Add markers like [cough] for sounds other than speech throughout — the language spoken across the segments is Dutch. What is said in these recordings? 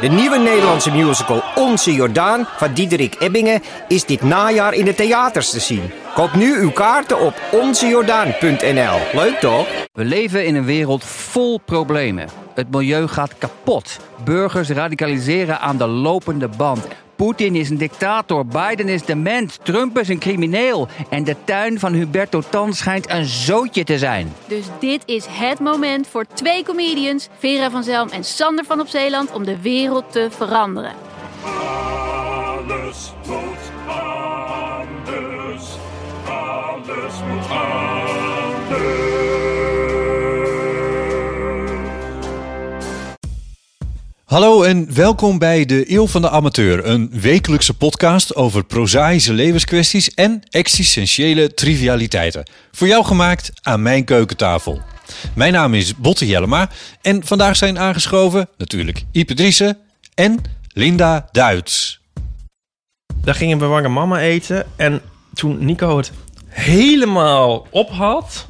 De nieuwe Nederlandse musical Onze Jordaan van Diederik Ebbingen is dit najaar in de theaters te zien. Koop nu uw kaarten op onzejordaan.nl. Leuk toch? We leven in een wereld vol problemen. Het milieu gaat kapot. Burgers radicaliseren aan de lopende band. Poetin is een dictator, Biden is dement, Trump is een crimineel. En de tuin van Huberto Tan schijnt een zootje te zijn. Dus dit is het moment voor twee comedians, Vera van Zelm en Sander van op Zeeland, om de wereld te veranderen. Alles moet anders. Alles moet anders. Hallo en welkom bij de Eeuw van de Amateur, een wekelijkse podcast over prozaïsche levenskwesties en existentiële trivialiteiten. Voor jou gemaakt aan mijn keukentafel. Mijn naam is Botte Jellema en vandaag zijn aangeschoven natuurlijk Ipe Driessen en Linda Duits. Daar gingen we Warme Mama eten. En toen Nico het helemaal op had,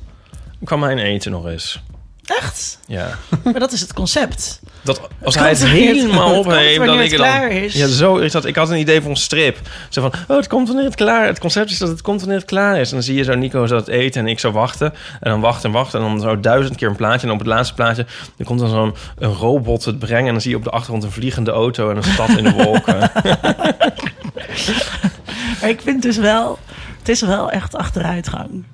kwam mijn eten nog eens. Echt? Ja. Maar dat is het concept. Dat, als kan hij het wanneer het- helemaal het op komt heeft, dan wanneer ik het er dan... klaar is. Ja, zo is dat. Ik had een idee voor een strip. Zo van, oh, het komt wanneer het klaar Het concept is dat het komt wanneer het klaar is. En dan zie je zo Nico zo dat eten en ik zo wachten. En dan wachten en wachten. En dan zo duizend keer een plaatje. En op het laatste plaatje, dan komt dan zo'n een robot het brengen. En dan zie je op de achtergrond een vliegende auto en een stad in de [laughs] wolken. Maar ik vind dus wel, het is wel echt achteruitgang.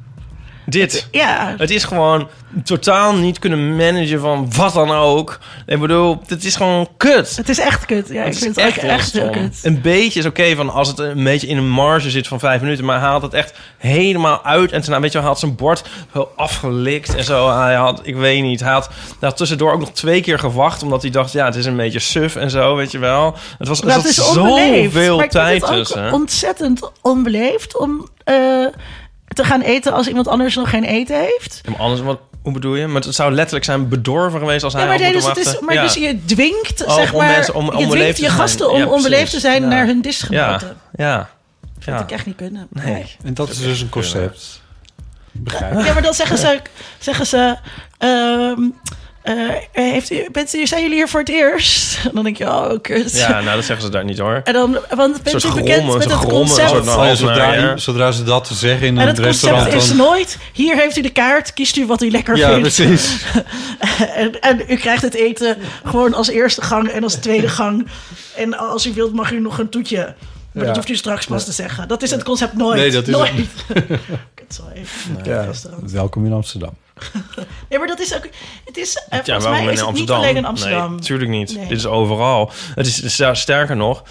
Dit. Ja, Het is gewoon totaal niet kunnen managen van wat dan ook. Ik bedoel, dit is gewoon kut. het is echt kut. Ja, ik Het is vind het echt, heel echt heel stom. kut. Een beetje is oké van als het een beetje in een marge zit van vijf minuten, maar hij haalt het echt helemaal uit. En daarna, weet je, wel, hij had zijn bord zo afgelikt en zo. Hij had, ik weet niet, hij had daar tussendoor ook nog twee keer gewacht, omdat hij dacht, ja, het is een beetje suf en zo, weet je wel. Het was, er Maar zat het is onbeleefd. zoveel maar ik vind tijd dus, het ook tussen. ontzettend onbeleefd om eh, te gaan eten als iemand anders nog geen eten heeft. Ja, maar anders, wat, hoe bedoel je? Maar het zou letterlijk zijn bedorven geweest als hij Ja, maar, had nee, dus, moeten het is, wachten. maar Ja. dus je dwingt, Oh, zeg om maar, mensen- om- je onbeleefd dwingt te je zijn. gasten om Ja, precies. onbeleefd te zijn Ja. naar hun Ja, disgenoten. ja. ja. Dat ik echt niet kunnen. Nee. En dat is dus een concept. Begrijp Ja, maar dan zeggen ze, zeggen ze ehm, eh, heeft u, bent u, zijn jullie hier voor het eerst? [laughs] En dan denk je, oh, kut. Ja, nou, dat zeggen ze daar niet [laughs] hoor. En dan, want soort bent u grommen, bekend met zo'n het grommen, concept? soort van- Als Als zodra, naar, ja. zodra ze dat zeggen in En een het restaurant, concept is dan... nooit, hier heeft u de kaart, kiest u wat u lekker Ja, vindt. precies. [laughs] En, en u krijgt het eten gewoon als eerste gang en als tweede gang. En als u wilt mag u nog een toetje. Maar dat hoeft u straks pas te zeggen. Dat is het concept nooit. Nee, dat is nooit. het [laughs] Kutzooi. Restaurant. Welkom in Amsterdam. Nee, maar dat is ook... Het is, eh, Ja, volgens waarom mij in is het niet Amsterdam? alleen in Amsterdam. Nee, tuurlijk niet. Nee. Dit is overal. Het is, is daar- sterker nog,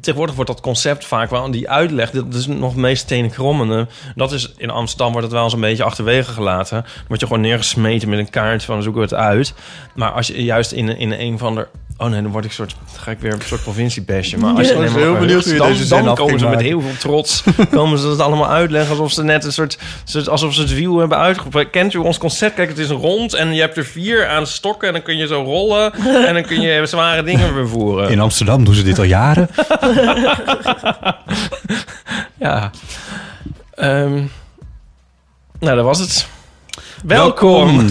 tegenwoordig wordt dat concept vaak wel, die uitleg, dat is nog meest tenenkrommende. Dat is, in Amsterdam wordt het wel eens een beetje achterwege gelaten. Dan word je gewoon neergesmeten met een kaart van zoeken we het uit. Maar als je juist in, in een van de... Oh nee, dan word ik soort, dan ga ik weer een soort provinciebesje. Maar als Ja, je ik was helemaal heel benieuwd hoe je dan, deze zin dan af komen ging ze met maken. heel veel trots, [laughs] komen ze dat allemaal uitleggen alsof ze net een soort, soort- alsof ze het wiel hebben uitgeprobeerd. Kent u ons concept? Kijk, het is rond en je hebt er vier aan stokken en dan kun je zo rollen en dan kun je zware dingen vervoeren. In Amsterdam doen ze dit al jaren. Ja. Ehm, nou, dat was het. Welkom.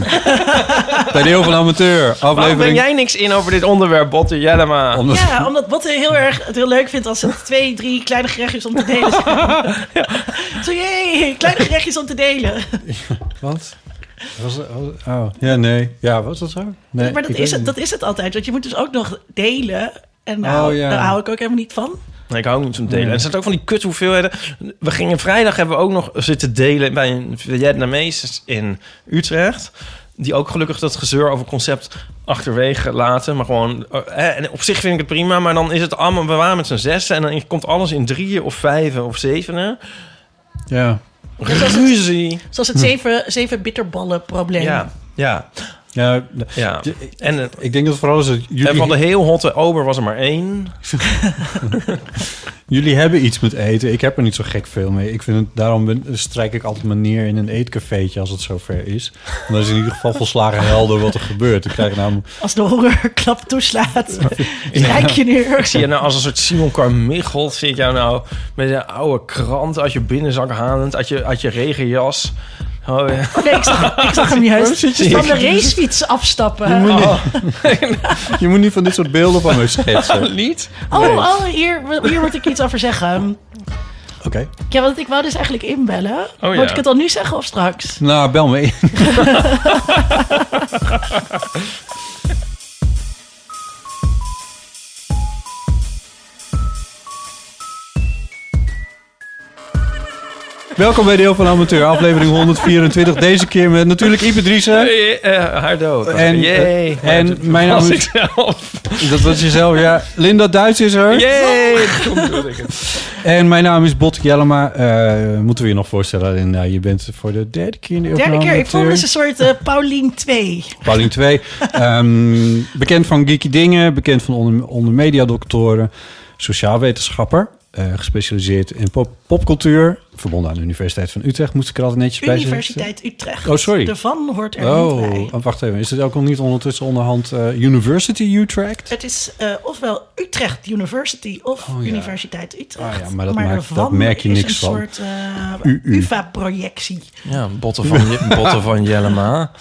[laughs] bij de Eeuw van de Amateur, Waarom ben aflevering... jij niks in over dit onderwerp, Botte Jellema? Omdat- Ja, omdat Botte heel erg het heel leuk vindt als het twee, drie kleine gerechtjes om te delen zijn. Zo jee, kleine gerechtjes om te delen. Wat? Was, oh. Ja, nee. Ja, was dat zo? Nee, maar dat ik weet is, het, niet. dat is het altijd. Want je moet dus ook nog delen. En nou, Oh, ja. daar hou ik ook helemaal niet van. Nee, ik hou niet van delen. En er staat ook van die kut hoeveelheden. We gingen vrijdag hebben we ook nog zitten delen bij een Vietnamees in Utrecht. Die ook gelukkig dat gezeur over concept achterwege laten. Maar gewoon, eh, en op zich vind ik het prima. Maar dan is het allemaal, we waren met z'n zessen. En dan komt alles in drieën of vijven of zevenen. Ja. Ruzie. Zoals het zeven, zeven bitterballen probleem. Ja, ja, ja, ja. Je- En, eh, ik denk dat vooral is dat en jullie, van de heel hotte ober was er maar één. jullie hebben iets met eten. Ik heb er niet zo gek veel mee. Ik vind het, daarom ben, strijk ik altijd maar neer in een eetcafeetje als het zover is. Want dan is in ieder geval volslagen helder wat er gebeurt. Ik krijg namelijk... Als de hongerklap toeslaat, rijk je neer. Zie je nou als een soort Simon Carmichael zit jou nou met een oude krant uit je binnenzak halend, uit je, uit je regenjas. Oh ja. Nee, ik zag, ik zag hem juist zit je van hier? de racefiets afstappen. Je moet, Oh, niet, je moet niet van dit soort beelden van me schetsen. niet? Oh, oh hier, hier moet ik iets over zeggen. Oké. Ja, want ik wou dus eigenlijk inbellen. Oh, ja. Moet ik het al nu zeggen of straks? Nou, bel me in. Welkom bij Deel van Amateur, aflevering 124. Deze keer met natuurlijk Ipe Driessen. Eh, haar dood. En, Yay. en mijn [laughs] naam is... zelf. Dat was jezelf, ja. Linda Duits is er. Yay. Toen bedoelde ik het. En mijn naam is Bot Jellema. Eh, moeten we je nog voorstellen? En, nou, je bent voor de derde keer in de Derde keer, ik vond dus dus een soort eh Paulien 2. Paulien 2. Ehm, bekend van Geeky Dingen, bekend van onder, onder mediadoktoren, sociaal wetenschapper. eh, gespecialiseerd in pop- popcultuur. Verbonden aan de Universiteit van Utrecht, moest ik er altijd netjes bij zeggen. Universiteit Utrecht. Oh, sorry. Daarvan hoort er niet bij. Oh, wacht even. Is het ook al niet ondertussen onderhand eh, University Utrecht? Het is eh, ofwel Utrecht University of Oh, ja. Universiteit Utrecht. Ah ja, maar dat maakt- dat merk je is niks een van. soort eh, UU. UvA-projectie. Ja, botten van, [laughs] Je- botten van Jellema.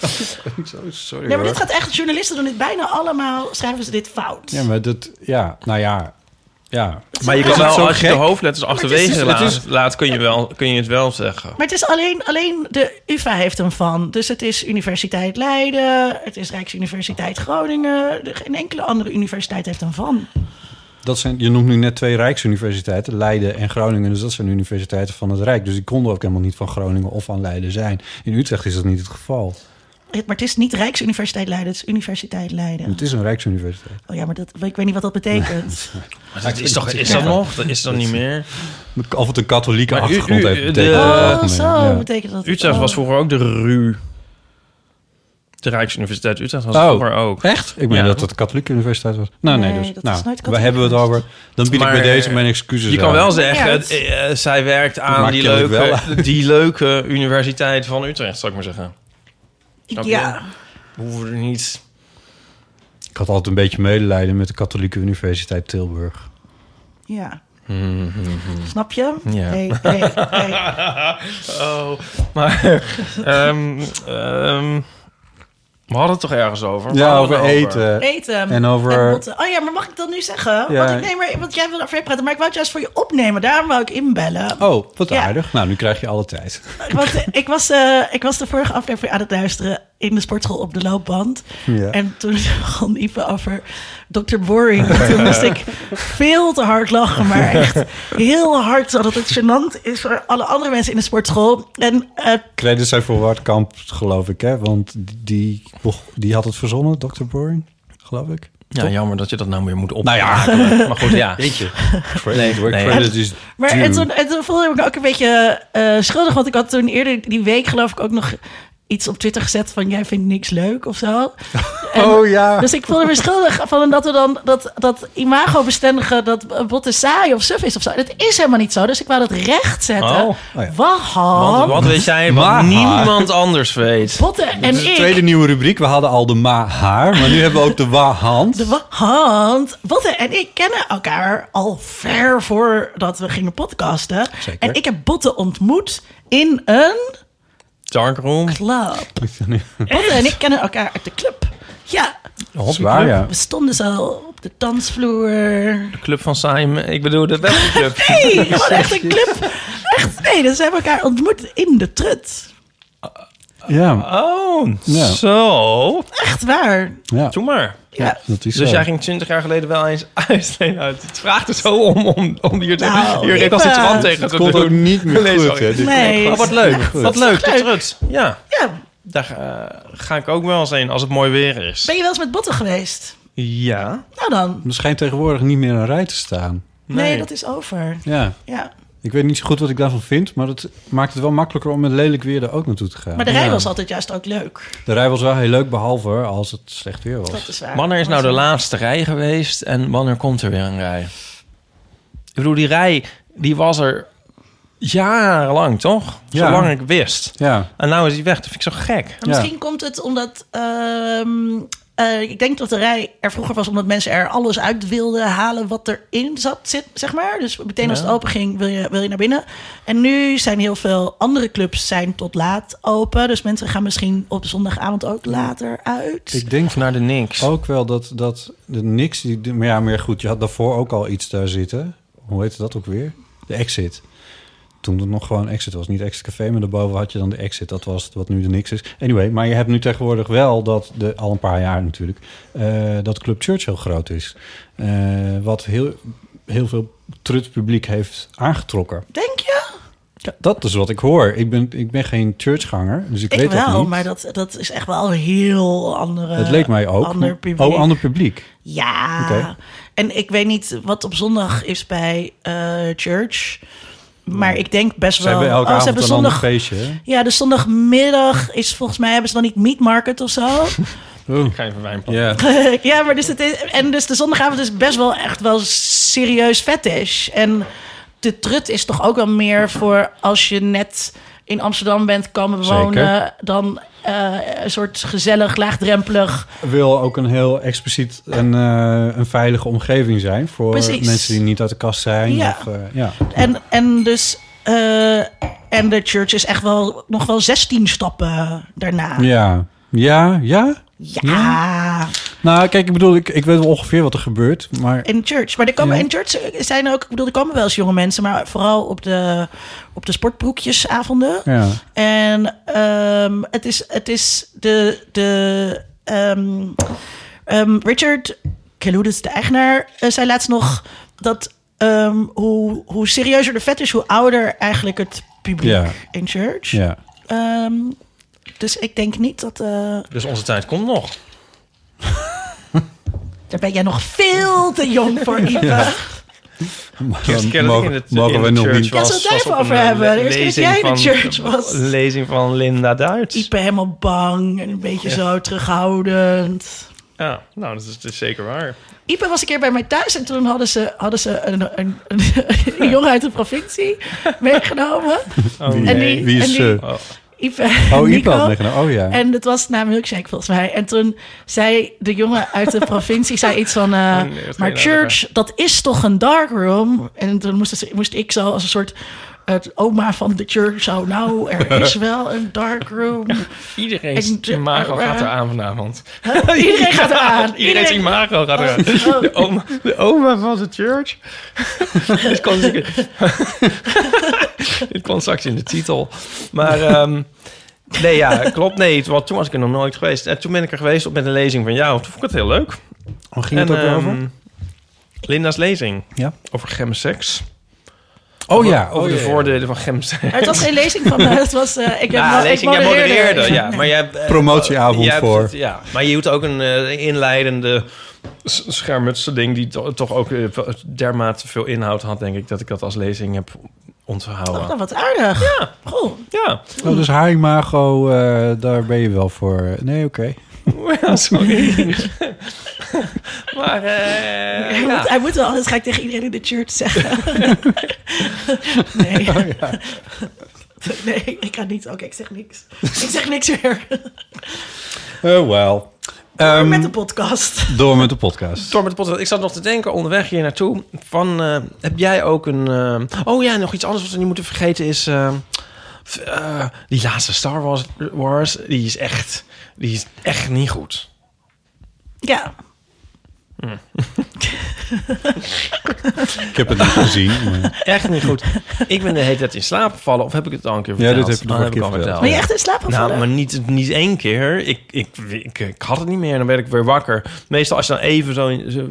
Sorry Nee, maar dit gaat echt... Journalisten doen dit bijna allemaal, schrijven ze dit fout. Ja, maar dat... Ja, nou ja. Ja. Maar je Is kan het wel, zo als je de gek? hoofdletters het achterwege is- laat, het is- laat, kun je, wel, kun je het wel zeggen. Maar het is alleen, alleen de UvA heeft hem van. Dus het is Universiteit Leiden, het is Rijksuniversiteit Groningen. Er- Geen enkele andere universiteit heeft hem van. Dat zijn, je noemt nu net twee Rijksuniversiteiten, Leiden en Groningen. Dus dat zijn universiteiten van het Rijk. Dus die konden ook helemaal niet van Groningen of van Leiden zijn. In Utrecht is dat niet het geval. Het- Maar het is niet Rijksuniversiteit Leiden, het is Universiteit Leiden. Het is een Rijksuniversiteit. Oh ja, maar dat, ik weet niet wat dat betekent. Maar dat is, toch, is dat nog? Dat is dan niet meer. Of het een katholieke Maar u- achtergrond u- heeft. de- betekent het oh, algemeen. zo Eh, Ja. betekent dat. Utrecht oh. was vroeger ook de RU. De Rijksuniversiteit Utrecht was Oh, vroeger ook. Echt? Ik meen Ja. dat het de katholieke universiteit was. Nou, nee, Nee, dus. dat is nou, nooit katholiek Waar hebben we het over? Dan bied ik Maar- bij deze mijn excuses Je kan aan. wel Ja, zeggen, het- eh, eh, zij werkt maakt aan die kennelijk leuke, die leuke universiteit van Utrecht, zou ik maar zeggen. Snap je? Ja, We hoeven er niet... Ik had altijd een beetje medelijden met de katholieke universiteit Tilburg. ja. Mm-hmm. Snap je? Ja. Nee, nee, nee. Oh, maar... ehm, ehm, we hadden het toch ergens over? We Ja, hadden over het eten. Eten. En over- botten. Oh ja, maar mag ik dat nu zeggen? Ja. Want, ik, nee, maar, want jij wilde over praten, maar ik wou het juist voor je opnemen. Daarom wou ik inbellen. Oh, wat Ja. aardig. Nou, nu krijg je alle tijd. Want eh, ik was, eh, ik was de vorige aflevering aan het luisteren in de sportschool op de loopband. Ja. En toen [laughs] begon Ipe over Dr. Boring. En toen moest ik veel te hard lachen, maar echt heel hard. Zodat het gênant is voor alle andere mensen in de sportschool. En eh, [laughs] Credits zijn voor Wartkamp, geloof ik, hè? Want die, oh, die had het verzonnen, Dr. Boring, geloof ik. over. Ja, jammer dat je dat nou weer moet op. Nou ja. [laughs] maar goed, ja. Nee, nee. credit is Maar due. en toen, en toen voelde ik me ook een beetje eh, schuldig. Want ik had toen eerder die week geloof ik ook nog iets op Twitter gezet van... jij vindt niks leuk of zo. En- Oh ja. Dus ik voelde me schuldig van dat we dan dat, dat imago bestendigen... dat eh, botten saai of suf is of zo. Dat is helemaal niet zo. Dus ik wou dat recht zetten. Oh. Oh, Oh ja. Want wat weet jij wat Maar- niemand anders weet? Botten Dit is en de ik... tweede nieuwe rubriek. We hadden al de ma-haar, maar nu hebben we ook de wa-hand. De wa- hand. Botten en ik kennen elkaar al ver voordat we gingen podcasten. Zeker. En ik heb Botten ontmoet in een... Darkroom. club. Botte en ik kennen elkaar uit de club. Ja, Zwaar, Ah, ja. we stonden zo op de dansvloer. Club van Simon. Ik bedoel, de [laughs] welke club? [laughs] Nee, gewoon echt een club. Echt, nee, dus we hebben elkaar ontmoet in de trut. Ja, Oh, Ja. zo. Echt waar. ja. Doe maar. Ja. Dat is Dus zo. jij ging 20 jaar geleden wel eens [laughs] uit. Nee, nou, het vraagt er zo om, om, om hier, te, Nou, hier ik, als iets eh, van tegen Het te komt doen. ook niet meer Nee, goed, sorry. hè, dit- Nee. Oh, wat leuk. Wat leuk, de Leuk. trut. Ja, Ja, daar eh, ga ik ook wel eens heen als het mooi weer is. ben je wel eens met Botten geweest? Ja. Nou dan. Er schijnt tegenwoordig niet meer een rij te staan. Nee, Nee. dat is over. Ja, Ja. ik weet niet zo goed wat ik daarvan vind, maar dat maakt het wel makkelijker om met lelijk weer er ook naartoe te gaan. Maar de rij was altijd juist ook leuk. De rij was wel heel leuk, behalve als het slecht weer was. Dat is waar. Wanneer is nou de laatste rij geweest en wanneer komt er weer een rij? Ik bedoel, die rij die was er jarenlang, toch? Ja. Zolang ik wist. Ja, En nou is die weg. Dat vind ik zo gek. Maar Misschien komt het omdat ehm, eh, Eh, ik denk dat de rij er vroeger was omdat mensen er alles uit wilden halen wat erin zat, zit, zeg maar. Dus meteen als het open ging, wil je, wil je naar binnen. En nu zijn heel veel andere clubs zijn tot laat open. Dus mensen gaan misschien op zondagavond ook later uit. Ik denk Oh. Of naar de niks. ook wel dat, dat de niks... Die, maar ja, maar goed, je had daarvoor ook al iets daar zitten. Hoe heette dat ook weer? De Exit. Toen het nog gewoon Exit was. Niet Exit Café, maar daarboven had je dan de Exit. Dat was het wat nu de niks is. Anyway, maar je hebt nu tegenwoordig wel dat... De, al een paar jaar natuurlijk. eh, dat Club Church heel groot is. Eh, wat heel, heel veel trut publiek heeft aangetrokken. Denk je? Ja, dat is wat ik hoor. Ik ben, ik ben geen churchganger, dus ik, Ik, weet dat wel, niet. maar dat, dat is echt wel een heel andere. het leek mij ook. Ander publiek. Oh, ander publiek. Ja. Oké. En ik weet niet wat op zondag is bij eh, Church. Maar ik denk best Ze wel. hebben elke oh, avond ze hebben een zondag. ander feestje. hè? Ja, dus zondagmiddag is volgens mij hebben ze dan niet meat market of [laughs] zo. Ik ga even wijn pakken. Ja. ja, maar dus het is, en dus de zondagavond is best wel echt wel serieus fetish. En de trut is toch ook wel meer voor als je net in Amsterdam bent komen Zeker. wonen, dan eh, een soort gezellig, laagdrempelig. Wil ook een heel expliciet en eh, een veilige omgeving zijn voor Precies. mensen die niet uit de kast zijn. Ja. Of, eh, ja. En, en dus. eh, en de church is echt wel nog wel 16 stappen daarna. ja, ja, ja. Ja, Nou, kijk, ik bedoel, ik, ik weet wel ongeveer wat er gebeurt, maar in church. Maar er komen, Ja. in church zijn er ook, ik bedoel, er komen wel eens jonge mensen, maar vooral op de, op de sportbroekjesavonden. ja. En ehm, het, is, het is de. de ehm, ehm, Richard Keloudis, de eigenaar, eh, zei laatst nog dat ehm, hoe, hoe serieuzer de vet is, hoe ouder eigenlijk het publiek Ja. in church. ja. Ehm, dus ik denk niet dat. eh, Dus onze tijd komt nog. daar ben jij nog veel te jong voor, Ipe. Maar De eerste keer dan dat ik mogen, in de- mogen in we de nog church niet. Ja, zullen we het was even op over een, eh, hebben? De eerste lezing keer dat jij in de van- church was. Lezing van Linda Duits. Ipe helemaal bang en een beetje zo terughoudend. Ja, nou, dat is, dat is zeker waar. Ipe was een keer bij mij thuis en toen hadden ze, hadden ze een, een, een, [laughs] een jongen uit de provincie meegenomen. Oh, En nee. die, Wie en is... die, eh, Oh, Ipe, oh, Nico. Ipan meegenomen. Oh ja. En het was na milkshake volgens mij. En toen zei de jongen uit de [laughs] provincie zei iets van... eh, Nee, dat ga je maar church, dat is toch een darkroom? En toen moest, ze- moest ik zo als een soort... Het oma van de church zou nou, [laughs] er is wel een darkroom. iedereen's En de- imago eh, gaat eraan vanavond. Iedereen [laughs] gaat eraan. Iedereen's Iedereen, imago gaat eraan. Oh, De oma, de oma van de church. [laughs] Dit kwam zeker- [laughs] Dit kwam straks in de titel. Maar ehm, nee, ja, klopt. Nee, want toen was ik er nog nooit geweest. En toen ben ik er geweest op met een lezing van jou. Toen vond ik het heel leuk. Waar ging het En, ook weer over? ehm, Linda's lezing. Ja. Over gemseks. Oh ja. Over oh, de ja. voordelen van gemseks. Maar het was geen lezing van mij. Het was, eh, ik, heb Ja, wel- Nou, ik lezing, jij modereerde. [laughs] Ja, maar jij, eh, Promotieavond jij hebt voor. het- ja, maar je doet ook een eh, inleidende s- schermutse ding... die to- toch ook eh, wel dermate veel inhoud had, denk ik... dat ik dat als lezing heb Oh, onthouden. nou, wat aardig. Ja. Ja, [laughs] Oh, dus haar imago, eh, daar ben je wel voor. Nee, oké. ja [laughs] sorry. maar eh, ja. Hij moet wel, dat ga ik tegen iedereen in de church zeggen. [laughs] nee. Oh, [laughs] nee, ik ga niet. Oké, ik zeg niks. Ik zeg niks weer. Oh, well. Ehm, Met de podcast. Door met de podcast. Door met de podcast. Ik zat nog te denken onderweg hier naartoe. Van, eh, heb jij ook een... eh, oh ja, nog iets anders wat we niet moeten vergeten is... eh, f- eh, die laatste Star Wars, Wars, die is echt... Die is echt niet goed. Ja. Ik heb het niet gezien. maar- Echt niet [laughs] goed. Ik ben de hele tijd in slaap gevallen. Of heb ik het al een keer Ja, verteld? dit heb je de Ah, vorige ik keer al verteld. Ben je echt in slaap gevallen? Nou, maar niet, niet één keer. Ik, ik, ik, ik had het niet meer. Dan werd ik weer wakker. Meestal als je dan even zo... zo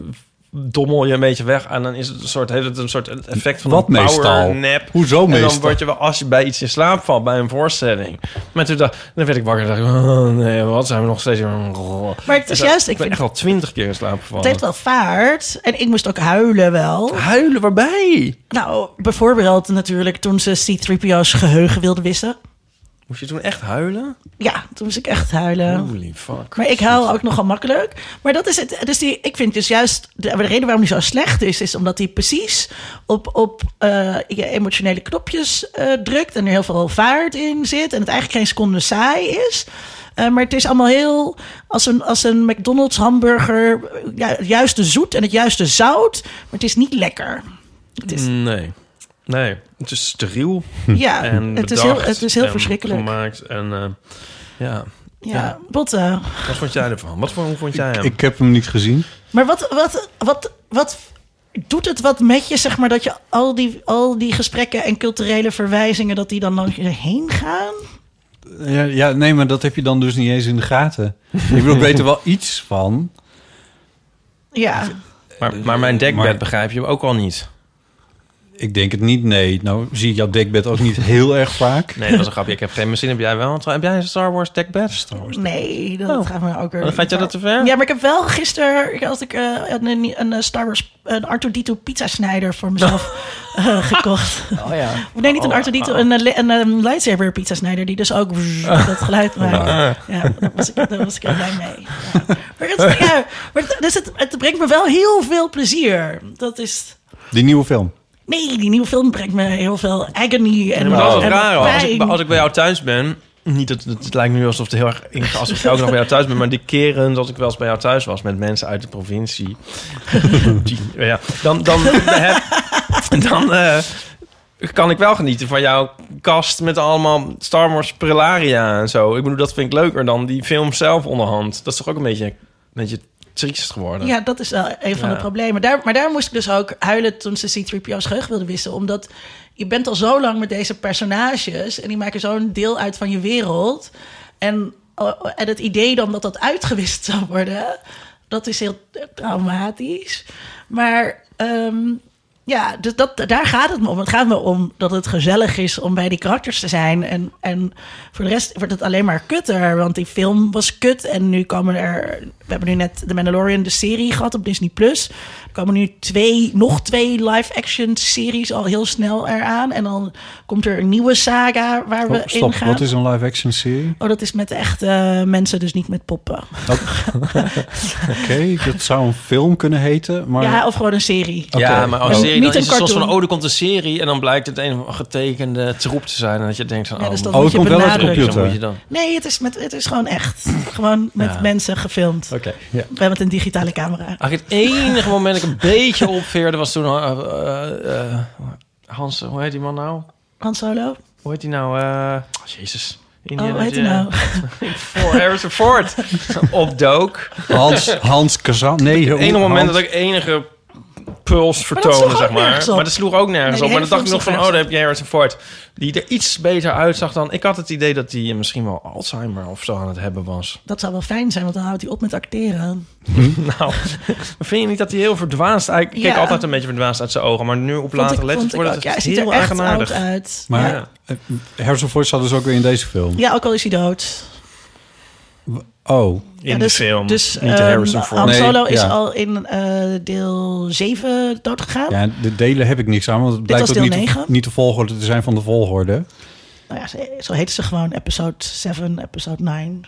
dommel je een beetje weg en dan is het een soort, heeft het een soort effect van Wat een power meestal? nap. Hoezo En dan meestal? word je wel, als je bij iets in slaap valt, bij een voorstelling. Maar toen dacht, dan werd ik wakker en dacht ik, oh, nee, wat zijn we nog steeds... Maar het is En zo- juist, ik Ik ben vind- echt al twintig keer in slaap gevallen. het heeft wel vaart. En ik moest ook huilen wel. Huilen, waarbij? Nou, bijvoorbeeld natuurlijk toen ze C-3PO's geheugen wilden wissen. Moest je toen echt huilen? Ja, toen moest ik echt huilen. Holy fuck. Maar ik huil ook nogal makkelijk. Maar dat is het. Dus die, ik vind dus juist. De, de reden waarom die zo slecht is, is omdat hij precies op, op eh, je emotionele knopjes eh, drukt. En er heel veel vaart in zit. En het eigenlijk geen seconde saai is. Eh, maar het is allemaal heel als een, als een McDonald's hamburger. Ja, het juiste zoet en het juiste zout. Maar het is niet lekker. Het is, Nee. Nee, het is steriel ja, en het is bedacht heel, het is heel en verschrikkelijk. gemaakt en eh, ja. ja, ja. Botte. Wat vond jij ervan? Wat voor, hoe vond jij hem? Ik heb hem niet gezien. Maar wat, wat, wat, wat doet het wat met je, zeg maar, dat je al die, al die gesprekken en culturele verwijzingen, dat die dan langs je heen gaan? Ja, ja, nee, maar dat heb je dan dus niet eens in de gaten. Ik wil weten [laughs] wel iets van. Ja, maar, maar mijn dekbed maar- begrijp je ook al niet. Ik denk het niet, nee. Nou zie ik jouw dekbed ook niet heel erg vaak. Nee, dat was een grapje. Ik heb geen zin. Heb jij wel? een- Heb jij een Star Wars dekbed? nee, dat Oh. gaat me ook weer. Dan gaat je dat te ver? Ja, maar ik heb wel gisteren had ik, eh, een, een Star Wars, een Arthur Dito pizzasnijder [laughs] voor mezelf eh, gekocht. Oh ja. Nee, niet een Arthur Dito, een, eh, li- een, eh, lightsaber pizzasnijder die dus ook Oh. dat geluid nou. maakt. Ja, daar was ik, daar was ik heel blij mee. Ja. Maar, het, ja, maar het- dus het, het brengt me wel heel veel plezier. Dat is... Die nieuwe film. Nee, die nieuwe film brengt me heel veel agony en, Ja, maar dat is en ook raar hoor. Oh. Als ik, pijn. bij- als ik bij jou thuis ben. Niet dat het, het lijkt nu alsof het heel erg inge- als ik ook nog bij jou thuis ben, maar die keren dat ik wel eens bij jou thuis was met mensen uit de provincie, [laughs] die- ja, dan dan heb- dan eh, kan ik wel genieten van jouw kast met allemaal Star Wars prelaria en zo. Ik bedoel, dat vind ik leuker dan die film zelf onderhand. Dat is toch ook een beetje een beetje triest geworden. Ja, dat is wel een van Ja. de problemen. Daar, maar daar moest ik dus ook huilen toen ze C-3PO's geheugen wilden wissen. Omdat je bent al zo lang met deze personages... en die maken zo'n deel uit van je wereld. En, eh, en het idee dan dat dat uitgewist zou worden... dat is heel traumatisch. Maar... ehm, ja, dus dat, daar gaat het me om. Het gaat me om dat het gezellig is om bij die karakters te zijn. En, en voor de rest wordt het alleen maar kutter. Want die film was kut. En nu komen er. We hebben nu net The Mandalorian, de serie gehad op Disney Plus. Er komen nu twee, nog twee live-action series al heel snel eraan. En dan komt er een nieuwe saga waar we Oh, stop, in gaan. wat is een live-action serie? Oh, dat is met echte mensen, dus niet met poppen. Oké, dat zou een film kunnen heten, maar... Ja, of gewoon een serie. Ja, Oké. maar als Oh. serie, Niet dan is een het soms van, cartoon. oh, er komt een serie... en dan blijkt het een getekende troep te zijn... en dat je denkt van, Ja, oh, dus dat oh, moet het je komt wel uit de benadrukken. computer. zo moet je dan. Nee, het is, met, het is gewoon echt. Gewoon met Ja. mensen gefilmd. Oké. Bij met een digitale camera. Eigenlijk het enige moment dat ik een beetje opveerde was toen... eh, eh, eh, Hans, hoe heet die man nou? Han Solo? Hoe heet die nou? eh, oh, jezus. Oh, Indiana hoe heet hij Jones. nou? Voor Harrison [laughs] Ford. Opdook. Hans, Hans [laughs] Kazan. Nee, Het enige moment dat ik enige puls sloeg vertoonde, ook zeg maar. nergens op. Maar dat sloeg ook nergens Nee, die op. Maar dan hele dacht ik nog van, film oh, sloeg daar heb je Harrison Ford. Die er iets beter uitzag dan... Ik had het idee dat hij eh, misschien wel Alzheimer of zo aan het hebben was. Dat zou wel fijn zijn, want dan houdt hij op met acteren. Nou, [laughs] vind je niet dat hij heel verdwaasd... Hij keek Ja. altijd een beetje verdwaasd uit zijn ogen. Maar nu op Vond ik- later vond lettend ik wordt ook. het Ja, hij ziet dus heel er echt oud eigenaardig. uit. Maar ja. Ja. eh, Harrison Ford zat dus ook weer in deze film. Ja, ook al is hij dood. Oh, In ja, de film, Dus, niet de ehm, Harrison Ford. Han Nee, Solo is ja. al in eh, deel 7 dood gegaan. ja, de delen heb ik niks aan, want het blijkt was ook deel niet, de- negen. niet de volgorde te zijn van de volgorde. Nou ja, ze- zo heette ze gewoon episode 7, episode 9.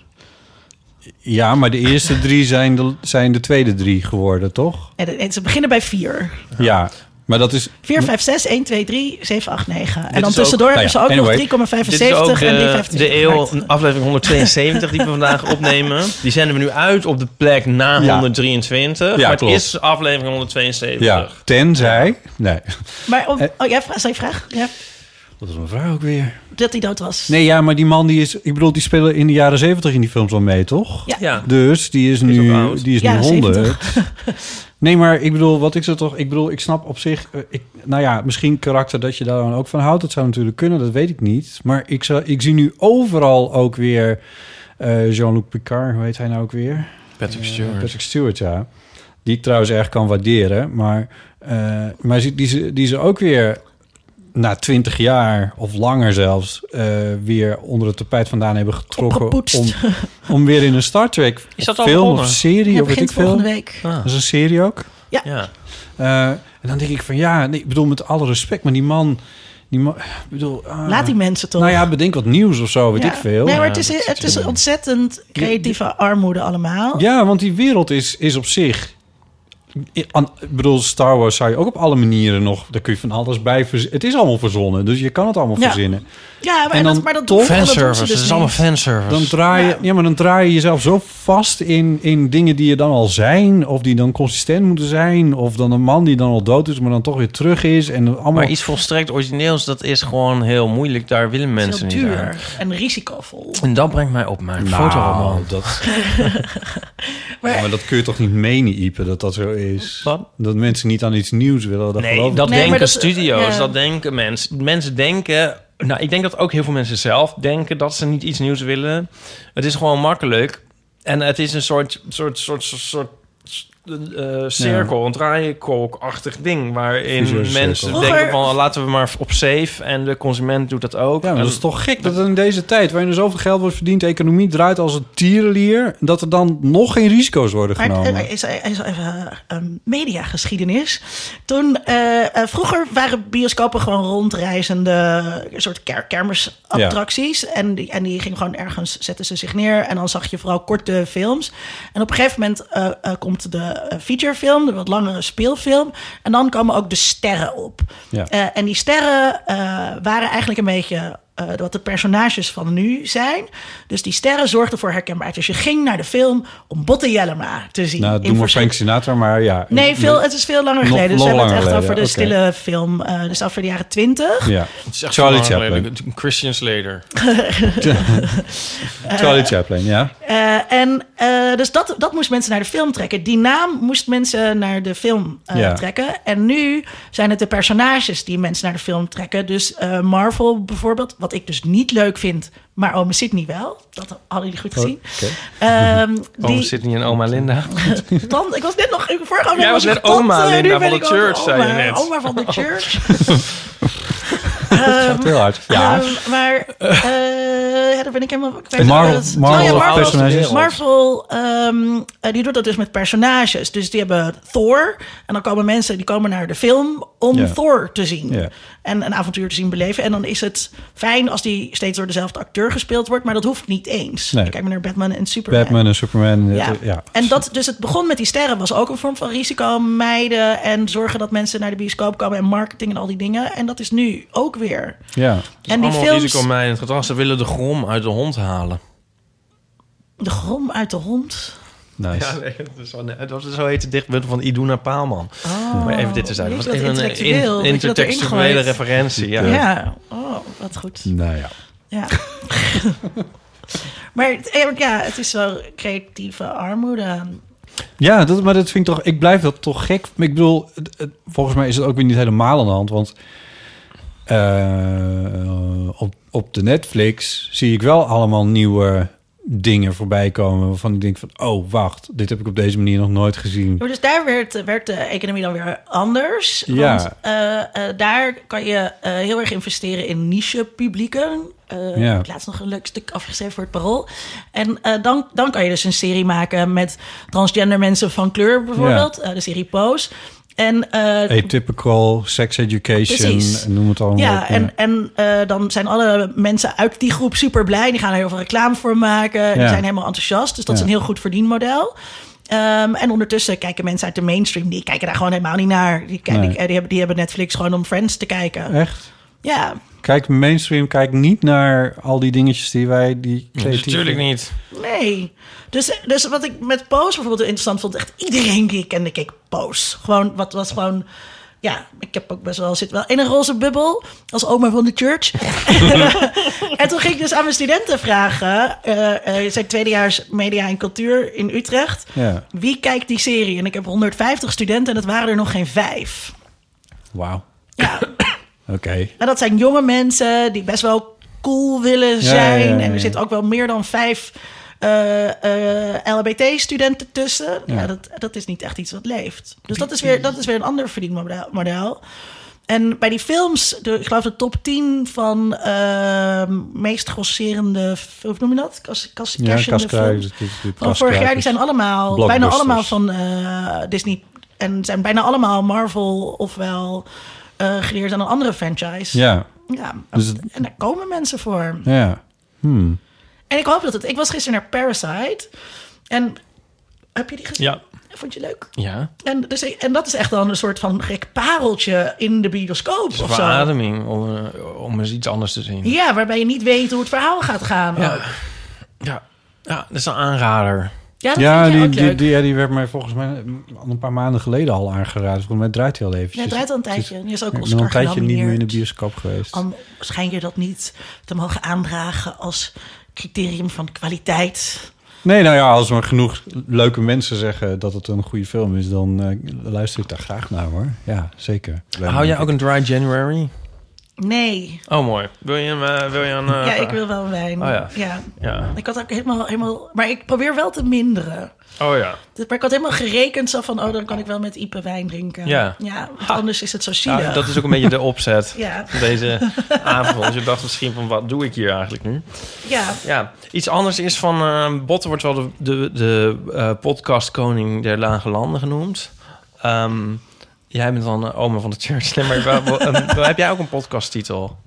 Ja, maar de eerste drie zijn de, zijn de tweede drie geworden, toch? En, en ze beginnen bij 4. Ja, maar dat is... 4, 5, 6, 1, 2, 3, 7, 8, 9. En Dit dan is ook- tussendoor nou hebben ze ja, ook anyway. nog 3,75 Dit is ook eh, en de, 3,75. de eeuw, gemaakt. aflevering 172 die we vandaag [laughs] opnemen. Die zenden we nu uit op de plek na Ja. 123. maar het klopt. is aflevering 172. Ja, tenzij... Nee, Maar Ah. om, oh, jij vraagt, zei je vraag? Ja, dat is mijn vraag ook weer. dat hij dood was. Nee, ja, maar die man die is... Ik bedoel, die spelen in de jaren zeventig in die films al mee, toch? Ja. Ja. Dus die is ook nu, oud. die is Ja, nu 70. 100. [laughs] Nee, maar ik bedoel, wat ik zo toch... Ik bedoel, ik snap op zich... eh, Ik, nou ja, misschien karakter dat je daar dan ook van houdt. Dat zou natuurlijk kunnen, dat weet ik niet. Maar ik, zou, ik zie nu overal ook weer eh, Jean-Luc Picard. Hoe heet hij nou ook weer? Patrick Eh, Stewart. Patrick Stewart, ja. Die ik trouwens erg kan waarderen. Maar, eh, maar die, die, ze- die ze ook weer na twintig jaar of langer zelfs... eh, weer onder het tapijt vandaan hebben getrokken... Opgepoetst. Om, om weer in een Star Trek [laughs] Is dat al film begonnen? of serie... Hij of weet begint ik veel. volgende week. Ah, Dat is een serie ook. ja. Eh, en dan denk ik van ja, nee, ik bedoel met alle respect... maar die man... Die man ik bedoel, ah, Laat die mensen toch. Nou ja, bedenk wat nieuws of zo, weet Ja. ik veel. Nee, maar Ja, het dat is, het is natuurlijk- ontzettend creatieve armoede allemaal. Ja, want die wereld is, is op zich I- aan- Ik bedoel, Star Wars zou je ook op alle manieren nog... Daar kun je van alles bij verzinnen. Het is allemaal verzonnen, dus je kan het allemaal Ja. verzinnen. Ja, maar, En dan dat, maar dat doen dat doen ze Fanservice, dus het is niet. allemaal fanservice. Dan draai, je, Ja. ja, maar dan draai je jezelf zo vast in, in dingen die je dan al zijn... of die dan consistent moeten zijn... of dan een man die dan al dood is, maar dan toch weer terug is. En allemaal maar iets volstrekt origineels, dat is gewoon heel moeilijk. Daar willen Het is mensen heel niet aan. duur en risicovol. En dat brengt mij op mijn Nou, fotoalbum. [laughs] Dat... maar... maar dat kun je toch niet menen, Ipe, dat dat zo is? Wat? Dat mensen niet aan iets nieuws willen. Dat geloof Nee, ik dat Nee, denken maar dat- studio's, ja. dat denken mensen. Mensen denken... Nou, ik denk dat ook heel veel mensen zelf denken dat ze niet iets nieuws willen. Het is gewoon makkelijk. En het is een soort, soort, soort, soort, soort eh, cirkel, een draaikolkachtig ding... waarin Visuele cirkel. mensen Vroeger- denken van oh, laten we maar op safe... en de consument doet dat ook. Ja, maar En- dat is toch gek dat in deze tijd... waarin er zoveel geld wordt verdiend... de economie draait als een tierenlier... dat er dan nog geen risico's worden Maar eh, genomen. er is, er is even ehm, mediageschiedenis. Toen, eh, eh, vroeger waren bioscopen gewoon rondreizende soort ker kermisattracties. En, die, en die gingen gewoon ergens, zetten ze zich neer. En dan zag je vooral korte films. En op een gegeven moment eh, eh, komt de eh, featurefilm, de wat langere speelfilm. En dan komen ook de sterren op. Ja. Eh, en die sterren eh, waren eigenlijk een beetje eh, wat de personages van nu zijn. Dus die sterren zorgden voor herkenbaarheid. Dus je ging naar de film om Botte Jellema te zien. nou, In doe maar verschil- Frank Sinatra, maar ja. Nee, veel, het is veel langer Nog geleden. Dus we lang hebben het geleden, echt over de oké. stille film. eh, dus over de jaren twintig. Ja, Het is echt Charlie zo lang geleden. Chaplin. Christian Slater. Charlie Chaplin, ja. Eh, en eh, dus dat, dat moest mensen naar de film trekken. Die naam moest mensen naar de film eh, Ja. trekken. En nu zijn het de personages die mensen naar de film trekken. Dus eh, Marvel bijvoorbeeld, wat ik dus niet leuk vind, maar Ome Sydney wel. Dat hadden jullie goed gezien. Oh, Oké. [laughs] Ehm, die, Oom Oh, Sidney en oma Linda. tante- ik was net nog, vorige aflevering Jij was ik net tante, oma, nu Linda, ben van ik de ook church, zei je oma, net. Oma Oh. van de [laughs] church. Gaat heel hard. Ja. Ehm, maar eh, ja, daar ben ik helemaal kwijt. Marvel- Dat is- Marvel Oh ja, of Marvel, personages? Marvel, ehm, eh, die doet dat dus met personages. Dus die hebben Thor. En dan komen mensen die komen naar de film om Ja. Thor te zien. Ja. En een avontuur te zien beleven. En dan is het fijn als die steeds door dezelfde acteur gespeeld wordt. Maar dat hoeft niet eens. Nee. Ik Kijk maar naar Batman en Superman. Batman en Superman. Ja. Ja. ja. En dat, dus het begon met die sterren, was ook een vorm van risico mijden. En zorgen dat mensen naar de bioscoop komen en marketing en al die dingen. En dat is nu ook weer. ja. En die Allemaal films. risicomijnend gedrag. Ze willen de grom uit de hond halen. De grom uit de hond. Nice. Ja, nee, het is wel- het was zo heet het dichtbundel van Iduna Paalman. maar even dit te zijn. weet Dat je was even Oh, dat een eh, intellectueel, in- dat je dat erin intertextuele gooit? referentie. Ja. Ja, oh, wat goed. Nou ja. [laughs] Ja. [laughs] maar het- eh, ja, het is wel creatieve armoede. Ja, dat, maar dat vind ik toch. Ik blijf dat toch gek. Ik bedoel, het- het- volgens mij is het ook weer niet helemaal aan de hand. Want eh, op, op de Netflix zie ik wel allemaal nieuwe dingen voorbij komen. Waarvan ik denk van, oh wacht, dit heb ik op deze manier nog nooit gezien. Maar dus daar werd, werd de economie dan weer anders. Ja. Want eh, eh, daar kan je eh, heel erg investeren in niche-publieken. Eh, Ja. Ik heb laatst nog een leuk stuk afgeschreven voor het parool. En eh, dan, dan kan je dus een serie maken met transgender mensen van kleur bijvoorbeeld. Eh, de serie Pose. En eh, Atypical, sex education, Precies. noem het allemaal. Ja, op, en, en eh, dan zijn alle mensen uit die groep super blij. Die gaan er heel veel reclame voor maken. Die Ja. zijn helemaal enthousiast. Dus dat is Ja. een heel goed verdienmodel. Ehm, en ondertussen kijken mensen uit de mainstream. Die kijken daar gewoon helemaal niet naar. Die, kijken, Nee. die, eh, die hebben, die hebben Netflix gewoon om Friends te kijken. Echt? Ja, Kijk, mainstream, kijk niet naar al die dingetjes die wij die creatieve- Natuurlijk niet. nee. Dus, dus wat ik met Pose bijvoorbeeld interessant vond... echt iedereen die ik kende keek Pose. Gewoon, wat was gewoon... Ja, ik heb ook best wel, zit wel in een roze bubbel als oma van de church. [laughs] En toen ging ik dus aan mijn studenten vragen. eh eh zijn tweedejaars media en cultuur in Utrecht. Ja. Wie kijkt die serie? En ik heb 150 studenten en het waren er nog geen vijf. Wauw. Ja, Oké. en Nou, dat zijn jonge mensen die best wel cool willen Ja, zijn. ja, ja, ja, En er ja. zitten ook wel meer dan vijf eh, LBT-studenten tussen. Ja. Ja. dat, dat is niet echt iets wat leeft. Dus dat is weer, dat is weer een ander verdienmodel. model. En bij die films, de, ik geloof de top 10 van eh, meest grosserende, hoe noem je dat? Kas, kas, Ja, cashende kaskruis, films. het is- het Van vorig jaar, die kaskruis. zijn allemaal, bijna Blockbusters. allemaal van eh, Disney. En zijn bijna allemaal Marvel ofwel eh geleerd aan een andere franchise. Ja, Ja, Dus het- en daar komen mensen voor. ja. En ik hoop dat het... Ik was gisteren naar Parasite. En Heb je die gezien? Ja. Vond je leuk? Ja. En, dus, en dat is echt dan een soort van gek pareltje in de bioscoop of zo. Verademing om, eh, om eens iets anders te zien. Ja, waarbij je niet weet hoe het verhaal gaat gaan. Ja. ook. Ja, ja dat is een aanrader. ja, dat Ja, Oh, vind je die, ook die, leuk. die, ja, die werd mij volgens mij al een paar maanden geleden al aangeraden. Volgens mij draait hij al eventjes. Ja, het draait al een Het tijdje. Die is ook Ik Oscar ben al een tijdje niet meer in de genomineerd. bioscoop geweest. Om schijn je dat niet te mogen aandragen als criterium van kwaliteit. Nee, nou ja, als maar genoeg leuke mensen zeggen dat het een goede film is, dan eh, luister ik daar graag naar hoor. Ja, zeker. Hou jij ook een dry January? Nee. Oh, mooi. Wil je hem... eh, wil je een, eh, ja, ik wil wel een wijn. Oh ja. Ja. Ik had ook helemaal, helemaal... Maar ik probeer wel te minderen. Oh ja. Dus- Maar ik had helemaal gerekend zo van... Oh, dan kan ik wel met Ipe wijn drinken. Ja. want anders is het zo zielig. ja. Dat is ook een beetje de opzet [laughs] Ja. van deze [laughs] avond. Dus Je dacht misschien van, wat doe ik hier eigenlijk nu? ja. Ja, iets anders is van... eh Botten wordt wel de, de, de eh, podcast koning der lage landen genoemd. Ehm, jij bent dan eh, oma van de church. Nee, maar wel- wel- een- wel- heb jij ook een podcasttitel?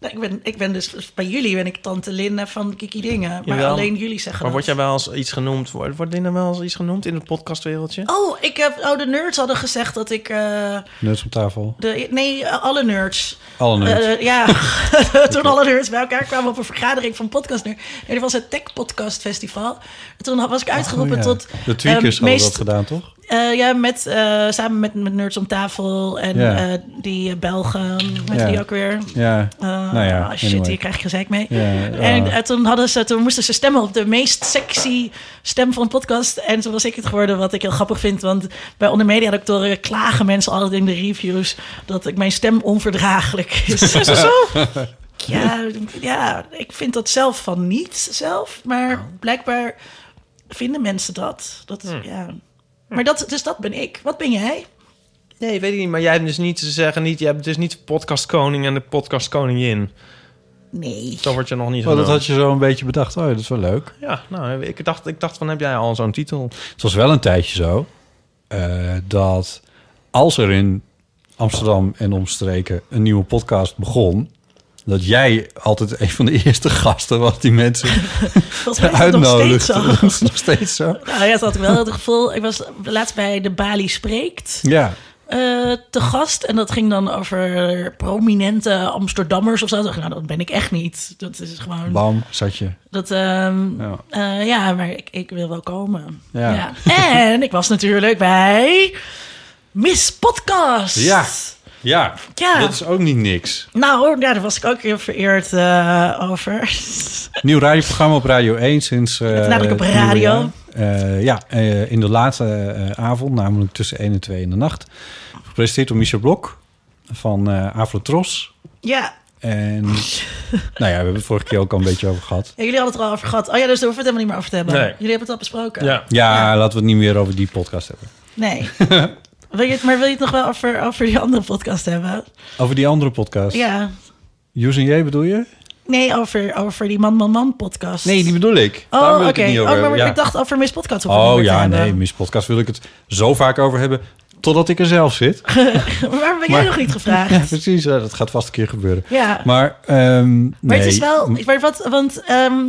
Nou, ik, ben, ik ben dus... Bij jullie ben ik tante Linda van Kiki Dingen. Maar Jawel. alleen jullie zeggen Maar dat. word jij wel eens iets genoemd? Wordt wordt Linda wel eens iets genoemd in het podcastwereldje? Oh, ik heb, oh, de nerds hadden gezegd dat ik... eh, Nuts op tafel. de, nee, alle nerds. Alle nerds. Eh, ja, [laughs] toen alle nerds bij elkaar kwamen op een vergadering van podcast nerds. En dat was het Tech Podcast Festival. En toen had- was ik uitgeroepen Oh, ja. tot... De tweakers eh, hadden meest- dat gedaan, toch? eh, ja, met, eh, samen met, met nerds om tafel en Ja. eh, die eh, Belgen, met Ja. die ook weer. Ja. Eh, nou ja, ah, shit, anyway. hier krijg ik gezeik mee. Ja, ah. ja. En eh, toen, hadden ze, toen moesten ze stemmen op de meest sexy stem van de podcast. En toen was ik het geworden, wat ik heel grappig vind. Want bij onder media-doctoren klagen mensen altijd in de reviews... dat ik mijn stem onverdraaglijk [laughs] is. Is dat zo? Ja, ja, ik vind dat zelf van niet zelf. Maar blijkbaar vinden mensen dat. dat ja. Maar dat, dus dat ben ik. Wat ben jij? Nee, weet ik niet. Maar jij hebt dus niet te zeggen, niet, je hebt dus niet de podcastkoning en de podcastkoningin. Nee. Zo word je nog niet Oh, genoemd. dat had je zo een beetje bedacht. Oh, ja, dat is wel leuk. Ja, nou, ik dacht, ik dacht van, heb jij al zo'n titel? Het was wel een tijdje zo eh, dat als er in Amsterdam en omstreken een nieuwe podcast begon, dat jij altijd een van de [laughs] eerste gasten was die mensen Volgens mij is [laughs] dat nog steeds uitnodigde. zo. [laughs] Dat is nog steeds zo. Nou ja, dat had ik wel het gevoel. Ik was laatst bij de Bali Spreekt Ja, eh, te gast. En dat ging dan over prominente Amsterdammers of zo. Toen dacht ik, nou, dat ben ik echt niet. Dat is gewoon... bam, zat je. Dat, ehm, Ja. eh, ja, maar ik, ik wil wel komen. Ja. En ik was natuurlijk bij Miss Podcast. Ja. Ja, Ja. dat is ook niet niks. Nou, ja, daar was ik ook heel vereerd eh, over. [laughs] Nieuw radioprogramma op Radio 1 sinds... eh, Met nadruk op het radio. nieuwe jaar. Eh, ja, eh, in de late eh, avond, namelijk tussen 1 en 2 in de nacht. Gepresenteerd door Michel Blok van eh Avrotros. ja, [laughs] En nou ja, we hebben het vorige keer ook al een beetje over gehad. Ja, jullie hadden het er al over gehad. Oh ja, dus daar hoeven we het helemaal niet meer over te hebben. Nee. Jullie hebben het al besproken. Ja, laten we het niet meer over die podcast hebben. [laughs] Nee. wil je het, maar wil je het nog wel over, over die andere podcast hebben? Over die andere podcast. Ja. Joes en jij bedoel je? Nee, over, over die Man Man Man podcast. Nee, die bedoel ik. Daar Oh, wil oké. ik het niet Oh, over maar hebben. ik dacht over Miss Podcast. hoeven we Oh niet meer te ja, hebben. nee, Miss Podcast wil ik het zo vaak over hebben... totdat ik er zelf [laughs] zit. Maar Waarom ben jij Maar- nog niet [laughs] Ja, gevraagd? precies. eh, Dat gaat vast een keer gebeuren. ja. Maar, ehm, nee. Maar het is wel. Maar wat, want. ehm,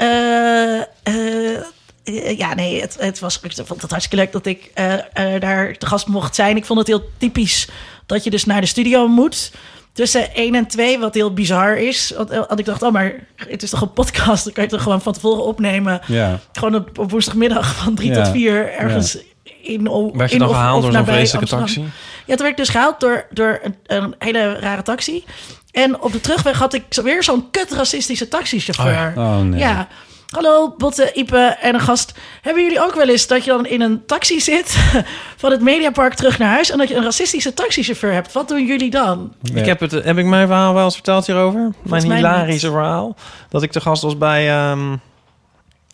eh, eh, eh, ja, nee, het, het was. Ik vond het hartstikke leuk dat ik eh, eh, daar te gast mocht zijn. Ik vond het heel typisch dat je dus naar de studio moet. Tussen 1 en 2, wat heel bizar is. Want, eh, want ik dacht, oh, maar het is toch een podcast? Dan kan je het toch gewoon van tevoren opnemen. Ja. Gewoon op, op woensdagmiddag van 3 Ja. tot 4 ergens in o- Werd je in dan of- gehaald of door zo'n nabij vreselijke Amsterdam. taxi? Ja, toen werd ik dus gehaald door, door een, een hele rare taxi. En op de terugweg had ik zo- weer zo'n kut racistische taxichauffeur. Oh ja. Oh, nee. Ja. Hallo, Botte, Ipe en een gast. Hebben jullie ook wel eens dat je dan in een taxi zit [laughs] van het Mediapark terug naar huis en dat je een racistische taxichauffeur hebt? Wat doen jullie dan? Ja. Ik heb, het, heb ik mijn verhaal wel eens verteld hierover? Mijn mij hilarische niet. verhaal. Dat ik te gast was bij ehm,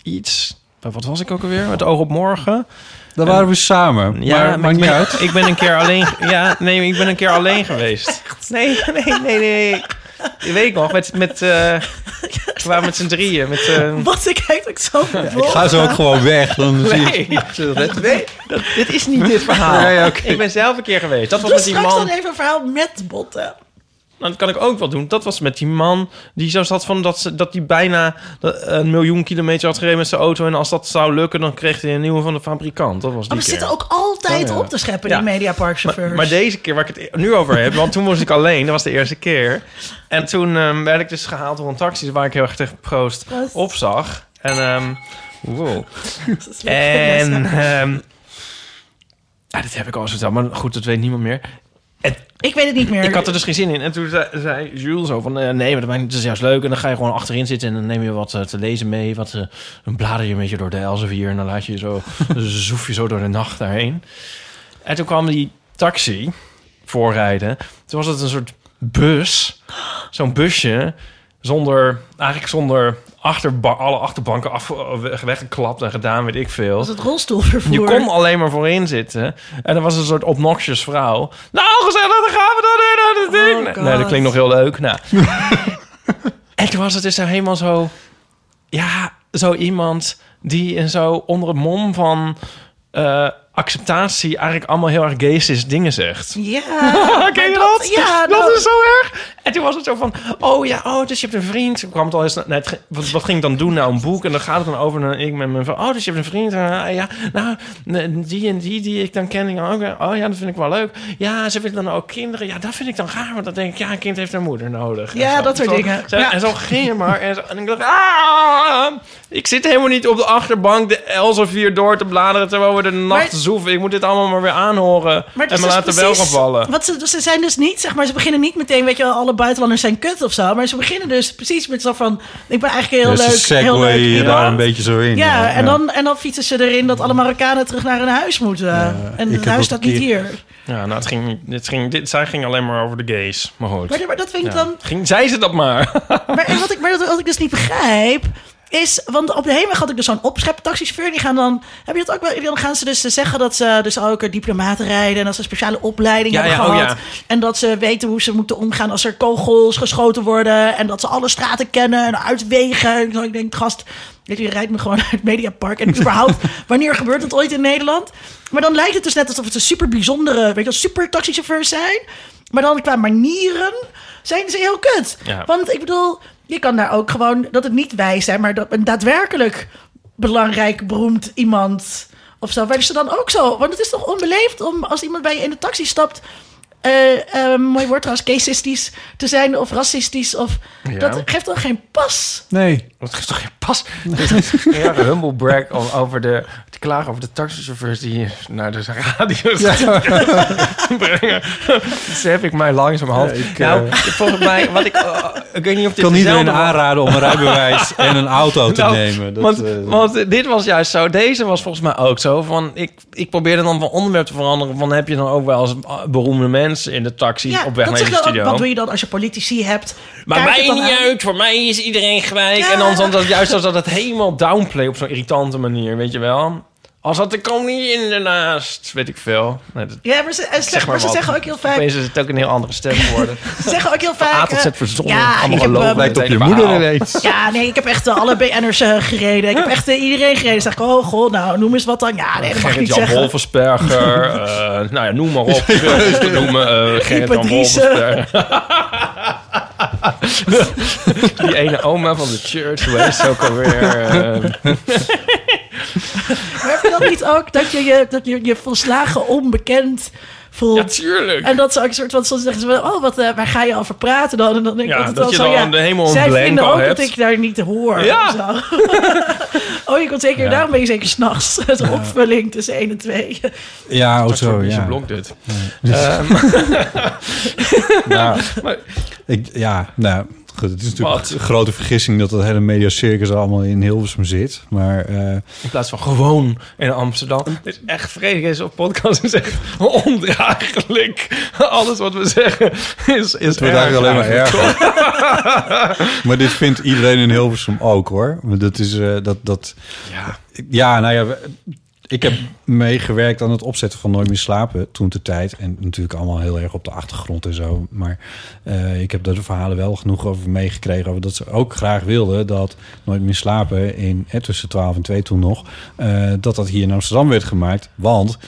iets... Bij Wat was ik ook alweer? Het oog op morgen. Dan waren we samen. maar, maar maakt ik niet ben, uit. Ik ben een keer alleen... Ja, nee, ik ben een keer alleen [laughs] geweest. Nee, nee, nee, nee. Je weet nog, met... met eh, we waren met z'n drieën. Met, eh, Wat ik eigenlijk zo Ik vervolg. [laughs] ga zo ook gewoon weg. Dan zie ik... Nee, nee dat, dit [laughs] is niet dit verhaal. Nee, oké. Ik ben zelf een keer geweest. Dat was Doe met die straks man. dan even een verhaal met Botte. nou, dat kan ik ook wel doen. Dat was met die man die zo zat van dat, ze, dat die bijna dat- een miljoen kilometer had gereden met zijn auto. En als dat zou lukken, dan kreeg hij een nieuwe van de fabrikant. Dat was die Oh, Maar ze keer. zitten ook altijd Oh, ja. op te scheppen, Ja. die mediaparkchauffeurs. Maar, maar deze keer waar ik het e- nu over heb, want toen was ik alleen, dat was de eerste keer. En toen ehm, werd ik dus gehaald door een taxi waar ik heel erg tegen proost Proost. opzag. En, ehm wow. Dat is leuk. en ehm, ja, dat heb ik al eens verteld, maar goed, dat weet niemand meer. ik weet het niet meer. Ik had er dus geen zin in. En toen zei, zei Jules zo van... eh, nee, maar dat, maakt niet, dat is juist leuk. En dan ga je gewoon achterin zitten... en dan neem je wat eh, te lezen mee. Wat, eh, dan blader je een beetje door de Elsevier... en dan laat je je zo, [laughs] zoef je zo door de nacht daarheen. En toen kwam die taxi voorrijden. Toen was het een soort bus. Zo'n busje zonder... eigenlijk zonder achterba alle achterbanken af, weg- weggeklapt en gedaan, weet ik veel. was het rolstoelvervoer. Je kon alleen maar voorin zitten. En er was een soort obnoxious vrouw. Nou, gezellig, dan gaan we dan in aan het Oh, ding. God. nee, dat klinkt nog heel leuk. [laughs] Nou. en toen was het dus helemaal zo... Ja, zo iemand die in zo onder het mom van eh, acceptatie... eigenlijk allemaal heel erg gaysis dingen zegt. [laughs] Ja. Ken je maar dat? Ja, dat is zo erg. En toen was het zo van, oh ja, oh, dus je hebt een vriend. Toen kwam het al eens, nee, het ge- wat, wat ging ik dan doen nou een boek? En dan gaat het dan over naar ik met mijn vrouw. Oh, dus je hebt een vriend. Ah, ja, nou, nee, die en die die ik dan ken. Ik, ook, eh, oh ja, dat vind ik wel leuk. Ja, ze willen dan ook kinderen. Ja, dat vind ik dan raar. Want dan denk ik, ja, een kind heeft een moeder nodig. En Ja, zo. dat soort Zo- dingen. zo- Ja. En zo ging het maar. En, zo- en ik dacht, ah, ik zit helemaal niet op de achterbank de Elsevier door te bladeren terwijl we de nacht Maar- zoeven. Ik moet dit allemaal maar weer aanhoren Maar het en is me dus laten wel precies- gaan vallen. Want ze, ze zijn dus niet, zeg maar, ze beginnen niet meteen, weet je wel, alle buitenlanders zijn kut of zo. Maar ze beginnen dus precies met zo van, ik ben eigenlijk heel Dus leuk, de heel segway leuk je iemand. daar een beetje zo in. Ja, en dan, en dan fietsen ze erin dat alle Marokkanen terug naar hun huis moeten. en ik hun heb huis ook staat een niet keer- hier. Ja, nou, het ging, het ging, dit, zij ging alleen maar over de gays. Maar goed. Maar, maar dat vind ik Ja. dan... ging, zei ze dat maar. [laughs] Maar en wat ik, maar wat ik dus niet begrijp, is... Want op de heenweg had ik dus zo'n opscheptaxichauffeur. Die gaan dan... Heb je dat ook wel? Dan gaan ze dus zeggen dat ze dus ook een diplomaten rijden... en dat ze een speciale opleiding Ja, hebben ja, oh gehad. ja. En dat ze weten hoe ze moeten omgaan als er kogels geschoten worden... en dat ze alle straten kennen en uitwegen. En zo, ik denk, gast... Weet je, je rijdt me gewoon [laughs] uit het Mediapark. En überhaupt, wanneer gebeurt dat ooit in Nederland? Maar dan lijkt het dus net alsof het een super bijzondere... weet je wel, super taxichauffeurs zijn. Maar dan qua manieren zijn ze heel kut. Ja. Want ik bedoel, je kan daar ook gewoon dat het niet wij zijn, maar dat een daadwerkelijk belangrijk, beroemd iemand of zo. Werden ze dan ook zo? Want het is toch onbeleefd om als iemand bij je in de taxi stapt. eh, eh, mooi woord trouwens, casistisch te zijn of racistisch. Of, Ja. Dat geeft dan geen pas. Nee. Dat is toch geen [laughs] pas? Ja, de humble brag om over de, te klagen over de taxichauffeurs die hier naar de radio [laughs] brengen. Dus heb ik mij Ja, langzamerhand. ik, nou, eh, volgens mij, wat ik, eh, ik weet niet of Ik dit kan iedereen dezelfde was. aanraden om een rijbewijs en een auto te Nou, nemen. Dat, want, eh, want dit was juist zo. Deze was volgens mij ook zo. Van, ik, ik probeerde dan van onderwerp te veranderen. Van, heb je dan ook wel eens eh, beroemde mensen in de taxi op weg naar je dat zeg je dan ook, studio? Wat doe je dan als je politici hebt? Maar Kaart mij het dan niet aan? uit, voor mij is iedereen gelijk. Ja. En dan soms dat, juist als dat het helemaal downplay op zo'n irritante manier, weet je wel. Als dat er komt niet in daarnaast, weet ik veel. Nee, dat- Ja, maar ze, en zeg, maar ze wat. zeggen ook heel vaak... Opeens is het ook een heel andere stem [laughs] geworden. Ze zeggen ook heel vaak... A tot Z eh, verzonnen. ja, allemaal ik heb, gelogen, eh, lijkt op meteen je een moeder verhaal. ineens. Ja, nee, ik heb echt eh, alle BN'ers eh, gereden. Ik heb echt eh, iedereen gereden. Zeg ik, oh god, nou, noem eens wat dan. Ja, nee, dat mag ik niet Gerrit-Jan zeggen. Wolfersberger. [laughs] eh, nou ja, noem maar op. Ik wil het niet noemen, eh, Gerrit-Jan Ipe Driessen. Wolfersberger. [laughs] Die ene oma van de church, hoe heet ze ook [laughs] alweer? eh, Maar heb je dat niet ook, dat je je, dat je, je volslagen onbekend ja, voelt? tuurlijk. en dat ze ook een soort van, soms zeggen ze, wel, oh, wat, eh, waar ga je over praten dan? En dan denk ik Ja, altijd dat wel je zo, dan ja, de hemel zij een vinden blanco ook hebt. dat ik daar niet hoor. Ja. of zo. [laughs] oh, je komt zeker, Ja. daarom ben je zeker s'nachts. [laughs] Zo'n opvulling tussen 1 en 2. ja, oh Dat zo, wordt niet zo ja. [laughs] blok dit. [laughs] Nou, Maar- ik, ja, nou, goed, het is natuurlijk Wat? een grote vergissing dat dat hele mediacircus allemaal in Hilversum zit. Maar eh, In plaats van gewoon in Amsterdam. Het is echt vreselijk. Deze podcast is echt ondraaglijk. Alles wat we zeggen is, is het wordt eigenlijk alleen maar erg. erger. [laughs] maar dit vindt iedereen in Hilversum ook, hoor. Want Dat is, eh, dat, dat, Ja. Ja, nou ja, we- ik heb meegewerkt aan het opzetten van Nooit meer slapen toen de tijd. En natuurlijk allemaal heel erg op de achtergrond en zo. Maar eh, ik heb daar de verhalen wel genoeg over meegekregen. Over dat ze ook graag wilden dat Nooit meer slapen in hè, tussen 12 en 2 toen nog. eh, dat dat hier in Amsterdam werd gemaakt. Want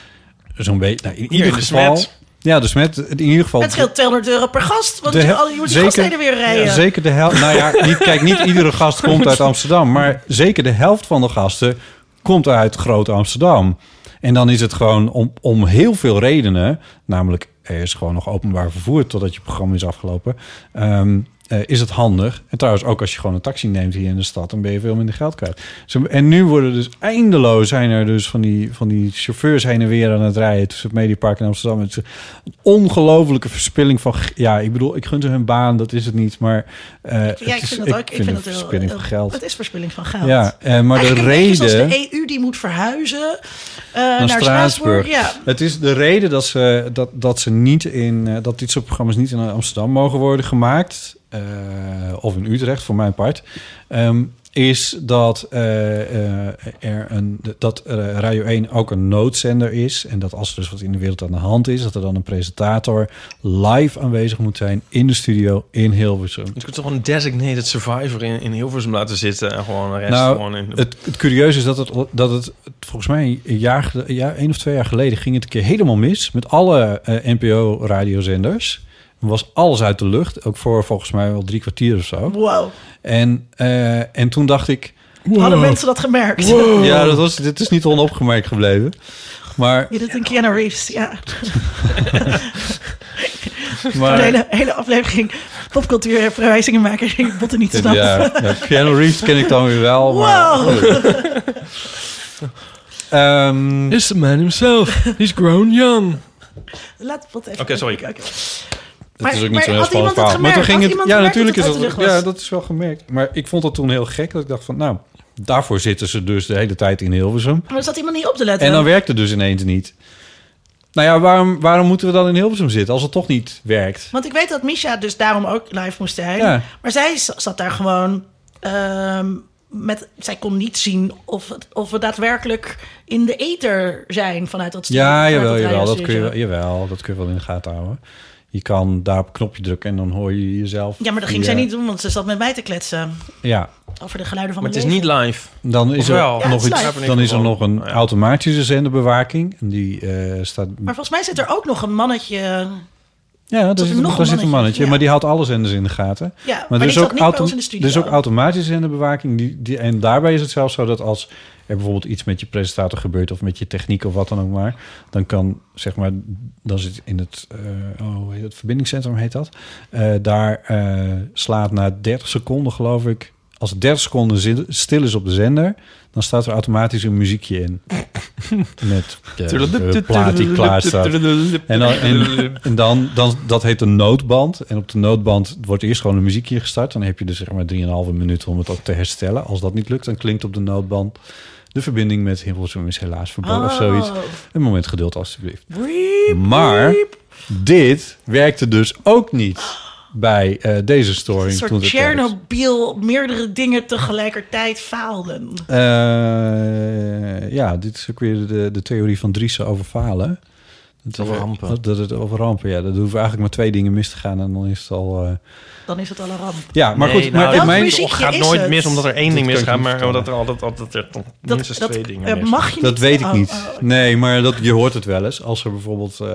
zo'n beetje. Nou, in Hier ieder in de geval. Smet. Ja, dus met in ieder geval... Het scheelt 200 euro per gast, want De je, hel- al- je moet die zeker- gasten weer rijden. Ja, zeker de helft. Nou [laughs] ja, niet, kijk, niet iedere gast komt uit Amsterdam. Maar zeker de helft van de gasten komt uit Groot Amsterdam. En dan is het gewoon om, om heel veel redenen. Namelijk, er is gewoon nog openbaar vervoer totdat je programma is afgelopen. ehm, eh, is het handig. En trouwens, ook als je gewoon een taxi neemt hier in de stad, dan ben je veel minder geld kwijt. Zo- En nu worden dus eindeloos zijn er dus van die, van die chauffeurs heen en weer aan het rijden tussen het Mediapark in Amsterdam. Het is een ongelofelijke verspilling van. g- Ja, ik bedoel, ik gun ze hun baan, dat is het niet. Maar. eh, het Ja, ik is- vind dat ook. Ik vind het dat heel- verspilling heel- van geld. Het is verspilling van geld. Ja, eh, maar de Eigenlijk een beetje reden. Zoals de EU die moet verhuizen eh, naar, Naar Straatsburg. Straatsburg. Ja. Het is de reden dat, ze, dat, dat, ze niet in, eh, dat dit soort programma's niet in Amsterdam mogen worden gemaakt. eh, of in Utrecht, voor mijn part. ehm, is dat, eh, eh, er een, dat eh, Radio 1 ook een noodzender is. En dat als er dus wat in de wereld aan de hand is... dat er dan een presentator live aanwezig moet zijn... in de studio in Hilversum. Dus ik toch een designated survivor in, in Hilversum laten zitten en gewoon een rest gewoon in. Nou, het, het curieuze is dat het, dat het volgens mij een jaar, gel- ja, één of twee jaar geleden ging het een keer helemaal mis met alle eh, NPO-radiozenders. Was alles uit de lucht, ook voor volgens mij wel drie kwartier of zo. Wow. En, eh, en toen dacht ik, Hadden mensen dat gemerkt? ja, dat was, dit is niet onopgemerkt gebleven. Maar, Je doet een Keanu Reeves, ja. Een maar hele, hele aflevering popcultuur en verwijzingen maken. Ik botten niet snappen. ja, ja, Keanu Reeves ken ik dan weer wel. Maar, Wow. [laughs] Ehm, It's the man himself. He's grown young. [laughs] Laat het even. Oké, sorry. kijken. Oké. Dat is Maar- ook niet maar zo'n heel had spannend iemand het verhaal. Maar toen gemerkt? ging Had het, iemand ja, gemerkt dat natuurlijk is het uit dat, de lucht ja, was? dat is wel gemerkt. Maar ik vond dat toen heel gek. Dat ik dacht van, nou, daarvoor zitten ze dus de hele tijd in Hilversum. Maar er zat iemand niet op te letten. En dan werkt het dus ineens niet. Nou ja, waarom, waarom moeten we dan in Hilversum zitten als het toch niet werkt? Want ik weet dat Misha dus daarom ook live moest zijn. Ja. Maar zij z- zat daar gewoon... ehm, met, zij kon niet zien of, het- of we daadwerkelijk in de ether zijn vanuit dat studio. Ja, vanuit jawel, het jawel, dat kun je, radiostudio. wel- jawel, dat kun je wel in de gaten houden. Je kan daar op een knopje drukken en dan hoor je jezelf. Ja, maar dat ging via- zij niet doen, want ze zat met mij te kletsen Ja, over de geluiden van Maar het is mijn niet leven. live. dan is er Ofwel. Ja, het nog is live. iets. Dan is er nog een automatische zenderbewaking. En die eh, staat Maar volgens mij zit er ook nog een mannetje... Ja, daar zit, er nog daar zit een een mannetje, mannetje, ja. maar die houdt alle zenders in de gaten. Ja, maar maar er die is, zat ook niet bij auto- ons in de studio. er is ook automatische zenderbewaking. Die, die, en daarbij is het zelfs zo dat als er bijvoorbeeld iets met je presentator gebeurt... of met je techniek of wat dan ook maar... dan kan, zeg maar, dan zit in het, eh, oh, hoe heet het verbindingscentrum heet dat... Eh, daar eh, slaat na 30 seconden, geloof ik... als het 30 seconden zi- stil is op de zender... dan staat er automatisch een muziekje [laughs] in. met eh, de plaat die klaar staat. En, dan, en, en dan, dan, dat heet een noodband. En op de noodband wordt eerst gewoon een muziekje gestart. Dan heb je dus zeg maar 3,5 minuten om het ook te herstellen. Als dat niet lukt, dan klinkt op de noodband... de verbinding met Hilversum is helaas verboden Ah. Oh, of zoiets. Een moment geduld, alstublieft. Maar dit werkte dus ook niet bij eh, deze storing. toen Een soort het er was. Tsjernobyl, meerdere dingen tegelijkertijd faalden. Eh, ja, dit is ook weer de, de theorie van Driessen over falen. Dat Over we- rampen. Dat, dat het over rampen, ja. Dat hoeven eigenlijk maar twee dingen mis te gaan en dan is het al... eh, Dan is het al een ramp. Ja, maar Nee, goed. nou, Maar dat in mijn, muziek- Het gaat is nooit het. mis omdat er één Dat ding kan ik misgaat, niet maar omdat er vertellen. altijd, altijd er toch Dat, minstens dat twee dingen eh, mis. mag je dat niet. weet ik oh, niet. oh, oh. Nee, maar dat, je hoort het wel eens. Als er bijvoorbeeld... eh,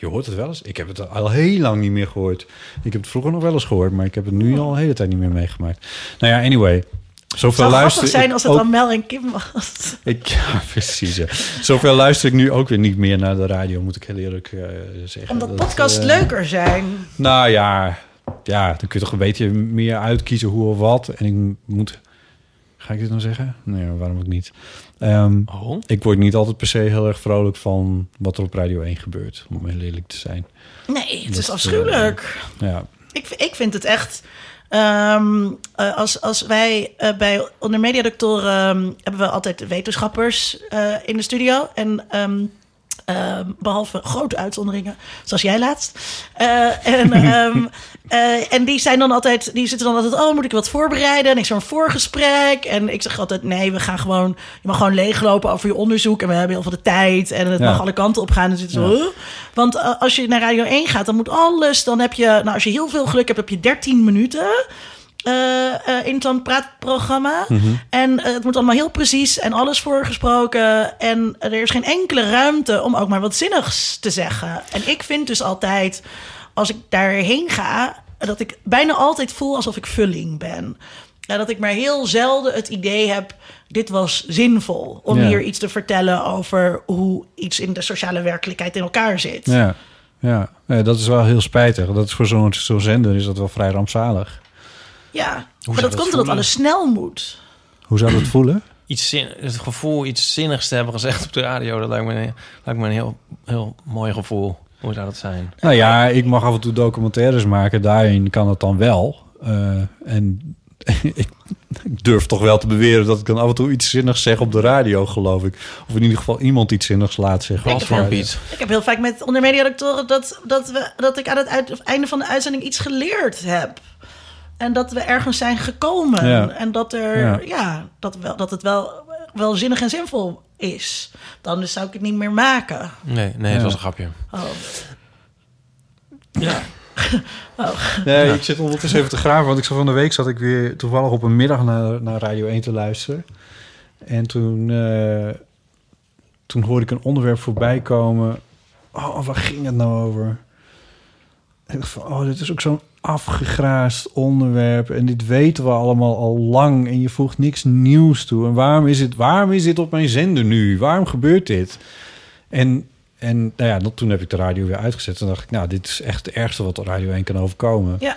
je hoort het wel eens. Ik heb het al heel lang niet meer gehoord. Ik heb het vroeger nog wel eens gehoord, maar ik heb het nu al een hele tijd niet meer meegemaakt. Nou ja, anyway. Oh. Het zou Zoveel grappig luisteren. Oh. zijn ik als het ook- dan Mel en Kim was. Ik, [laughs] ja, precies. Ja. Zoveel luister ik nu ook weer niet meer naar de radio, moet ik heel eerlijk eh, zeggen. Omdat Dat, podcasts eh, leuker zijn. Nou ja, ja, dan kun je toch een beetje meer uitkiezen hoe of wat. En ik moet... Ga ik dit nou zeggen? Nee, waarom ook niet. Ehm, Oh. ik word niet altijd per se heel erg vrolijk van wat er op Radio 1 gebeurt. Om heel eerlijk te zijn. Nee, het Dat, eh, is afschuwelijk. Ja, Ik, ik vind het echt... ehm, eh, als, als wij eh, bij onder mediadoctoren hebben we altijd wetenschappers eh, in de studio. En ehm, ehm, behalve grote uitzonderingen, zoals jij laatst. Eh, en, ehm, eh, en die zijn dan altijd, die zitten dan altijd, oh, moet ik wat voorbereiden? En ik zo'n voorgesprek. En ik zeg altijd, nee, we gaan gewoon, je mag gewoon leeglopen over je onderzoek. En we hebben heel veel de tijd. En het Ja. mag alle kanten op gaan. En zitten zo, huh? Want eh, als je naar Radio 1 gaat, dan moet alles, dan heb je, nou, als je heel veel geluk hebt, heb je 13 minuten. eh, eh, in het dan praatprogramma. Mhm. En eh, het wordt allemaal heel precies en alles voorgesproken. En er is geen enkele ruimte om ook maar wat zinnigs te zeggen. En ik vind dus altijd, als ik daarheen ga, dat ik bijna altijd voel alsof ik vulling ben. Ja, dat ik maar heel zelden het idee heb, dit was zinvol. Om Ja. hier iets te vertellen over hoe iets in de sociale werkelijkheid in elkaar zit. Ja, ja. Nee, dat is wel heel spijtig. Dat is voor zo'n zo'n zender is dat wel vrij rampzalig. Ja, maar zou dat, dat komt omdat voelen? alles snel moet. Hoe zou dat voelen? Iets zin, het gevoel iets zinnigs te hebben gezegd op de radio, dat lijkt me een, lijkt me een heel, heel mooi gevoel. Hoe zou dat zijn? Nou ja, ik mag af en toe documentaires maken. Daarin kan het dan wel. Eh, en [laughs] ik, ik durf toch wel te beweren dat ik dan af en toe iets zinnigs zeg op de radio, geloof ik. Of in ieder geval iemand iets zinnigs laat zeggen. Ik Wat voor heb- iets? Ik heb heel vaak met onder mediadoctoren dat, dat, we, dat ik aan het uit- einde van de uitzending iets geleerd heb. En dat we ergens zijn gekomen. Ja. En dat, er, Ja. ja. dat, wel, dat het wel, wel zinnig en zinvol is. Dan dus zou ik het niet meer maken. Nee, nee, het was een grapje. Oh. Nee, ik zit ondertussen even te graven. Want ik zat van de week zat ik weer toevallig op een middag naar, naar Radio 1 te luisteren. En toen, eh, toen hoorde ik een onderwerp voorbij komen. Oh, waar ging het nou over? En ik dacht van, oh, dit is ook zo'n afgegraasd onderwerp. En dit weten we allemaal al lang. En je voegt niks nieuws toe. En waarom is dit, waarom is dit op mijn zender nu? Waarom gebeurt dit? En, en nou ja, dat- toen heb ik de radio weer uitgezet. Toen dacht ik, nou, dit is echt het ergste wat de Radio 1 kan overkomen. Ja.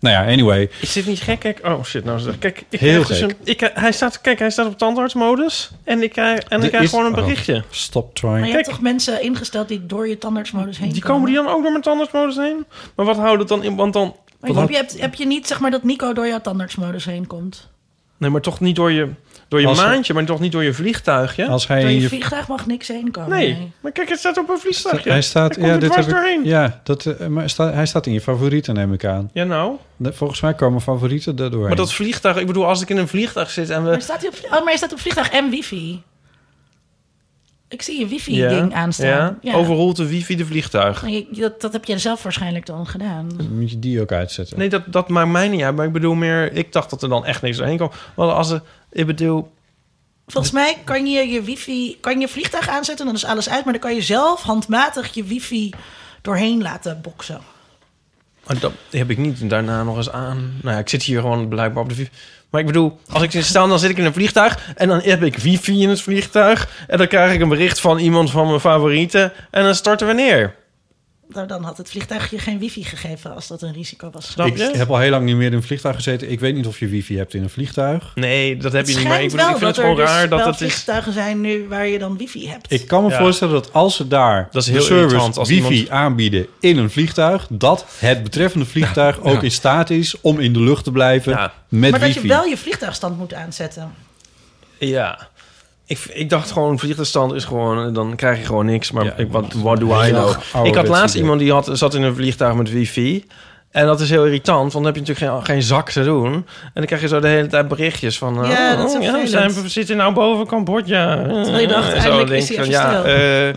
Nou ja, anyway. Is dit niet gek? Kijk, oh shit, nou zeg. Kijk, ik Heel krijg dus gek. een- ik, hij staat, kijk, hij staat op tandartsmodus en ik krijg, en Er ik krijg is- gewoon een oh. berichtje. Stop Maar trying. je hebt Kijk. toch mensen ingesteld die door je tandartsmodus heen Die komen die dan ook door mijn tandartsmodus heen? Maar wat houdt het dan in? Want dan... Maar heb, je, hebt- heb je niet zeg maar dat Nico door jouw tandartsmodus heen komt? Nee, maar toch niet door je, door je Als- maandje, maar toch niet door je vliegtuigje. Als hij Door in je je vliegtuig mag niks heen komen. nee. maar kijk, het staat op een vliegtuigje. Hij staat, Hij komt ja, er dit dwars heb ik- doorheen. ja, dat, eh, maar sta- hij staat in je favorieten, neem ik aan. Ja, nou. De- Volgens mij komen favorieten daardoor. Maar dat vliegtuig, ik bedoel, als ik in een vliegtuig zit en Maar we... staat hij op, oh, maar hij staat op vliegtuig en wifi. Ik zie je Ja, wifi-ding ja, aanstaan. Ja. Overrolt de wifi de vliegtuig. Maar je- Dat, dat heb jij zelf waarschijnlijk dan Hm. gedaan. Moet je die ook uitzetten? Nee, dat, dat maakt mij niet uit. Maar ik bedoel meer, ik dacht dat er dan echt niks doorheen kwam. Want als er, ik bedoel, Volgens mij kan je je wifi, kan je vliegtuig aanzetten, dan is alles uit. Maar dan kan je zelf handmatig je wifi doorheen laten boksen. maar dat heb ik niet daarna nog eens aan. Nou ja, ik zit hier gewoon blijkbaar op de wifi. Maar ik bedoel, als ik zit staan, dan zit ik in een vliegtuig. En dan heb ik wifi in het vliegtuig. En dan krijg ik een bericht van iemand van mijn favorieten. En dan starten we neer. Nou, dan had het vliegtuig je geen wifi gegeven als dat een risico was. Snap ik je? heb al heel lang niet meer in een vliegtuig gezeten. Ik weet niet of je wifi hebt in een vliegtuig. Nee, dat heb Het je niet. Maar ik, schijnt bedoel, ik wel vind het dat gewoon er dus raar dat wel het is... vliegtuigen zijn nu waar je dan wifi hebt. Ik kan me Ja. voorstellen dat als ze daar Dat is de heel irritant service als wifi iemand- aanbieden in een vliegtuig, dat het betreffende vliegtuig ook in staat is om in de lucht te blijven Ja. met maar dat wifi. je wel je vliegtuigstand moet aanzetten. Ja. Ik, ik dacht gewoon, vliegtuigstand is gewoon... Dan krijg je gewoon niks. Maar Ja, ik, wat what do I heel know? ouderwets Ik had laatst idee. iemand die had, zat in een vliegtuig met wifi. En dat is heel irritant, want dan heb je natuurlijk geen, geen zak te doen. En dan krijg je zo de hele tijd berichtjes van... eh, Ja, dat oh, is ja, we, vervelend. zijn, we zitten nou boven Cambodja. Terwijl je dacht, eindelijk is hij even ja, stil. eh,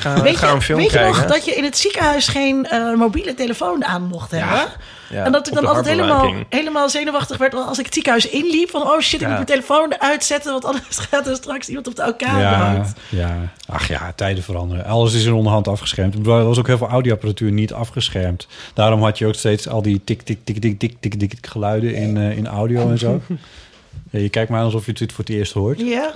ga, Weet ga je, een film weet je kijken. nog dat je in het ziekenhuis geen eh, mobiele telefoon aan mocht hebben? Ja, en dat ik op dan de altijd helemaal, hartbewaking. helemaal zenuwachtig werd als ik het ziekenhuis inliep. Van, oh shit, ik Ja. moet mijn telefoon uitzetten, want anders [laughs] gaat er straks iemand op de OK Ja, dood. ja. Ach ja, tijden veranderen. Alles is in onderhand afgeschermd. Ik bedoel, Er was ook heel veel audioapparatuur niet afgeschermd. Daarom had je ook steeds al die tik, tik, tik, tik, tik, tik, tik geluiden in, eh, in audio en [laughs] zo. Ja, je kijkt maar alsof je dit voor het eerst hoort. Ja,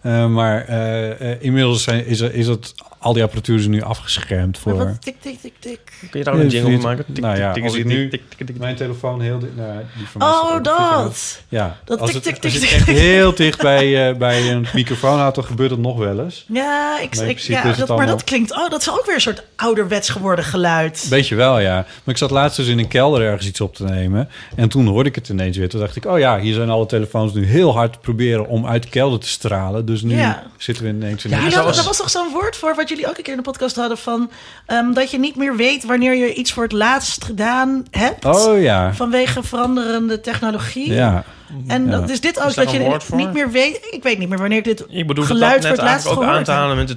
Eh, maar eh, eh, inmiddels zijn, is, er- is het, al die apparatuur is nu afgeschermd maar voor... wat tik, tik, tik, tik. Kun je daar ook een Ja, jingle van vliegt- maken? Tik, Nou tik, ja, tik, als tik, ik nu- tik, tik, tik, tik. Mijn telefoon heel... di- nou, die van mij staat Oh, ook. dat. Ja, Dat als het- tik, tik, als je tik, het echt tik. heel dicht bij, eh, bij een microfoon houdt, dan gebeurt dat nog wel eens. Ja, ik, Maar in ik- principe ja dus is het dat, maar allemaal- dat klinkt... Oh, dat is ook weer een soort ouderwets geworden geluid. Beetje wel, ja. Maar ik zat laatst dus in een kelder ergens iets op te nemen. En toen hoorde ik het ineens weer. Toen dacht ik, oh ja, hier zijn alle telefoons nu heel hard te proberen om uit de kelder te stralen. Dus nu Ja. zitten we ineens in Ja, een... Jullie hadden- zoals- Er was toch zo'n woord voor wat jullie ook een keer in de podcast hadden van... ehm, dat je niet meer weet wanneer je iets voor het laatst gedaan hebt. Oh ja. Vanwege veranderende technologie. Ja. En Ja. dat is dit ook, daar dat je een woord niet voor? meer weet... Ik weet niet meer wanneer ik dit Ik bedoel, dat geluid dat voor net het laatst eigenlijk ook aan gehoord Hm? te heb. halen met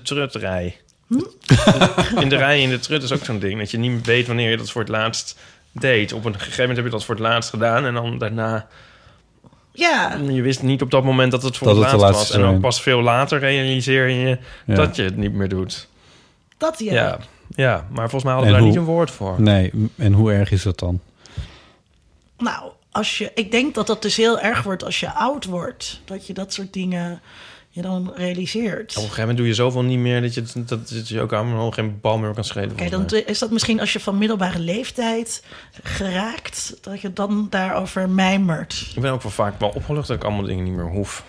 de [laughs] trutrij. In de rij in de trut is ook zo'n ding. Dat je niet meer weet wanneer je dat voor het laatst deed. Op een gegeven moment heb je dat voor het laatst gedaan. En dan daarna... Ja, Je wist niet op dat moment dat het voor Dat het het de laatst was. laatste En dan zijn. pas veel later realiseer je Ja. dat je het niet meer doet. dat ja. Ja, ja. maar volgens mij hadden En we daar hoe- niet een woord voor. Nee, m- en hoe erg is dat dan? Nou, als je, ik denk dat dat dus heel erg wordt als je oud wordt. Dat je dat soort dingen je dan realiseert. Op een gegeven moment doe je zoveel niet meer dat je, dat, dat je ook helemaal geen bal meer kan schelen. Oké, volgens dan is dat misschien als je van middelbare leeftijd geraakt, dat je dan daarover mijmert. mij. Ik ben ook wel vaak wel opgelucht dat ik allemaal dingen niet meer hoef.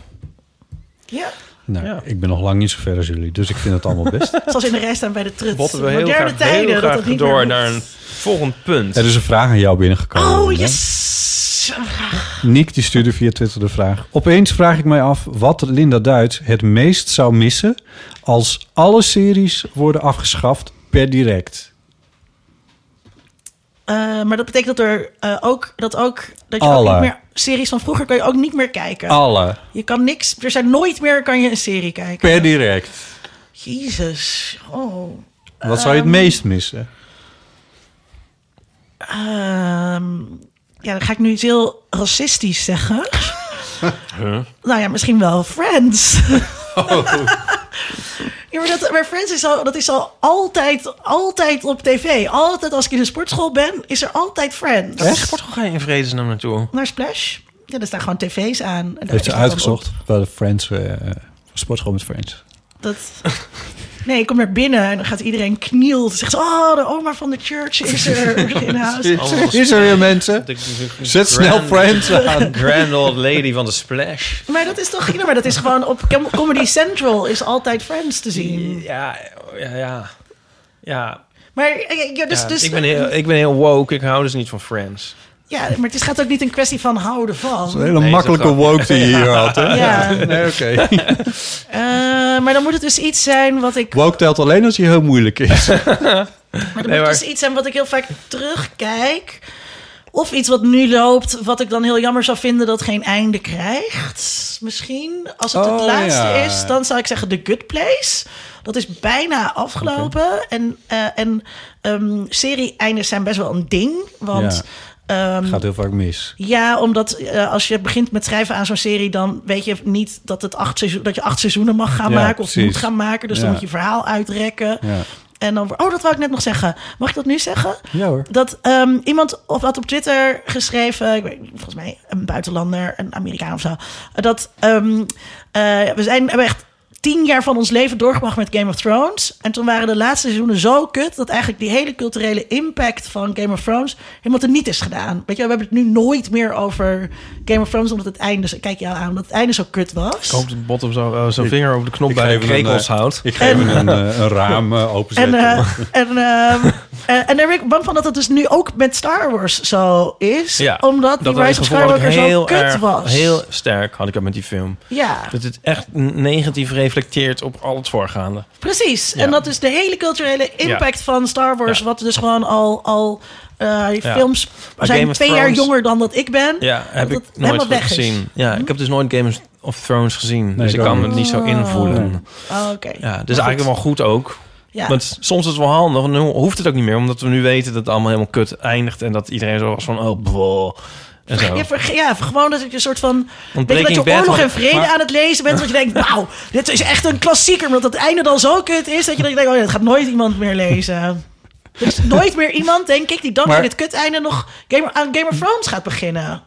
Ja, Nou, Ja. ik ben nog lang niet zo ver als jullie, dus ik vind het allemaal best. [laughs] zoals in de rij staan bij de truts. Botten we heel Moderne graag, heel dat graag dat niet meer door hoeft. naar een volgend punt. Er is een vraag aan jou binnengekomen. Oh, hè? yes! Een vraag. Niek die stuurde via Twitter de vraag. Opeens vraag ik mij af wat Linda Duits het meest zou missen als alle series worden afgeschaft per direct. Eh, maar dat betekent dat er eh, ook dat ook dat je Alle. ook niet meer series van vroeger kan je ook niet meer kijken. Alle. Je kan niks, er zijn nooit meer kan je een serie kijken. Per direct. Jezus. Oh. Wat zou je het meest missen? Ehm, ja, dan ga ik nu iets heel racistisch zeggen. Nou ja, misschien wel Friends. ja, maar, dat, maar Friends is al, dat is al altijd, altijd op tv. Altijd als ik in de sportschool ben, is er altijd Friends. Echt? Sportschool ga je in vredesnaam naartoe? Naar Splash. Ja, daar staan gewoon tv's aan. En daar Heeft is ze dat dan uitgezocht bij de Friends, eh, sportschool met Friends. op. Dat... Nee, ik kom naar binnen en dan gaat iedereen knielt. Dan zegt ze, oh, de oma van de church [laughs] is er in huis. [laughs] Is er weer mensen? Zet snel Friends aan. Grand old lady van de splash. Maar dat is toch, ja, maar dat is gewoon op Com- Comedy Central is altijd Friends te zien. Ja, ja, ja. Ja, Maar eh, ja, dus, ja. dus ik, ben heel, ik ben heel woke. Ik hou dus niet van Friends. ja, maar het gaat ook niet een kwestie van houden Een van. hele Nee, makkelijke zo woke die je hier had. Hè? Ja, [laughs] Nee, oké. eh, maar dan moet het dus iets zijn wat [laughs] ik, Woke telt alleen als hij heel moeilijk is. [laughs] maar dan Nee, moet maar- het dus iets zijn wat ik heel vaak terugkijk, of iets wat nu loopt, wat ik dan heel jammer zou vinden dat geen einde krijgt. Misschien als het het Oh, laatste ja. is, dan zou ik zeggen The Good Place. Dat is bijna afgelopen en eh, en ehm, serie-eindes zijn best wel een ding, want. Ja. ehm, Gaat heel vaak mis. Ja, omdat eh, als je begint met schrijven aan zo'n serie, dan weet je niet dat, het acht seizoen, dat je acht seizoenen mag gaan Ja, maken of precies. moet gaan maken. Dus dan Ja. moet je verhaal uitrekken. Ja. En dan, oh, dat wou ik net nog zeggen. Mag ik dat nu zeggen? Ja, hoor. Dat ehm, iemand of had op Twitter geschreven, ik weet, niet, volgens mij een buitenlander, een Amerikaan of zo, dat ehm, eh, we zijn hebben echt tien jaar van ons leven doorgebracht met Game of Thrones. En toen waren de laatste seizoenen zo kut dat eigenlijk die hele culturele impact van Game of Thrones helemaal teniet is gedaan. Weet je, we hebben het nu nooit meer over Game of Thrones omdat het einde, zo- kijk jou aan, omdat het einde zo kut was. Ik hoop dat Bottom zo, eh, zijn vinger over de knop ik bij de geef hem een, krekels eh, houdt. Ik geef hem een, eh, een raam eh, En, openzetten. eh, en, ehm, [laughs] eh, en daar ben ik bang van dat het dus nu ook met Star Wars zo is. Ja, omdat die had ik Rise of gevoel dat ik Skywalker zo kut erg- was. Heel sterk had ik dat met die film. Ja, Dat het echt negatief reflecteert op al het voorgaande. precies. Ja. En dat is de hele culturele impact van Star Wars. Ja. Wat dus gewoon al, al eh, die Ja. films Maar zijn Game of twee jaar Thrones- jonger dan dat ik ben. Ja, heb dat ik nooit het helemaal goed weg is. gezien. Ja, ik heb dus nooit Game of Thrones gezien. dus ik ik kan ook me niet. niet zo invoelen. Oh, Oké. Ja, Maar dus goed. eigenlijk wel goed ook. Ja. Want soms is het wel handig. want Nu hoeft het ook niet meer. Omdat we nu weten dat het allemaal helemaal kut eindigt. En dat iedereen zo was van... Oh, boh. En zo. Ja, verge- ja, gewoon dat ik een soort van... Want Weet je, dat Breaking je Bad oorlog had- en vrede maar- aan het lezen bent. Dat je denkt, wauw, dit is echt een klassieker. Omdat het einde dan zo kut is. Dat je denkt, oh ja, dat gaat nooit iemand meer lezen. Er is nooit meer iemand, denk ik, die dankzij Maar- dit kut einde nog Game, aan Game of Thrones gaat beginnen.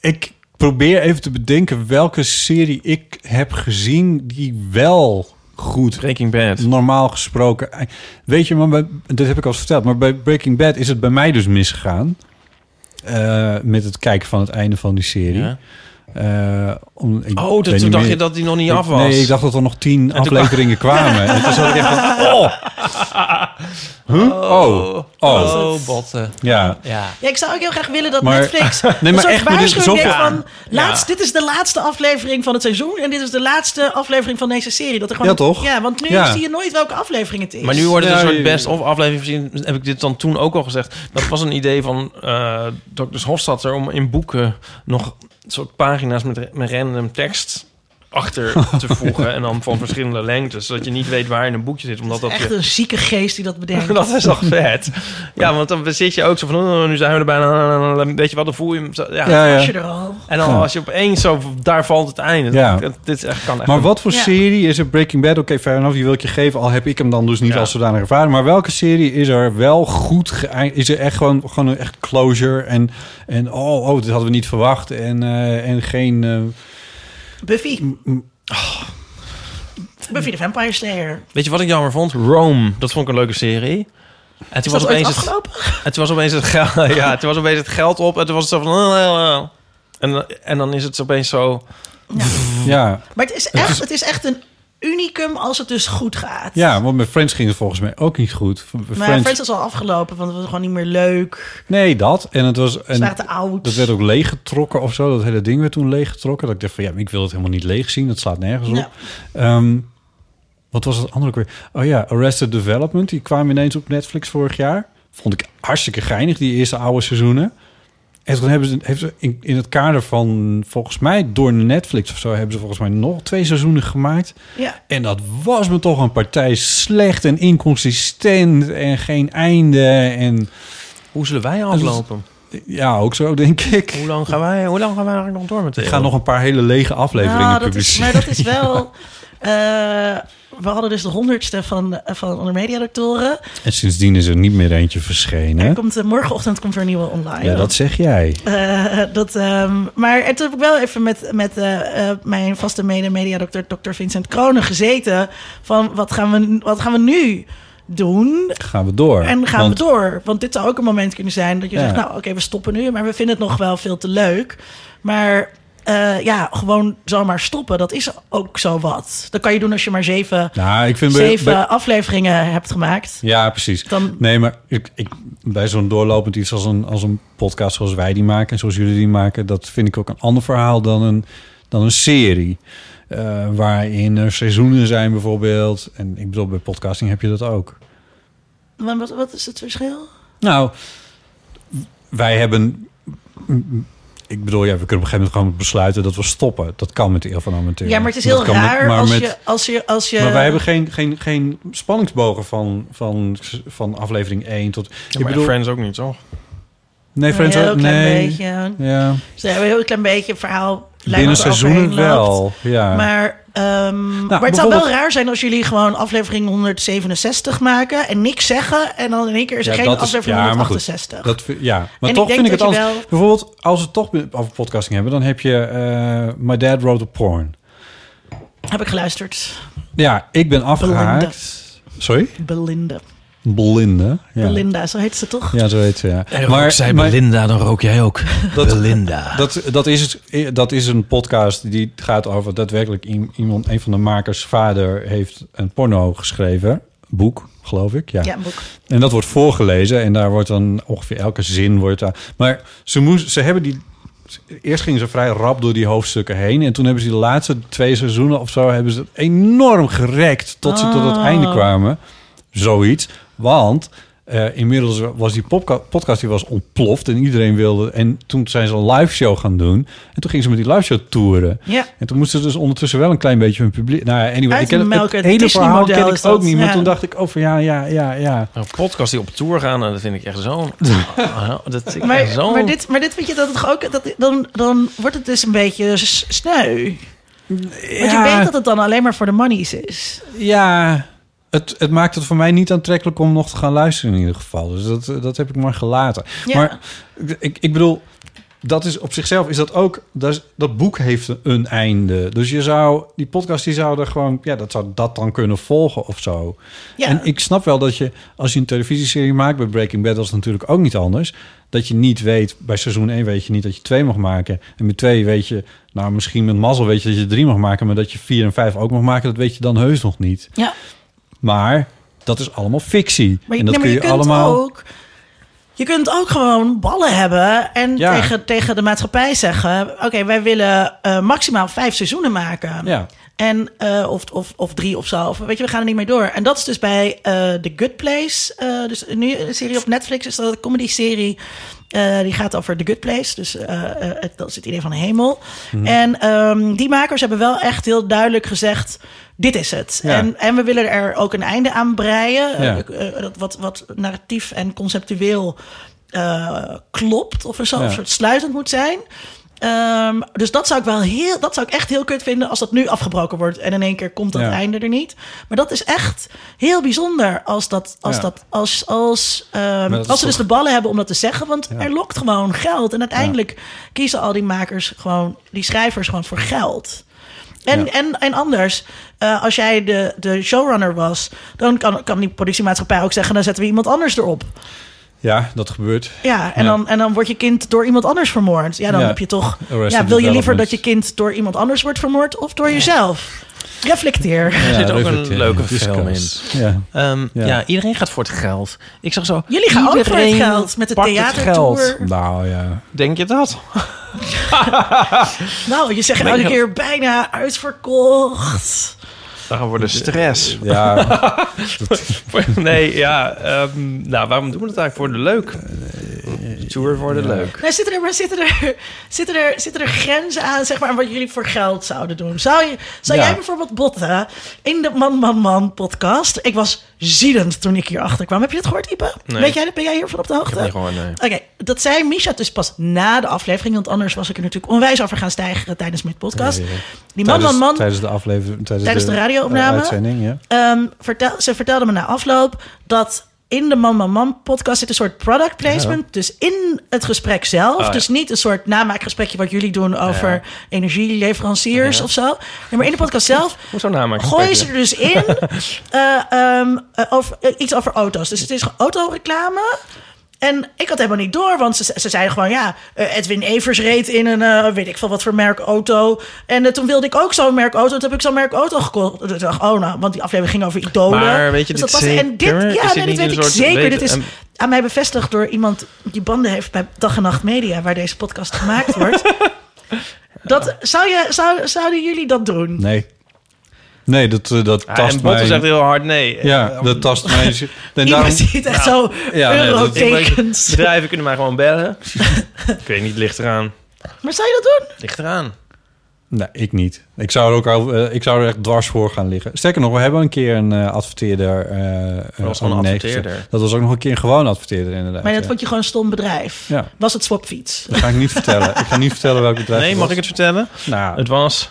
Ik probeer even te bedenken welke serie ik heb gezien die wel goed Breaking Bad. normaal gesproken. eh, Weet je, maar bij, dat heb ik al eens verteld, maar bij Breaking Bad is het bij mij dus misgegaan. Eh, met het kijken van het einde van die serie. Ja. Eh, om, ik Oh, weet dat, niet toen dacht meer- je dat die nog niet Ik- af was. Nee, ik dacht dat er nog tien [laughs] afleveringen kwamen. En toen zat ik echt van, oh. Huh? Oh. Oh. Oh, botten. Ja. Ja. Ja, ik zou ook heel graag willen dat Maar- Netflix maar een soort echt, maar dit is waarschuwing heeft zoveel- van... Laatst, Dit is de laatste aflevering van het seizoen. En dit is de laatste aflevering van deze serie. Dat er gewoon, Ja, toch? Ja, want nu Ja. zie je nooit welke aflevering het is. Maar nu wordt het Ja, een soort je- best of aflevering gezien. Heb ik dit dan toen ook al gezegd? Dat was een idee van eh Dr. Hofstadter om in boeken nog een soort pagina's met, met random tekst achter [laughs] te voegen. en dan van verschillende lengtes. Zodat je niet weet waar in een boekje zit. Omdat dat Echt je- een zieke geest die dat [laughs] bedenkt. dat is toch vet. Ja, want dan zit je ook zo van, oh, nu zijn we er bijna. Weet je wat, dan voel je hem. zo- Ja. Ja, Als ja. je er al. En dan Ja. als je opeens zo, daar valt het einde. Ja. Dat- Dit is echt, kan echt Maar wat voor Ja. serie is er Breaking Bad? Oké, fair enough, die wil ik je geven. Al heb ik hem dan dus niet Ja. als zodanig ervaren. Maar welke serie is er wel goed geëindigd? Is er echt gewoon, gewoon een echt closure? En, en oh, oh, dit hadden we niet verwacht. En, eh, en geen... eh, Buffy. Buffy de Vampire Slayer. Weet je wat ik jammer vond? Rome. Dat vond ik een leuke serie. En toen, was Is dat ooit opeens het, afgelopen? en toen was opeens het geld. [laughs] [laughs] Ja, toen was opeens het geld op. En toen was het zo van. "Ah, En, en dan is het opeens zo. ja. Maar het is, echt, het is echt een unicum als het dus goed gaat. ja, want met Friends ging het volgens mij ook niet goed. V- Maar Friends- Friends is al afgelopen, want het was gewoon niet meer leuk. Nee, dat. En het was... Ze En, waren te oud. dat werd ook leeggetrokken of zo. Dat hele ding werd toen leeggetrokken. Dat ik dacht van, ja, maar ik wil het helemaal niet leeg zien. Dat slaat nergens op. Ja. Ehm, wat was het andere ook weer? Oh ja, Arrested Development. Die kwam ineens op Netflix vorig jaar. Vond ik hartstikke geinig, die eerste oude seizoenen. En toen hebben ze, heeft ze in, in het kader van, volgens mij door Netflix of zo... hebben ze volgens mij nog twee seizoenen gemaakt. Ja. En dat was me toch een partij slecht en inconsistent en geen einde. En Hoe zullen wij aflopen? aflopen? ja, ook zo denk ik. Hoe lang gaan wij, hoe lang gaan wij eigenlijk nog door met dit? Ik ga nog een paar hele lege afleveringen Nou, dat is, publiceren. maar dat [laughs] is wel... eh, we hadden dus de honderdste van, eh, van onder media doctoren. En sindsdien is er niet meer eentje verschenen. Er komt, eh, morgenochtend komt er een nieuwe online. Ja, dat zeg jij. Eh, dat, ehm, maar en toen heb ik wel even met, met eh, eh, mijn vaste mede-mediadokter, dokter Vincent Kroonen, gezeten. Van wat gaan we, wat gaan we nu doen? Gaan we door. En gaan Want we door? Want dit zou ook een moment kunnen zijn dat je Ja. zegt: Nou, oké, we stoppen nu, maar we vinden het nog wel veel te leuk. Maar eh, ja, gewoon zomaar stoppen, dat is ook zo wat. Dat kan je doen als je maar zeven, Nou, ik vind... bij- zeven bij- afleveringen hebt gemaakt. ja, precies. Dan- Nee, maar ik, ik, bij zo'n doorlopend iets als een, als een podcast zoals wij die maken... en zoals jullie die maken, dat vind ik ook een ander verhaal dan een, dan een serie. Eh, waarin er seizoenen zijn bijvoorbeeld. En ik bedoel, bij podcasting heb je dat ook. Maar Wat, wat is het verschil? Nou, wij hebben. Ik bedoel, ja, we kunnen op een gegeven moment gewoon besluiten dat we stoppen. Dat kan met de eeuw van amateur. Ja, maar het is Dat heel kan met- raar maar als, met- je, als, je, als je. Maar wij hebben geen, geen, geen spanningsbogen van, van, van aflevering 1 tot. ik bedoel, Friends ook niet, toch? nee, Friends een heel ook- klein nee. beetje. Ja, Ze hebben een heel klein beetje verhaal. binnen seizoenen wel. Ja. Maar, ehm, maar het zou bijvoorbeeld- wel raar zijn als jullie gewoon aflevering 167 maken en niks zeggen. En dan in één keer is er Ja, geen dat is- aflevering ja, maar goed. 168. Dat, vind- ja, maar ik toch denk vind ik dat het je anders. wel- Bijvoorbeeld, als we het toch over podcasting hebben, dan heb je eh, My Dad Wrote a Porn. Heb ik geluisterd. Ja, ik ben Belinda. afgehaakt. Sorry? Belinda. Blinde. Ja. Belinda, zo heet ze toch? Ja, zo heet ze, ja. maar maar Belinda, dan rook jij ook. Dat- Belinda. dat, dat, is, het- eh, dat is een podcast die gaat over daadwerkelijk i- iemand, een van de makers, vader, heeft een porno geschreven. Boek, geloof ik. Ja. Ja, een boek. En dat wordt voorgelezen en daar wordt dan ongeveer elke zin wordt daar. Maar ze, moest, ze hebben die. Eerst gingen ze vrij rap door die hoofdstukken heen. En toen hebben ze die laatste twee seizoenen of zo hebben ze het enorm gerekt tot ze tot het Ah. einde kwamen. Zoiets. Want eh, inmiddels was die popca- podcast die was ontploft en iedereen wilde. En toen zijn ze een live show gaan doen. En toen gingen ze met die live show toeren. Ja. En toen moesten ze dus ondertussen wel een klein beetje hun publiek. Nou, ja, anyway, Uit ik ken, het- melken, het het hele verhaal Disney-model ken ik is dat, ook niet. Maar ja. toen dacht ik, oh van ja, ja, ja, ja. Een podcast die op tour gaan, nou, dat vind ik echt zo. [laughs] dat ik echt Maar, zo. maar, dit, maar dit vind je dat het toch ook. Dat, dan, dan wordt het dus een beetje s- sneu. Want je weet dat het dan alleen maar voor de monies is. Ja, het, het maakt het voor mij niet aantrekkelijk om nog te gaan luisteren in ieder geval. Dus dat, dat heb ik maar gelaten. Ja. Maar ik, ik bedoel, dat is op zichzelf is dat ook... Dat, is- dat boek heeft een einde. Dus je zou, die podcast die zou er gewoon... Ja, dat zou dat dan kunnen volgen of zo. Ja. En ik snap wel dat je, als je een televisieserie maakt... bij Breaking Bad was het natuurlijk ook niet anders... dat je niet weet, bij seizoen 1 weet je niet dat je 2 mag maken. En met 2 weet je, nou misschien met mazzel weet je dat je 3 mag maken... maar dat je 4 en 5 ook mag maken, dat weet je dan heus nog niet. Ja. Maar dat is allemaal fictie. Maar, je- en dat nee, maar kun je, kunt allemaal... ook. Je kunt ook gewoon ballen hebben en Ja. tegen, tegen de maatschappij zeggen: Oké, wij willen eh, maximaal vijf seizoenen maken. Ja. En, eh, of, of, of drie of zo. Of, weet je, we gaan er niet mee door. En dat is dus bij eh, The Good Place. eh, dus nu een serie op Netflix is dat een comedy-serie. Eh, die gaat over The Good Place. Dus eh, eh, het, dat is het idee van de hemel. Mhm. En ehm, die makers hebben wel echt heel duidelijk gezegd... dit is het. Ja. En, en we willen er ook een einde aan breien. eh, Ja. eh, dat wat, wat narratief en conceptueel eh, klopt. Of er zo Ja. een soort sluitend moet zijn. Ehm, dus dat zou ik wel heel, dat zou ik echt heel kut vinden als dat nu afgebroken wordt en in één keer komt dat Ja. einde er niet. Maar dat is echt heel bijzonder als dat, als Ja. dat, als, als, ehm, dat als is ze dus toch- de ballen hebben om dat te zeggen, want er lokt gewoon geld en uiteindelijk kiezen al die makers gewoon, die schrijvers gewoon voor geld. En, en, en anders, eh, als jij de, de showrunner was, dan kan, kan die productiemaatschappij ook zeggen: dan zetten we iemand anders erop. Ja, dat gebeurt. Ja, en, Ja. Dan, en dan wordt je kind door iemand anders vermoord. Ja, dan Ja. heb je toch. Arrested Ja, wil je liever Development. dat je kind door iemand anders wordt vermoord of door jezelf? Reflecteer. Er zit ook reflecteren. een leuke Discuss. film in. Ja. Ehm, eh, Ja. ja. iedereen gaat voor het geld. Ik zag zo. Jullie gaan ook voor het iedereen geld met de pakt het theatertour. geld. Nou ja. Denk je dat? Nou, je zegt Nee, elke ja. keer bijna uitverkocht. Dan worden stress. ja. [laughs] nee, ja. ehm, nou, waarom doen we het eigenlijk voor de leuk? Tour voor de leuk. Nou, zitten, er, maar zitten, er, zitten, er, zitten er grenzen aan zeg maar, aan wat jullie voor geld zouden doen? Zou, je, zou Ja. jij bijvoorbeeld botten in de Man Man Man podcast? Ik was ziedend toen ik hierachter kwam. Heb je dat gehoord, Ipe? Weet jij, dat? ben jij hiervan op de hoogte? Nee, gewoon eh, nee. Oké, dat zei Misha dus pas na de aflevering. Want anders was ik er natuurlijk onwijs over gaan stijgen tijdens mijn podcast. Ja, ja, ja. Die man, man, man. Tijdens de aflevering. Tijdens, Tijdens de radioopname. eh, uitzending, ja. ehm, vertel, ze vertelde me na afloop dat in de Man Man Man podcast zit een soort product placement. Dus in het gesprek zelf. Dus niet een soort namaakgesprekje wat jullie doen over energieleveranciers of zo. Nee, maar in de podcast zelf Hoezo namelijk? gooien ze er dus [laughs] in eh, ehm, eh, over, eh, iets over auto's. Dus het is autoreclame. En ik had helemaal niet door, want ze, ze zeiden gewoon... ja, eh, Edwin Evers reed in een eh, weet ik veel wat voor merk auto. En eh, toen wilde ik ook zo'n merk auto. Toen heb ik zo'n merk auto gekocht. Toen dacht ik, oh nou, want die aflevering ging over idolen. Maar weet je dus dit dat past- En dit, zeker? ja, Is dit nee, dit niet weet een ik soort zeker. weten- Dit is en- aan mij bevestigd door iemand die banden heeft bij Dag en Nacht Media... waar deze podcast gemaakt wordt. [laughs] dat, zou je, zou, zouden jullie dat doen? Nee. Nee, dat, eh, dat Ja, en tast Botte mij. zegt eh, heel hard nee. ja, dat tast [laughs] mij. En Iemand daarom, ziet echt zo eh, Ja, nee, dat- Ik weet- eurotekens. bedrijven kunnen mij gewoon [laughs] bellen. ik weet niet, ligt eraan. maar zou je dat doen? Ligt eraan. Nee, ik niet. Ik zou, er ook, al- eh, ik zou er echt dwars voor gaan liggen. Sterker nog, we hebben een keer een eh, adverteerder. eh, eh, was gewoon een nee gezegd. adverteerder. Dat was ook nog een keer een gewoon adverteerder, inderdaad. Maar dat ja. vond je gewoon een stom bedrijf. Ja. Was het swapfiets? Dat ga ik niet vertellen. Ik ga niet vertellen welk bedrijf Nee, mag ik het vertellen? het? Nou, Het was...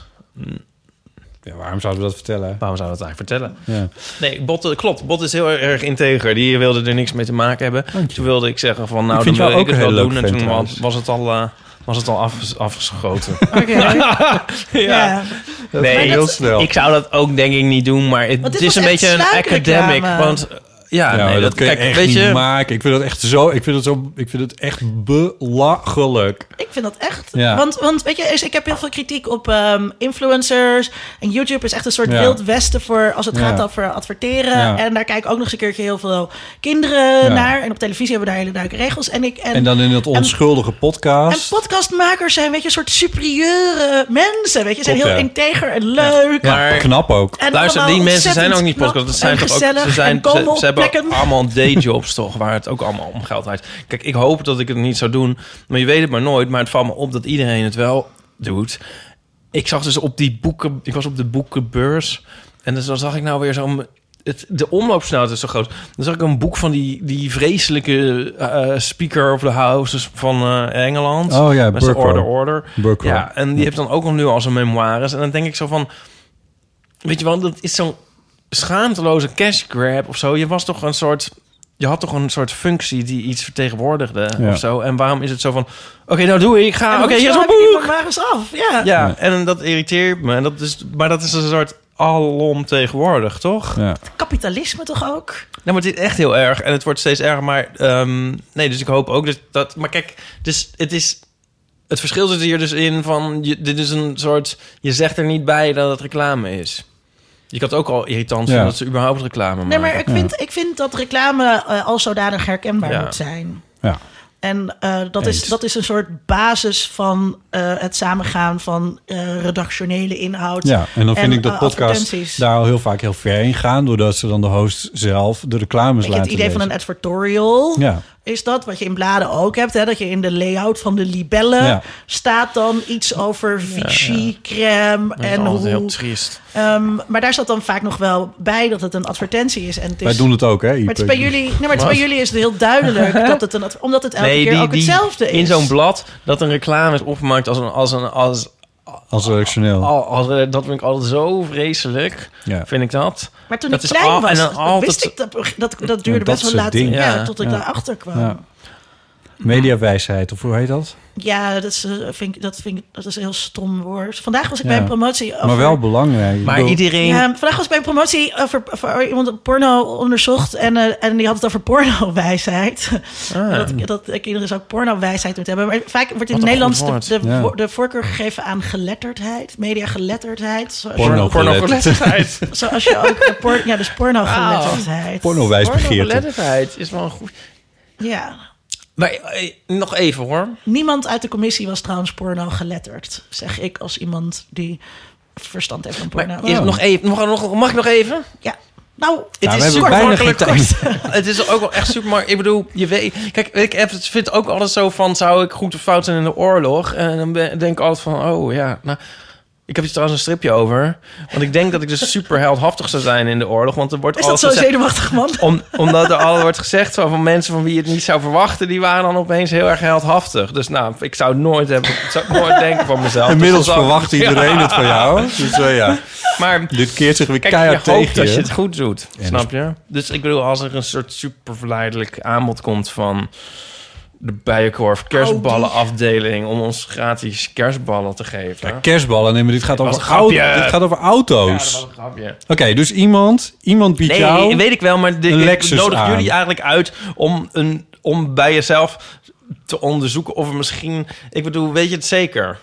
ja, waarom zouden we dat vertellen? Waarom zou dat eigenlijk vertellen? Ja. Nee, Botte, klopt. Botte is heel erg integer. Die wilde er niks mee te maken hebben. Toen wilde ik zeggen van, nou, Ik dan vind wil jou ook ik het wel een heel doen. leuk En vent toen was, trouwens. was het al, eh, was het al af, afgeschoten. [laughs] Oké. ja. [laughs] nee, Maar dat- heel snel. Ik zou dat ook denk ik niet doen, maar het, Want dit het is was een echt beetje een sluikreclame. academic. Want eh, ja, Ja, maar nee, dat, dat, kun je kijk, echt weet niet je, maken. Ik vind dat echt zo. Ik vind het zo. Ik vind het echt belachelijk. Ik vind dat echt. Ja. Want, want weet je, is- ik heb heel veel kritiek op ehm, influencers. En YouTube is echt een soort Ja. wild westen voor als het Ja. gaat over adverteren. Ja. En daar kijken ook nog eens een keertje heel veel kinderen Ja. naar. En op televisie hebben we daar hele duidelijke regels. En ik. En, En dan in dat onschuldige en podcast. podcastmakers zijn, weet je, een soort superieure mensen. Weet je, zijn Klopt, heel ja. integer en leuk. ja, maar- knap ook. En Luister, allemaal die mensen zijn ontzettend ook niet knap podcast. Dat en zijn toch ook, gezellig ze, en zijn, komen ze, op ze hebben ook plekken. [laughs] allemaal dayjobs toch, waar het ook allemaal om geld gaat. Kijk, ik hoop dat ik het niet zou doen, maar je weet het maar nooit. Maar het valt me op dat iedereen het wel doet. Ik zag dus op die boeken, ik was op de boekenbeurs en dus dan zag ik nou weer zo'n... Het, de omloopsnelheid is zo groot. Dan zag ik een boek van die, die vreselijke eh, Speaker of the Houses van eh, Engeland. Oh ja, Met zijn Burkrow. Order Order. Burkrow. Ja, en die heeft dan ook al nu al zijn memoires. En dan denk ik zo van... Weet je wel, dat is zo'n schaamteloze cash grab of zo. Je was toch een soort... Je had toch een soort functie die iets vertegenwoordigde Ja. of zo. En waarom is het zo van... Oké, nou doe ik. ik Ga, oké, Oké, hier is een Die boek. memoires af, ja. Ja, en dat irriteert me. En dat is, maar dat is een soort alom tegenwoordig, toch? Ja. Kapitalisme toch ook? Nou, maar het is echt heel erg. En het wordt steeds erger. Maar ehm, nee, dus ik hoop ook dat... dat maar kijk, dus het is... Het verschil zit hier dus in van... Je, dit is een soort... Je zegt er niet bij dat het reclame is. Je kan het ook al irritant vinden Ja. dat ze überhaupt reclame maken. Nee, maar ik vind, ik vind dat reclame eh, als zodanig herkenbaar Ja. moet zijn. Ja. En eh, dat, is, Eens. dat is een soort basis van eh, het samengaan van eh, redactionele inhoud. Ja, en dan vind ik dat eh, advertenties. podcasts daar al heel vaak heel ver in gaan... doordat ze dan de host zelf de reclames Weet je, laten het idee van lezen. een advertorial Ja. is dat, wat je in bladen ook hebt. Hè, dat je in de layout van de libellen Ja. staat dan iets over Vichy, crème Dat is en altijd hoe... heel triest. Ehm, maar daar zat dan vaak nog wel bij dat het een advertentie is. En het is Wij doen het ook, hè? Ipe? maar het is bij jullie, nee, maar het is bij jullie is het heel duidelijk dat het een adver- omdat het elke keer ook hetzelfde is. in zo'n blad dat een reclame is opgemaakt als een... Als een als, Als redactioneel. al- als, eh, dat vind ik altijd zo vreselijk, Ja. vind ik dat. Maar toen Dat ik is klein al- was, en dan dat altijd- wist ik dat dat, dat duurde dat best wel soort laat dingen. ja, Ja. tot ik Ja. daarachter kwam. Ja. Ja, Mediawijsheid, of hoe heet dat? dat, is, eh, vind ik, dat, vind ik, dat is een heel stom woord. Vandaag was ik Ja. bij een promotie over... Maar wel belangrijk. Ik Maar bedoel- iedereen... Ja, vandaag was ik bij een promotie over, over iemand porno onderzocht. En, eh, en die had het over pornowijsheid. [laughs] Dat, dat kinderen zou ook pornowijsheid moeten hebben. Maar vaak wordt in Wat het een Nederlands goed de, woord. de, Ja. wo- de voorkeur gegeven aan geletterdheid. Media geletterdheid. Zoals je- Porno. [laughs] Pornogeletterdheid. Zoals je ook... eh, por- ja, dus pornogeletterdheid. Pornowijsbegeerte. Pornogeletterdheid is wel een goed... Ja. Maar eh, nog even hoor. Niemand uit de commissie was trouwens porno geletterd. Zeg ik als iemand die verstand heeft van Maar porno. Oh. is- nog even, mag, nog, mag ik nog [laughs] even? Ja. Nou, Ja, het we is hebben super bijna makkelijk [laughs] geen tijd. kort. Het is ook wel echt super makkelijk. Ik bedoel, je weet... Kijk, ik heb, het- vind ook alles zo van... Zou ik goed of fout zijn in de oorlog? En dan ben- denk ik altijd van... Oh ja, nou... Ik heb hier trouwens een stripje over. Want ik denk dat ik dus super heldhaftig zou zijn in de oorlog. Want er wordt is dat alles zo'n gezegd- zenuwachtig man? om, omdat er al wordt gezegd van, van mensen van wie je het niet zou verwachten, die waren dan opeens heel erg heldhaftig. Dus nou, ik zou het nooit hebben, ik zou het [laughs] nooit denken van mezelf. Dus Inmiddels dat zou- verwacht iedereen het van jou. Dus eh, [laughs] ja, Maar dit keert zich weer kijk, je keihard hoopt tegen dat je je. het goed doet, snap je? Dus ik bedoel, als er een soort super verleidelijk aanbod komt van de Bijenkorf kerstballenafdeling om ons gratis kerstballen te geven. Ja, kerstballen, nee, maar dit gaat was over, een auto, grapje. dit gaat over Ja, auto's. dat was een grapje. Oké, dus iemand, iemand biedt jou... Nee, weet ik wel, maar dit een ik Lexus nodig aan. jullie eigenlijk uit om, een, om bij jezelf te onderzoeken of er misschien... Ik bedoel, weet je het zeker?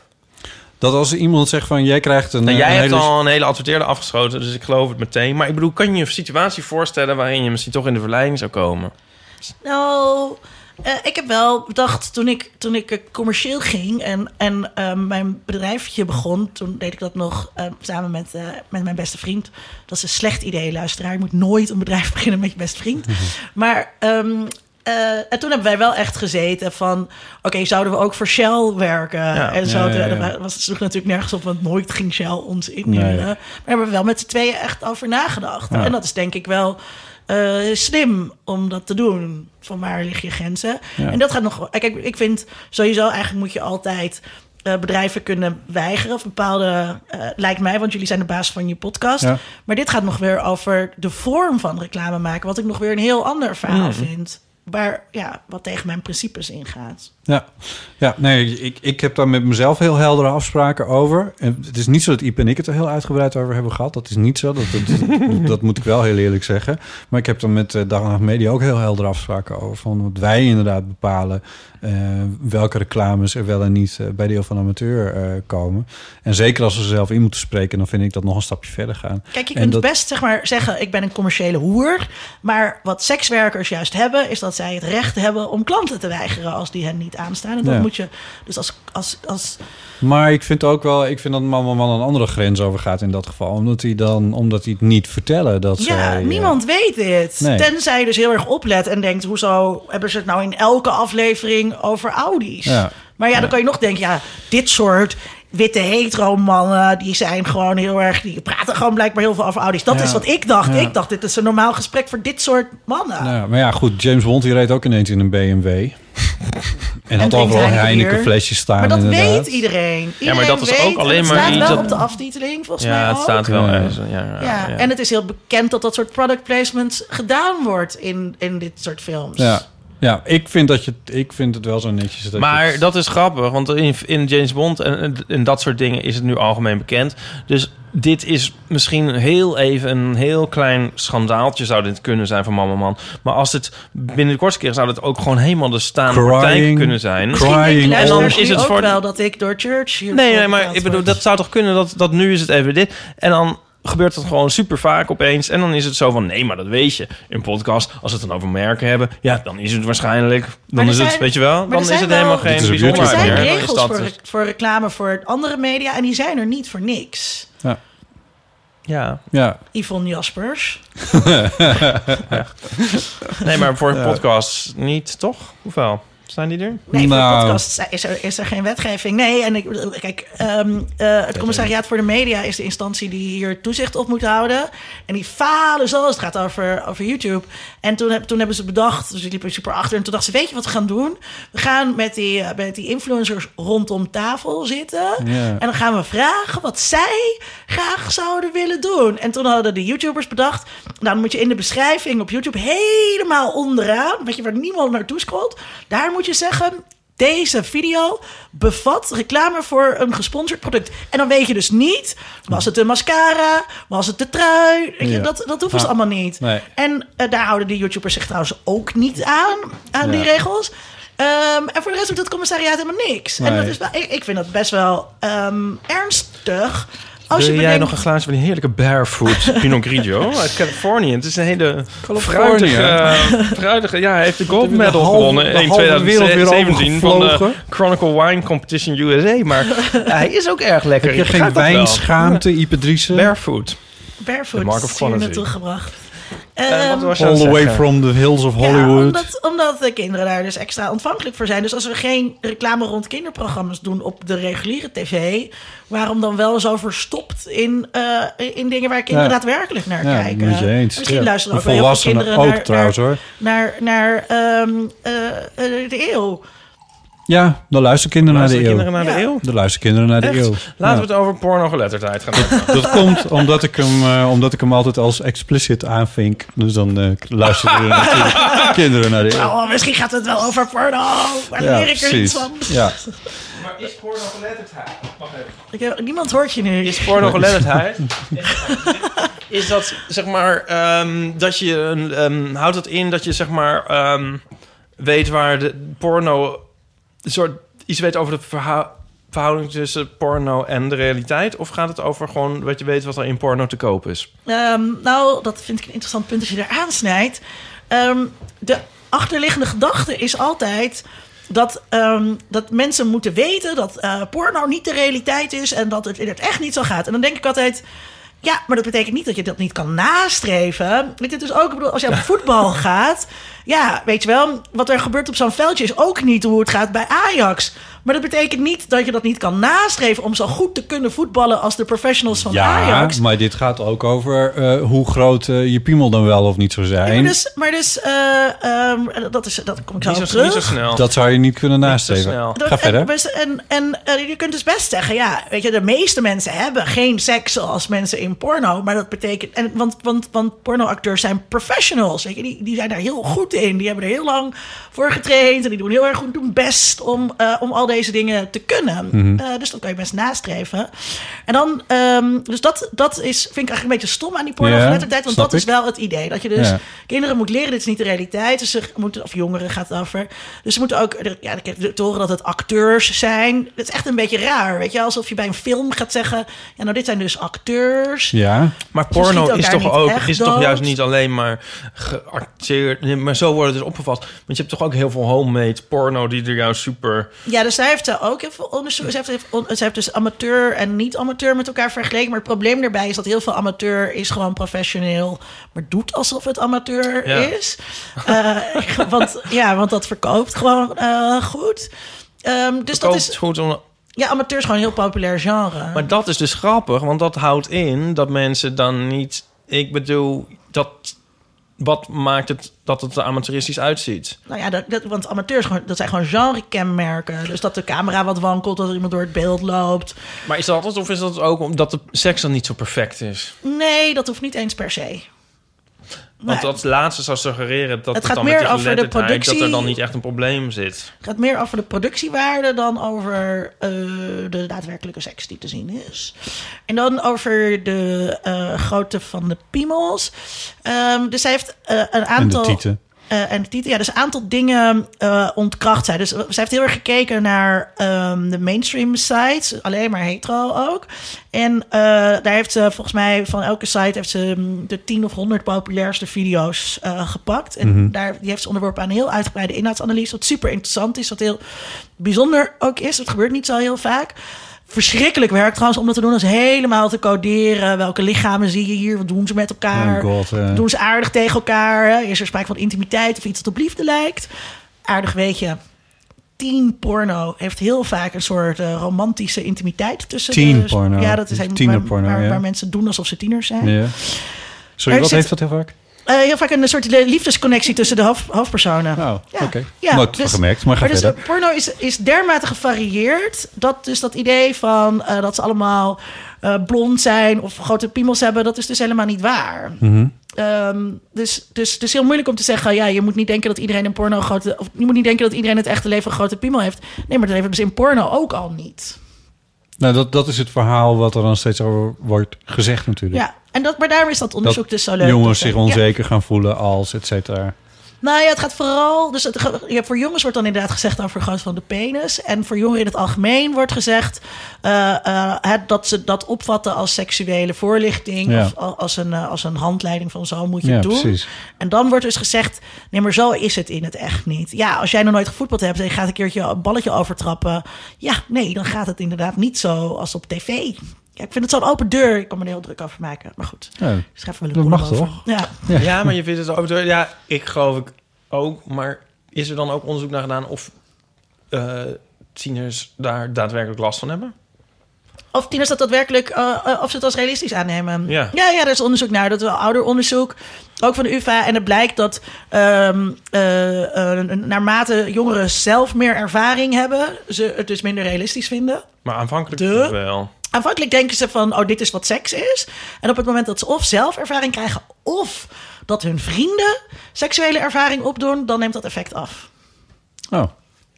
Dat als iemand zegt van, jij krijgt een... Nou, eh, jij een hebt hele- al een hele adverteerder afgeschoten, dus ik geloof het meteen. Maar ik bedoel, kan je je een situatie voorstellen waarin je misschien toch in de verleiding zou komen? Nou, eh, ik heb wel bedacht toen ik, toen ik eh, commercieel ging en, en eh, mijn bedrijfje begon. Toen deed ik dat nog eh, samen met, eh, met mijn beste vriend. Dat is een slecht idee, luisteraar. Je moet nooit een bedrijf [laughs] beginnen met je beste vriend. Mhm. Maar ehm, eh, en toen hebben wij wel echt gezeten van... oké, zouden we ook voor Shell werken? en zo, Ja, ja, ja. Dat was het sloeg natuurlijk nergens op... want nooit ging Shell ons inhuren. Nee. Maar we hebben we wel met z'n tweeën echt over nagedacht. En dat is denk ik wel eh, slim om dat te doen. Van waar liggen je grenzen? En dat gaat nog... wel- Kijk, ik vind sowieso eigenlijk moet je altijd... eh, bedrijven kunnen weigeren of bepaalde... eh, lijkt mij, want jullie zijn de baas van je podcast. Ja. Maar dit gaat nog weer over de vorm van reclame maken... wat ik nog weer een heel ander verhaal Hmm. vind. Waar, ja, wat tegen mijn principes ingaat. Ja, ja nee, ik, ik heb daar met mezelf heel heldere afspraken over. En het is niet zo dat Iep en ik het er heel uitgebreid over hebben gehad. Dat is niet zo, dat, dat, [laughs] dat moet ik wel heel eerlijk zeggen. Maar ik heb daar met uh, Dag en Nacht Media ook heel heldere afspraken over. Van wat wij inderdaad bepalen eh, welke reclames er wel en niet eh, bij deel van amateur eh, komen. En zeker als we ze zelf in moeten spreken, dan vind ik dat nog een stapje verder gaan. Kijk, je En kunt dat- best zeg maar, zeggen, ik ben een commerciële hoer. Maar wat sekswerkers juist hebben, is dat zij het recht hebben om klanten te weigeren als die hen niet aanstaan. En dat Ja. moet je. Dus als, als, als Maar ik vind ook wel, ik vind dat Mama Man een andere grens overgaat in dat geval. Omdat hij dan, omdat hij het niet vertellen dat ja, zij, eh, niemand weet dit. Nee. Tenzij je dus heel erg oplet en denkt, hoezo hebben ze het nou in elke aflevering over Audi's? Ja. Maar ja, dan kan je nog denken, ja, dit soort witte hetero-mannen, die zijn gewoon heel erg, die praten gewoon blijkbaar heel veel over Audi's. Dat Ja. is wat ik dacht. Ja. Ik dacht, dit is een normaal gesprek voor dit soort mannen. Nou, ja, maar ja, goed. James Bond die reed ook ineens in een [laughs] BMW. en, had drinkt overal Heineken Heineken bier. flesjes staan. maar dat inderdaad. weet iedereen. iedereen maar dat is weet, ook en alleen het maar staat iets wel dat- op de aftiteling, volgens mij Ja, het ook. staat wel Ja. ergens. Ja, ja, Ja, ja. en het is heel bekend dat dat soort product placements gedaan wordt in, in dit soort films. Ja. ja, ik vind, dat je, ik vind het wel zo netjes. Dat je Maar het- dat is grappig, want in, in James Bond en, en- en dat soort dingen is het nu algemeen bekend. Dus dit is misschien heel even een heel klein schandaaltje zou dit kunnen zijn van Mama Man. Maar als het binnen de kortste keer zou dit ook gewoon helemaal de staande Crying. partij kunnen Crying. zijn. Misschien denken En dan luisteraars is nu het ook voor- wel dat ik door Church hier Nee, voor nee, maar betaald ik bedoel, word. dat zou toch kunnen dat, dat nu is het even dit. En dan gebeurt dat gewoon super vaak opeens. En dan is het zo van, nee, maar dat weet je. In podcast, als we het dan over merken hebben... ja, dan is het waarschijnlijk... Maar dan er is het, zijn- weet je wel... maar dan er is zijn het helemaal wel- geen Dit is op bijzonder Er YouTube, zijn maar- meer. Dan is regels dat voor, het. voor reclame voor andere media en die zijn er niet voor niks. Ja. Ja, Yvonne Jaspers. Nee, maar voor podcasts niet, toch? Hoeveel? Zijn die er? Nee, Nou. voor podcasts is er, is er geen wetgeving. Nee, en ik, bedoel, kijk, ehm, eh, het commissariaat voor de media is de instantie die hier toezicht op moet houden. En die falen zo als het gaat over, over YouTube. En toen, heb- toen hebben ze bedacht, dus ik liep er super achter. En toen dachten ze, weet je wat we gaan doen? We gaan met die, eh, met die influencers rondom tafel zitten. Ja. En dan gaan we vragen wat zij graag zouden willen doen. En toen hadden de YouTubers bedacht... nou, dan moet je in de beschrijving op YouTube helemaal onderaan... weet je, waar niemand naartoe scrolt... daar moet je zeggen... deze video bevat reclame voor een gesponsord product. En dan weet je dus niet... was het de mascara, was het de trui? Weet je, Ja. dat, dat hoeft dus Ah, allemaal niet. nee. En eh, daar houden de YouTubers zich trouwens ook niet aan... aan die Ja. regels... Ehm, en voor de rest doet het commissariaat helemaal niks. En Nee. dat is wel, ik, ik vind dat best wel ehm, ernstig. Als je Wil jij bedenkt, nog een glaasje van die heerlijke [laughs] Barefoot Pinot Grigio Oh, uit Californië? Het is een hele Californië. fruitige, eh, fruitige... Ja, hij heeft de gold hebben de medal halve- gewonnen de in halve wereld weer 2017 van de overgevlogen. Chronicle Wine Competition [laughs] USA. Maar hij is ook erg lekker. heb je Ik begrijp geen dat wel. wijnschaamte, Ipadrice? Barefoot. Barefoot de mark of is hier quality. naartoe gebracht. Eh, wat Ehm, was je aan All het the way zeggen? from the hills of Ja, Hollywood. omdat, omdat de kinderen daar dus extra ontvankelijk voor zijn. Dus als we geen reclame rond kinderprogramma's doen op de reguliere tv... waarom dan wel zo verstopt in, eh, in dingen waar kinderen Ja. daadwerkelijk naar Ja, kijken? met je eens. Misschien Ja. luisteren ook De wel heel veel volwassenen kinderen ook naar, naar- trouwens, hoor. naar, naar, ehm, eh, eh, de eeuw. Ja, dan luisteren kinderen naar de Luisteren kinderen eeuw. naar de Ja. eeuw? Dan luisteren kinderen naar de Echt? eeuw. Laten we het over pornogeletterdheid [laughs] gaan hebben. Dat komt omdat ik hem, eh, omdat ik hem altijd als explicit aanvink. Dus dan eh [laughs] luisteren natuurlijk kinderen naar de eeuw. Oh, misschien gaat het wel over porno. Waar Ja, leer ik er iets precies. van? Ja. Maar is pornogeletterdheid... Wacht even. Ik heb- niemand hoort je nu. Is pornogeletterdheid... is dat, zeg maar, ehm, dat je... een, ehm, houdt dat in dat je, zeg maar, ehm, weet waar de porno... Een soort, iets weet over de verhou- verhouding tussen porno en de realiteit? Of gaat het over gewoon wat je weet wat er in porno te koop is? Ehm, nou, dat vind ik een interessant punt als je daar aansnijdt. Ehm, de achterliggende gedachte is altijd dat, ehm, dat mensen moeten weten dat eh, porno niet de realiteit is en dat het in het echt niet zo gaat. En dan denk ik altijd. Ja, maar dat betekent niet dat je dat niet kan nastreven. Weet je, dus ook, ik bedoel, als je op voetbal gaat... Ja, weet je wel, wat er gebeurt op zo'n veldje... is ook niet hoe het gaat bij Ajax. Maar dat betekent niet dat je dat niet kan nastreven... om zo goed te kunnen voetballen als de professionals van Ja, Ajax. maar dit gaat ook over eh, hoe groot eh, je piemel dan wel of niet zou Ja, maar zijn. dus, maar dus eh, ehm, dat, is, dat kom ik zo Niet op zo, niet terug. zo snel. Dat zou je niet kunnen snel. nastreven. Dat- Ga En, verder. dus- en, en eh, je kunt dus best zeggen, ja, weet je, de meeste mensen hebben geen seks zoals mensen in porno. Maar dat betekent, en, want, want, want pornoacteurs zijn professionals. Weet je, die, die zijn daar heel goed in. Die hebben er heel lang voor getraind. En die doen heel erg goed hun best om, eh, om al deze dingen te kunnen. Mhm. Eh, dus dat kan je best nastreven. En dan, ehm, dus dat, dat is, vind ik eigenlijk een beetje stom aan die pornogeletterdheid. want snap dat is ik. wel het idee. Dat je dus Ja. kinderen moet leren, dit is niet de realiteit. Dus ze moeten, of jongeren gaat het over. Dus ze moeten ook ja, ik heb te horen dat het acteurs zijn. Dat is echt een beetje raar, weet je. Alsof je bij een film gaat zeggen... ja, nou, dit zijn dus acteurs. Ja, Maar Ze schieten porno is elkaar toch niet ook echt is toch dood? juist niet alleen maar geacteerd, nee, maar zo worden het dus opgevat. Want je hebt toch ook heel veel homemade porno die er jou super. Ja, dus zij heeft eh, ook heel veel onderzoek. Ze heeft, heeft on- ze heeft dus amateur en niet-amateur met elkaar vergeleken. Maar het probleem daarbij is dat heel veel amateur is gewoon professioneel. Maar doet alsof het amateur Ja. is. Eh, [laughs] want, ja, want dat verkoopt gewoon eh, goed. Ehm, dus dat Koopt is, goed om- ja, amateur is gewoon een heel populair genre. Maar dat is dus grappig, want dat houdt in dat mensen dan niet. Ik bedoel dat. Wat maakt het dat het er amateuristisch uitziet? Nou ja, dat, dat, want amateurs gewoon, dat zijn gewoon genre-kenmerken. Dus dat de camera wat wankelt, dat er iemand door het beeld loopt. Maar is dat het of is dat ook omdat de seks dan niet zo perfect is? Nee, dat hoeft niet eens per se. Want Nee. dat laatste zou suggereren dat Het het, gaat dan meer met die over de geletterdheid, dat er productie. dan niet echt een probleem zit. Het gaat meer over de productiewaarde dan over eh, de daadwerkelijke seks die te zien is. En dan over de eh, grootte van de piemels. Ehm, dus zij heeft eh, een en de aantal... tieten. eh, en titel. Ja, dus een aantal dingen eh, ontkracht zij. Dus eh, zij heeft heel erg gekeken naar ehm, de mainstream sites, alleen maar hetero ook. En eh, daar heeft ze volgens mij van elke site heeft ze mm, de 10 of 100 populairste video's eh, gepakt. En Mhm. daar die heeft ze onderworpen aan een heel uitgebreide inhoudsanalyse, wat super interessant is, wat heel bijzonder ook is. Dat gebeurt niet zo heel vaak. Verschrikkelijk werk trouwens om dat te doen. Dat is helemaal te coderen. Welke lichamen zie je hier? Wat doen ze met elkaar? Oh god, eh. Doen ze aardig tegen elkaar? hè? Is er sprake van intimiteit of iets dat op liefde lijkt? Aardig weet je. Teen porno heeft heel vaak een soort eh, romantische intimiteit tussen. Teen de- porno. Ja, dat is Dus een- tienerporno, waar, waar, ja. waar mensen doen alsof ze tieners zijn. Ja. Sorry, Er wat zit- heeft dat heel vaak? Eh, heel vaak een soort le- liefdesconnectie tussen de hoofd, hoofdpersonen. Nou, oké. Nooit van gemerkt, maar ga dus verder. eh, porno is, is dermate gevarieerd. Dat dus dat idee van eh, dat ze allemaal eh, blond zijn of grote piemels hebben, dat is dus helemaal niet waar. Mhm. Ehm, dus, dus, dus heel moeilijk om te zeggen: ja, je moet niet denken dat iedereen een porno een grote. Of je moet niet denken dat iedereen in het echte leven een grote piemel heeft. Nee, maar dat hebben ze in porno ook al niet. Nou, dat, dat is het verhaal wat er dan steeds over wordt gezegd natuurlijk. Ja, en dat, maar daarom is dat onderzoek dat dus zo leuk. jongens Dat, zich eh, ja. onzeker gaan voelen als et cetera. Nou ja, het gaat vooral. Dus het, ge- ja, voor jongens wordt dan inderdaad gezegd over groot van de penis. En voor jongeren in het algemeen wordt gezegd eh, eh, het, dat ze dat opvatten als seksuele voorlichting. Ja. Of al- als een, eh, als een handleiding van zo moet je Ja, het doen. precies. En dan wordt dus gezegd: nee, maar zo is het in het echt niet. Ja, als jij nog nooit gevoetbald hebt en je gaat een keertje een balletje overtrappen. Ja, nee, dan gaat het inderdaad niet zo als op tv. Ja, ik vind het zo'n open deur. Ik kan me er heel druk over maken. Maar goed, Ja, Oh, ik schrijf er wel een dat column mag over. toch? Ja. Ja, maar je vindt het ook... door- Ja, ik geloof ik ook. Maar is er dan ook onderzoek naar gedaan of eh, tieners daar daadwerkelijk last van hebben? Of tieners dat daadwerkelijk, eh, eh, of ze het als realistisch aannemen. Ja. ja, ja, er is onderzoek naar. Dat is wel ouderonderzoek, ook van de UvA. En het blijkt dat ehm, eh, eh, naarmate jongeren zelf meer ervaring hebben... ze het dus minder realistisch vinden. Maar aanvankelijk De- natuurlijk wel. Aanvankelijk denken ze van, oh, dit is wat seks is. En op het moment dat ze of zelf ervaring krijgen... of dat hun vrienden seksuele ervaring opdoen... dan neemt dat effect af. Oh, Ja.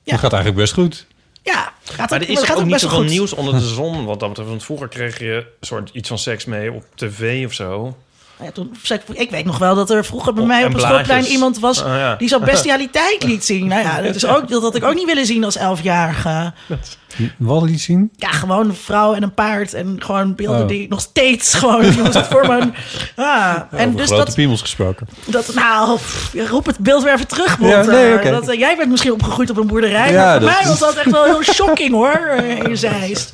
dat gaat eigenlijk best goed. Ja, gaat Maar het, er maar is gaat ook ook niet best wel zoveel goed. nieuws onder de zon wat dat betreft. Want vroeger kreeg je soort iets van seks mee op tv of zo. Nou Ja, toen, zei ik ik weet nog wel dat er vroeger Oh, bij Op- mij en op het blaadjes. schoolplein iemand was Ah, ja. die [laughs] zo'n bestialiteit liet zien. Nou ja, dat, is ook, dat had ik ook niet willen zien als elfjarige. Wat liet zien? Ja, gewoon een vrouw en een paard en gewoon beelden Oh. die nog steeds gewoon [laughs] die ons voor mijn... Ja, en Over dus grote dat, piemels gesproken. dat, nou, pff, roep het beeld weer even terug, Monter. nee, oké. dat, eh, Jij bent misschien opgegroeid op een boerderij, Ja, maar voor dat mij is- was dat echt wel heel shocking, hoor, eh, in Zeist.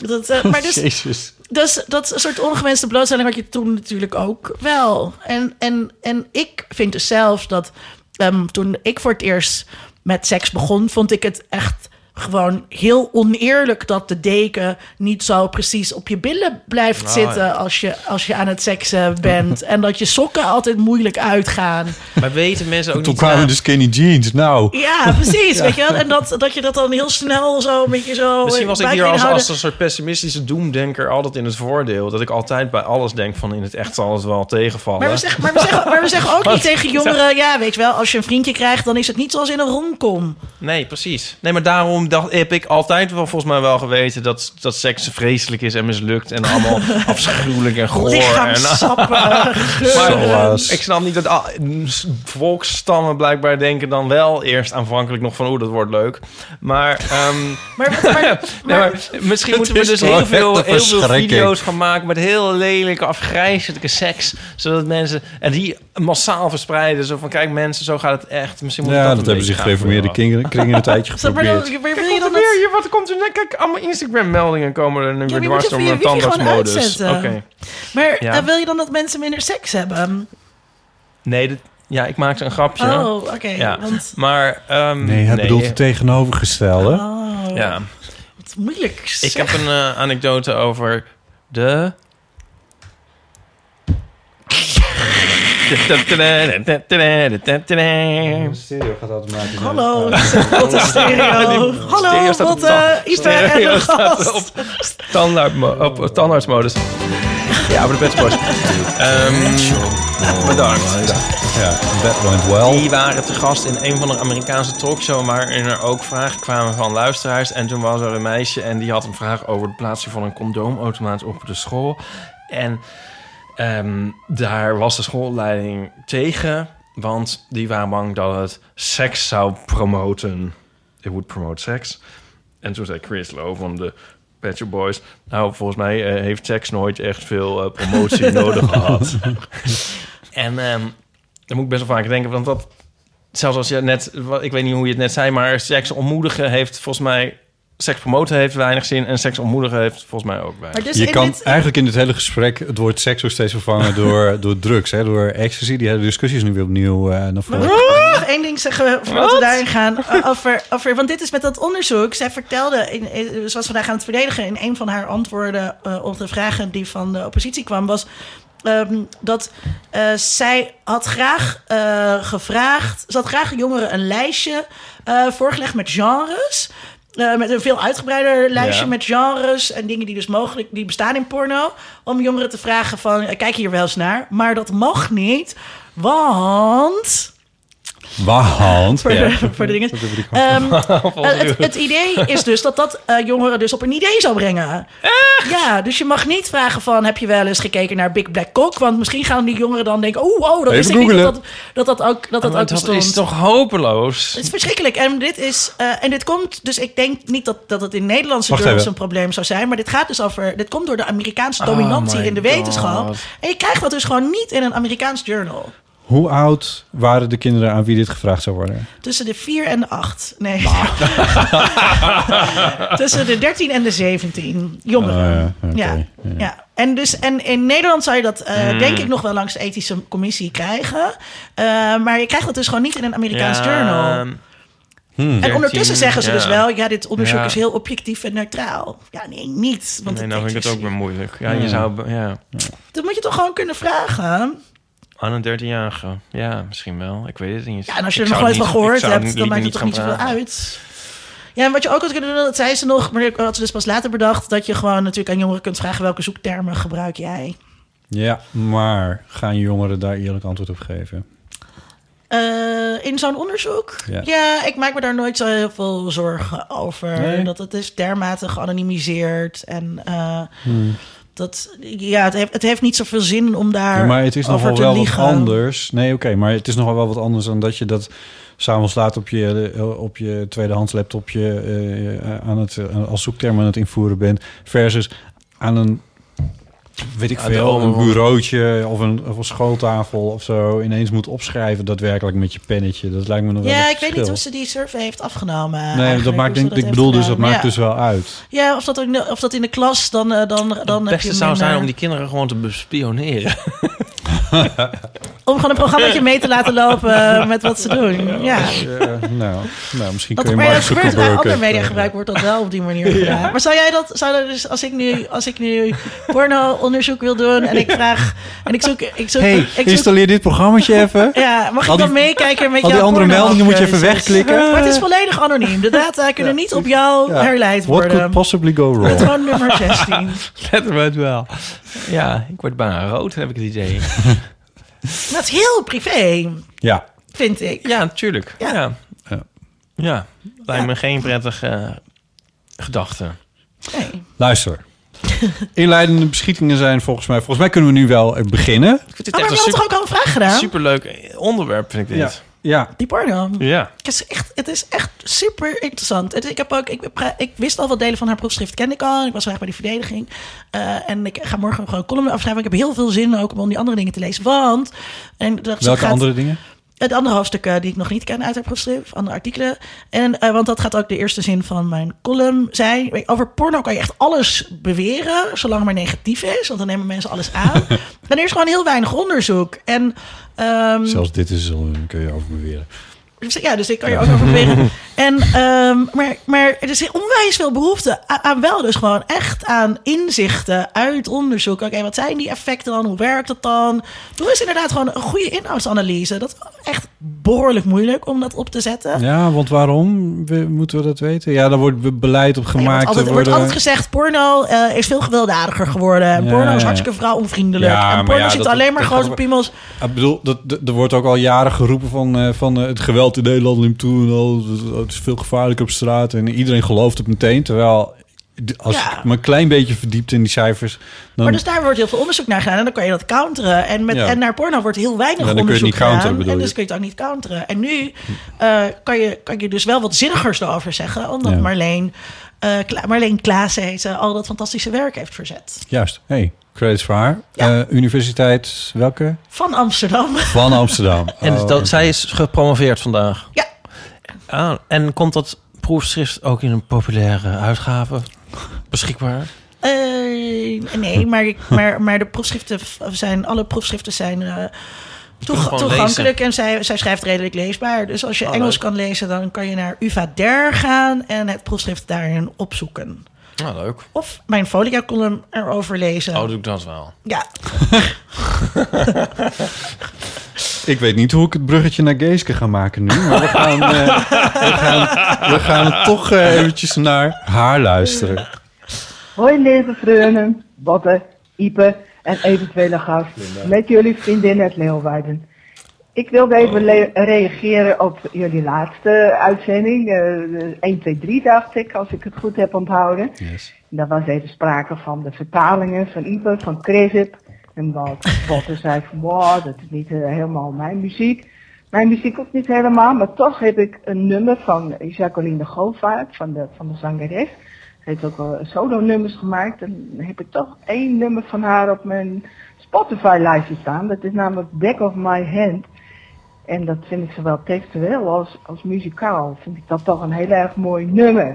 Dat, eh, maar dus, Jezus. dus dat soort ongewenste blootstelling had je toen natuurlijk ook wel. En, en, en ik vind dus zelf dat ehm, toen ik voor het eerst met seks begon, vond ik het echt gewoon heel oneerlijk dat de deken niet zo precies op je billen blijft Nou, zitten ja. als, je, als je aan het seksen bent. en dat je sokken altijd moeilijk uitgaan. Maar weten mensen ook Toen niet... na- kwamen de skinny jeans. Nou, Ja, precies. Weet je wel? En dat, dat je dat dan heel snel zo een beetje zo... eh, Misschien was ik buik hier erin als, houden. als een soort pessimistische doemdenker altijd in het voordeel. Dat ik altijd bij alles denk van in het echt zal het wel tegenvallen. Maar we, zeggen, maar, we zeggen, maar we [laughs] zeggen ook niet tegen jongeren... ja, weet je wel, als je een vriendje krijgt... dan is het niet zoals in een romcom. Nee, precies. Nee, maar daarom dacht, heb ik altijd wel volgens mij wel geweten dat, dat seks vreselijk is en mislukt. En [laughs] allemaal afschuwelijk en goor. en, [laughs] Lichaamsappen, maar Zoals. Ehm, ik snap niet dat ah, s- volksstammen blijkbaar denken dan wel eerst aanvankelijk nog van oeh, dat wordt leuk. Maar, [laughs] ehm, Maar, wat- maar, nee, maar- maar misschien moeten we is dus wel heel veel, echt een heel veel verschrikking. video's gaan maken met heel lelijke, afgrijzelijke seks. Zodat mensen, en die massaal verspreiden. Zo van kijk mensen, zo gaat het echt. Misschien moet ja, dat, dat, een hebben beetje zich gaan gereformeerde gebeuren. kringen, kringen een tijdje dus- maar, maar, geprobeerd. maar wil je Wat dan gebeurt dat... hier? Wat komt er nou? Kijk, allemaal Instagram-meldingen komen er nu maar weer je dwars moet door het mijn via wifi gewoon tandartsmodus. Oké. uitzetten. Maar Ja. eh, wil je dan dat mensen minder seks hebben? Nee, dit- ja, ik maakte een grapje. Oh, oké. ja. Want... Maar, ehm, Nee, hij bedoelt het tegenovergestelde. Oh, Ja, wat moeilijk ik zeg. heb een eh, anekdote over de... stereo gaat automatisch. Hallo, [laughs] wat een [laughs] stereo. Hallo, stereo staat op wat eh Ipe en Stereo de staat gast. op standaard mo- op tandartsmodus. Ja, voor de Pet Shop Boys. Ehm, bedankt. Ja, that went well. Die waren te gast in een van de Amerikaanse talkshow, waarin er ook vragen kwamen van luisteraars. En toen was er een meisje en die had een vraag over de plaatsing van een condoomautomaat op de school. En ehm, daar was de schoolleiding tegen. Want die waren bang dat het seks zou promoten. It would promote sex. En toen zei Chris Lowe van de Pet Shop Boys... Nou, volgens mij eh, heeft seks nooit echt veel eh, [laughs] promotie nodig gehad. en ehm daar moet ik best wel vaak denken, want dat... Zelfs als je net... wat- Ik weet niet hoe je het net zei, maar seks ontmoedigen heeft volgens mij... Seks promoten heeft weinig zin en seks ontmoedigen heeft volgens mij ook weinig Maar dus je in kan dit- eigenlijk in het hele gesprek het woord seks ook steeds vervangen door, door drugs, hè, door ecstasy. Die hele discussies nu weer opnieuw eh naar Maar voren. we [laughs] kunnen nog één ding zeggen voordat we daarin gaan. Eh, Over, over, want dit is met dat onderzoek. Zij vertelde, in, in- ze was vandaag aan het verdedigen... in een van haar antwoorden eh, op de vragen die van de oppositie kwam... was ehm, dat eh, zij had graag eh, gevraagd... ze had graag jongeren een lijstje eh, voorgelegd met genres... Eh, met een veel uitgebreider lijstje Ja. met genres en dingen die dus mogelijk die bestaan in porno. Om jongeren te vragen van eh, kijk hier wel eens naar. Maar dat mag niet. Want Wahand. voor, Ja. [laughs] de, voor de dingen. [laughs] Ehm, eh, het, het idee is dus dat dat eh, jongeren dus op een idee zou brengen. Echt? Ja, dus je mag niet vragen van... heb je wel eens gekeken naar Big Black Cock? Want misschien gaan die jongeren dan denken... oh, oh dat Even wist ik niet dat googlen. dat, dat dat ook, dat dat Maar ook Oh, dat bestond. is toch hopeloos? Het is verschrikkelijk. En dit, is, eh, en dit komt... dus ik denk niet dat, dat het in Nederlandse Wacht dorps even. een probleem zou zijn... maar dit gaat dus over... dit komt door de Amerikaanse dominantie my in de wetenschap. God. En je krijgt dat dus gewoon niet in een Amerikaans journal. Hoe oud waren de kinderen aan wie dit gevraagd zou worden? Tussen de 4 en de 8. Nee. [laughs] Tussen de 13 en de 17. Jongeren. Ah, ja, oké. ja, ja. En, dus, en in Nederland zou je dat eh, Hmm. denk ik nog wel langs de ethische commissie krijgen. Eh, maar je krijgt dat dus gewoon niet in een Amerikaans journal. En ondertussen 13, zeggen ze dus ehm, ja. wel... ja, dit onderzoek Ja. is heel objectief en neutraal. Ja, nee, niet. Want Nee, het dus- Hmm. nou vind ik het ook weer moeilijk. Ja, je zou... Ja. Dat moet je toch gewoon kunnen vragen? Aan een 13-jarige. Ja, misschien wel. Ik weet het niet. Ja, en als je Ik er nog zou nooit van niet- ik gehoord zou hebt, dan liever maakt het toch gaan niet zoveel vragen. uit. Ja, en wat je ook had kunnen doen, dat zei ze nog, maar dat had ze dus pas later bedacht, dat je gewoon natuurlijk aan jongeren kunt vragen welke zoektermen gebruik jij. Ja, maar gaan jongeren daar eerlijk antwoord op geven? Eh, in zo'n onderzoek? Ja. Ja. ik maak me daar nooit zo heel veel zorgen over. Nee? Dat het is dermate geanonimiseerd en eh, Hmm. dat, ja, het heeft, het heeft niet zoveel zin om daar Ja, maar het is over nogal te wel liegen. wat anders. Nee, oké, maar het is nogal wel wat anders dan dat je dat s'avonds laat op je, eh, op je tweedehands laptopje eh, aan het, eh, als zoekterm aan het invoeren bent. Versus aan een, weet ik Ja, de veel, een overhand. bureautje of een, of een schooltafel of zo ineens moet opschrijven daadwerkelijk met je pennetje. Dat lijkt me nog wel Ja, een ik weet verschil. niet hoe ze die survey heeft afgenomen. Nee, eigenlijk, dat hoe maakt ze denk, ik heeft bedoel dus, dat gedaan. maakt Ja. dus wel uit. [laughs] Ja, of dat, ook, in- of dat in de klas, dan, eh, dan, dan Het heb je eh, beste zou minder- zijn om die kinderen gewoon te [laughs] bespioneren. Om gewoon een programmaatje mee te laten [laughs] lopen eh, met wat ze doen. Ja. Eh, nou, nou, misschien Dat, kun je maar ja, Mark dat gebeurt bij Zuckerberg... ander even- mediagebruik wordt dat wel op die [laughs] manier gedaan. Maar zou jij dat, zou dat dus als ik nu, als ik nu porno-onderzoek wil doen en ik vraag en ik zoek, ik zoek, Hey, ik zoek installeer dit programmaatje [laughs] even. ja, mag al ik die- dan meekijken met al die jouw andere porno- meldingen moet je even keuzes? wegklikken. Maar het is volledig anoniem. De [laughs] data kunnen niet op jou Ja. herleid What could worden. possibly go [laughs] wrong? Patroon nummer 16. Letterlijk wel. Ja, ik word bijna rood, heb ik het [laughs] idee. Dat is heel privé, Ja, vind ik. Ja, natuurlijk. Ja. Ja. Ja. Ja. lijkt me geen prettige eh, gedachte. Nee. luister. Inleidende beschietingen zijn volgens mij... Volgens mij kunnen we nu wel eh, beginnen. Ik vind dit Oh, maar echt we een hadden toch ook super, al een vraag gedaan? superleuk onderwerp, vind ik Ja. dit. ja. Die porno. Ja. Het is echt, het is echt super interessant. Het- ik, heb ook, ik, pra- ik wist al wat delen van haar proefschrift, kende ik al. Ik was graag bij die verdediging. Eh, en ik ga morgen gewoon een column afschrijven. Ik heb heel veel zin ook om die andere dingen te lezen. Want, en dat- ze Welke gaat- Hm. andere dingen? Het andere hoofdstuk eh, die ik nog niet ken uit haar proefschrift, andere artikelen. En, eh, want dat gaat ook de eerste zin van mijn column zijn. Over porno kan je echt alles beweren, zolang het maar negatief is. Want dan nemen mensen [laughs] alles aan. en er is gewoon heel weinig onderzoek. En, ehm, Zelfs dit is, eh, kun je over beweren. dus, Ja, dus ik kan je ook [laughs] over bewegen. En, ehm, maar, maar er is onwijs veel behoefte a- aan wel dus gewoon echt aan inzichten uit onderzoek. Oké, wat zijn die effecten dan? Hoe werkt dat dan? Doe eens inderdaad gewoon een goede inhoudsanalyse. Dat is echt behoorlijk moeilijk om dat op te zetten. Ja, Ja, want waarom we- moeten we dat weten? Ja, daar wordt be- beleid op want gemaakt. altijd, er er wordt worden- altijd gezegd, porno eh, is veel gewelddadiger geworden. En Ja, porno ja, is ja. hartstikke vrouwonvriendelijk. Ja, maar en porno ja, zit dat- alleen maar dat- grote piemels. Ik Ah, bedoel, dat, dat- er wordt ook al jaren geroepen van, eh, van eh, het geweld Dus in Nederland neemt toe. En al, het is veel gevaarlijker op straat. En iedereen gelooft het meteen. Terwijl d- als Ja. ik me een klein beetje verdiept in die cijfers, dan, Maar dus daar wordt heel veel onderzoek naar gedaan. En dan kan je dat counteren. En, met, Ja. en naar porno wordt heel weinig Ja, dan kun je het onderzoek niet counteren, gedaan. bedoel en je. dus kun je het ook niet counteren. En nu eh, kan, je, kan je dus wel wat zinnigers erover zeggen. Omdat Ja. Marleen, eh Kla- Marleen Klaassen heet ze, al dat fantastische werk heeft verzet. juist. Hey, credits voor haar. Ja. Eh, universiteit welke? Van Amsterdam. [laughs] Van Amsterdam. En dus Oh, dat, oké. zij is gepromoveerd vandaag. Ja. Ah, en komt dat proefschrift ook in een populaire uitgave beschikbaar? Eh, nee, maar, ik- maar, maar de proefschriften v- zijn, alle proefschriften zijn eh, toeg- gewoon toegankelijk. En zij, zij schrijft redelijk leesbaar. Dus als je Oh, Engels leuk. kan lezen, dan kan je naar UVA DER gaan en het proefschrift daarin opzoeken. Nou, leuk. Of mijn folia-column erover lezen. Oh, doe ik dat wel. Ja, dus Ik weet niet hoe ik het bruggetje naar Geeske ga maken nu. Maar we [laughs] gaan, eh, we gaan, we gaan toch eh, eventjes naar haar luisteren. Hoi lieve vrienden, Botte, Ipe en eventuele gast. Met jullie vriendin uit Leeuwarden. Ik wilde even le- reageren op jullie laatste uitzending. eh, 1, 2, 3 dacht ik, als ik het goed heb onthouden. Daar was even sprake van de vertalingen van Ipe, van Crisip. En wat Botte zei van, wow, dat is niet eh, helemaal mijn muziek. Mijn muziek ook niet helemaal, maar toch heb ik een nummer van Jacqueline Govaert, van de, van de zangeres. Ze heeft ook wel solo-nummers gemaakt. En dan heb ik toch één nummer van haar op mijn Spotify-lijstje staan. Dat is namelijk Back of My Hand. En dat vind ik zowel textueel als, als muzikaal. Vind ik dat toch een heel erg mooi nummer.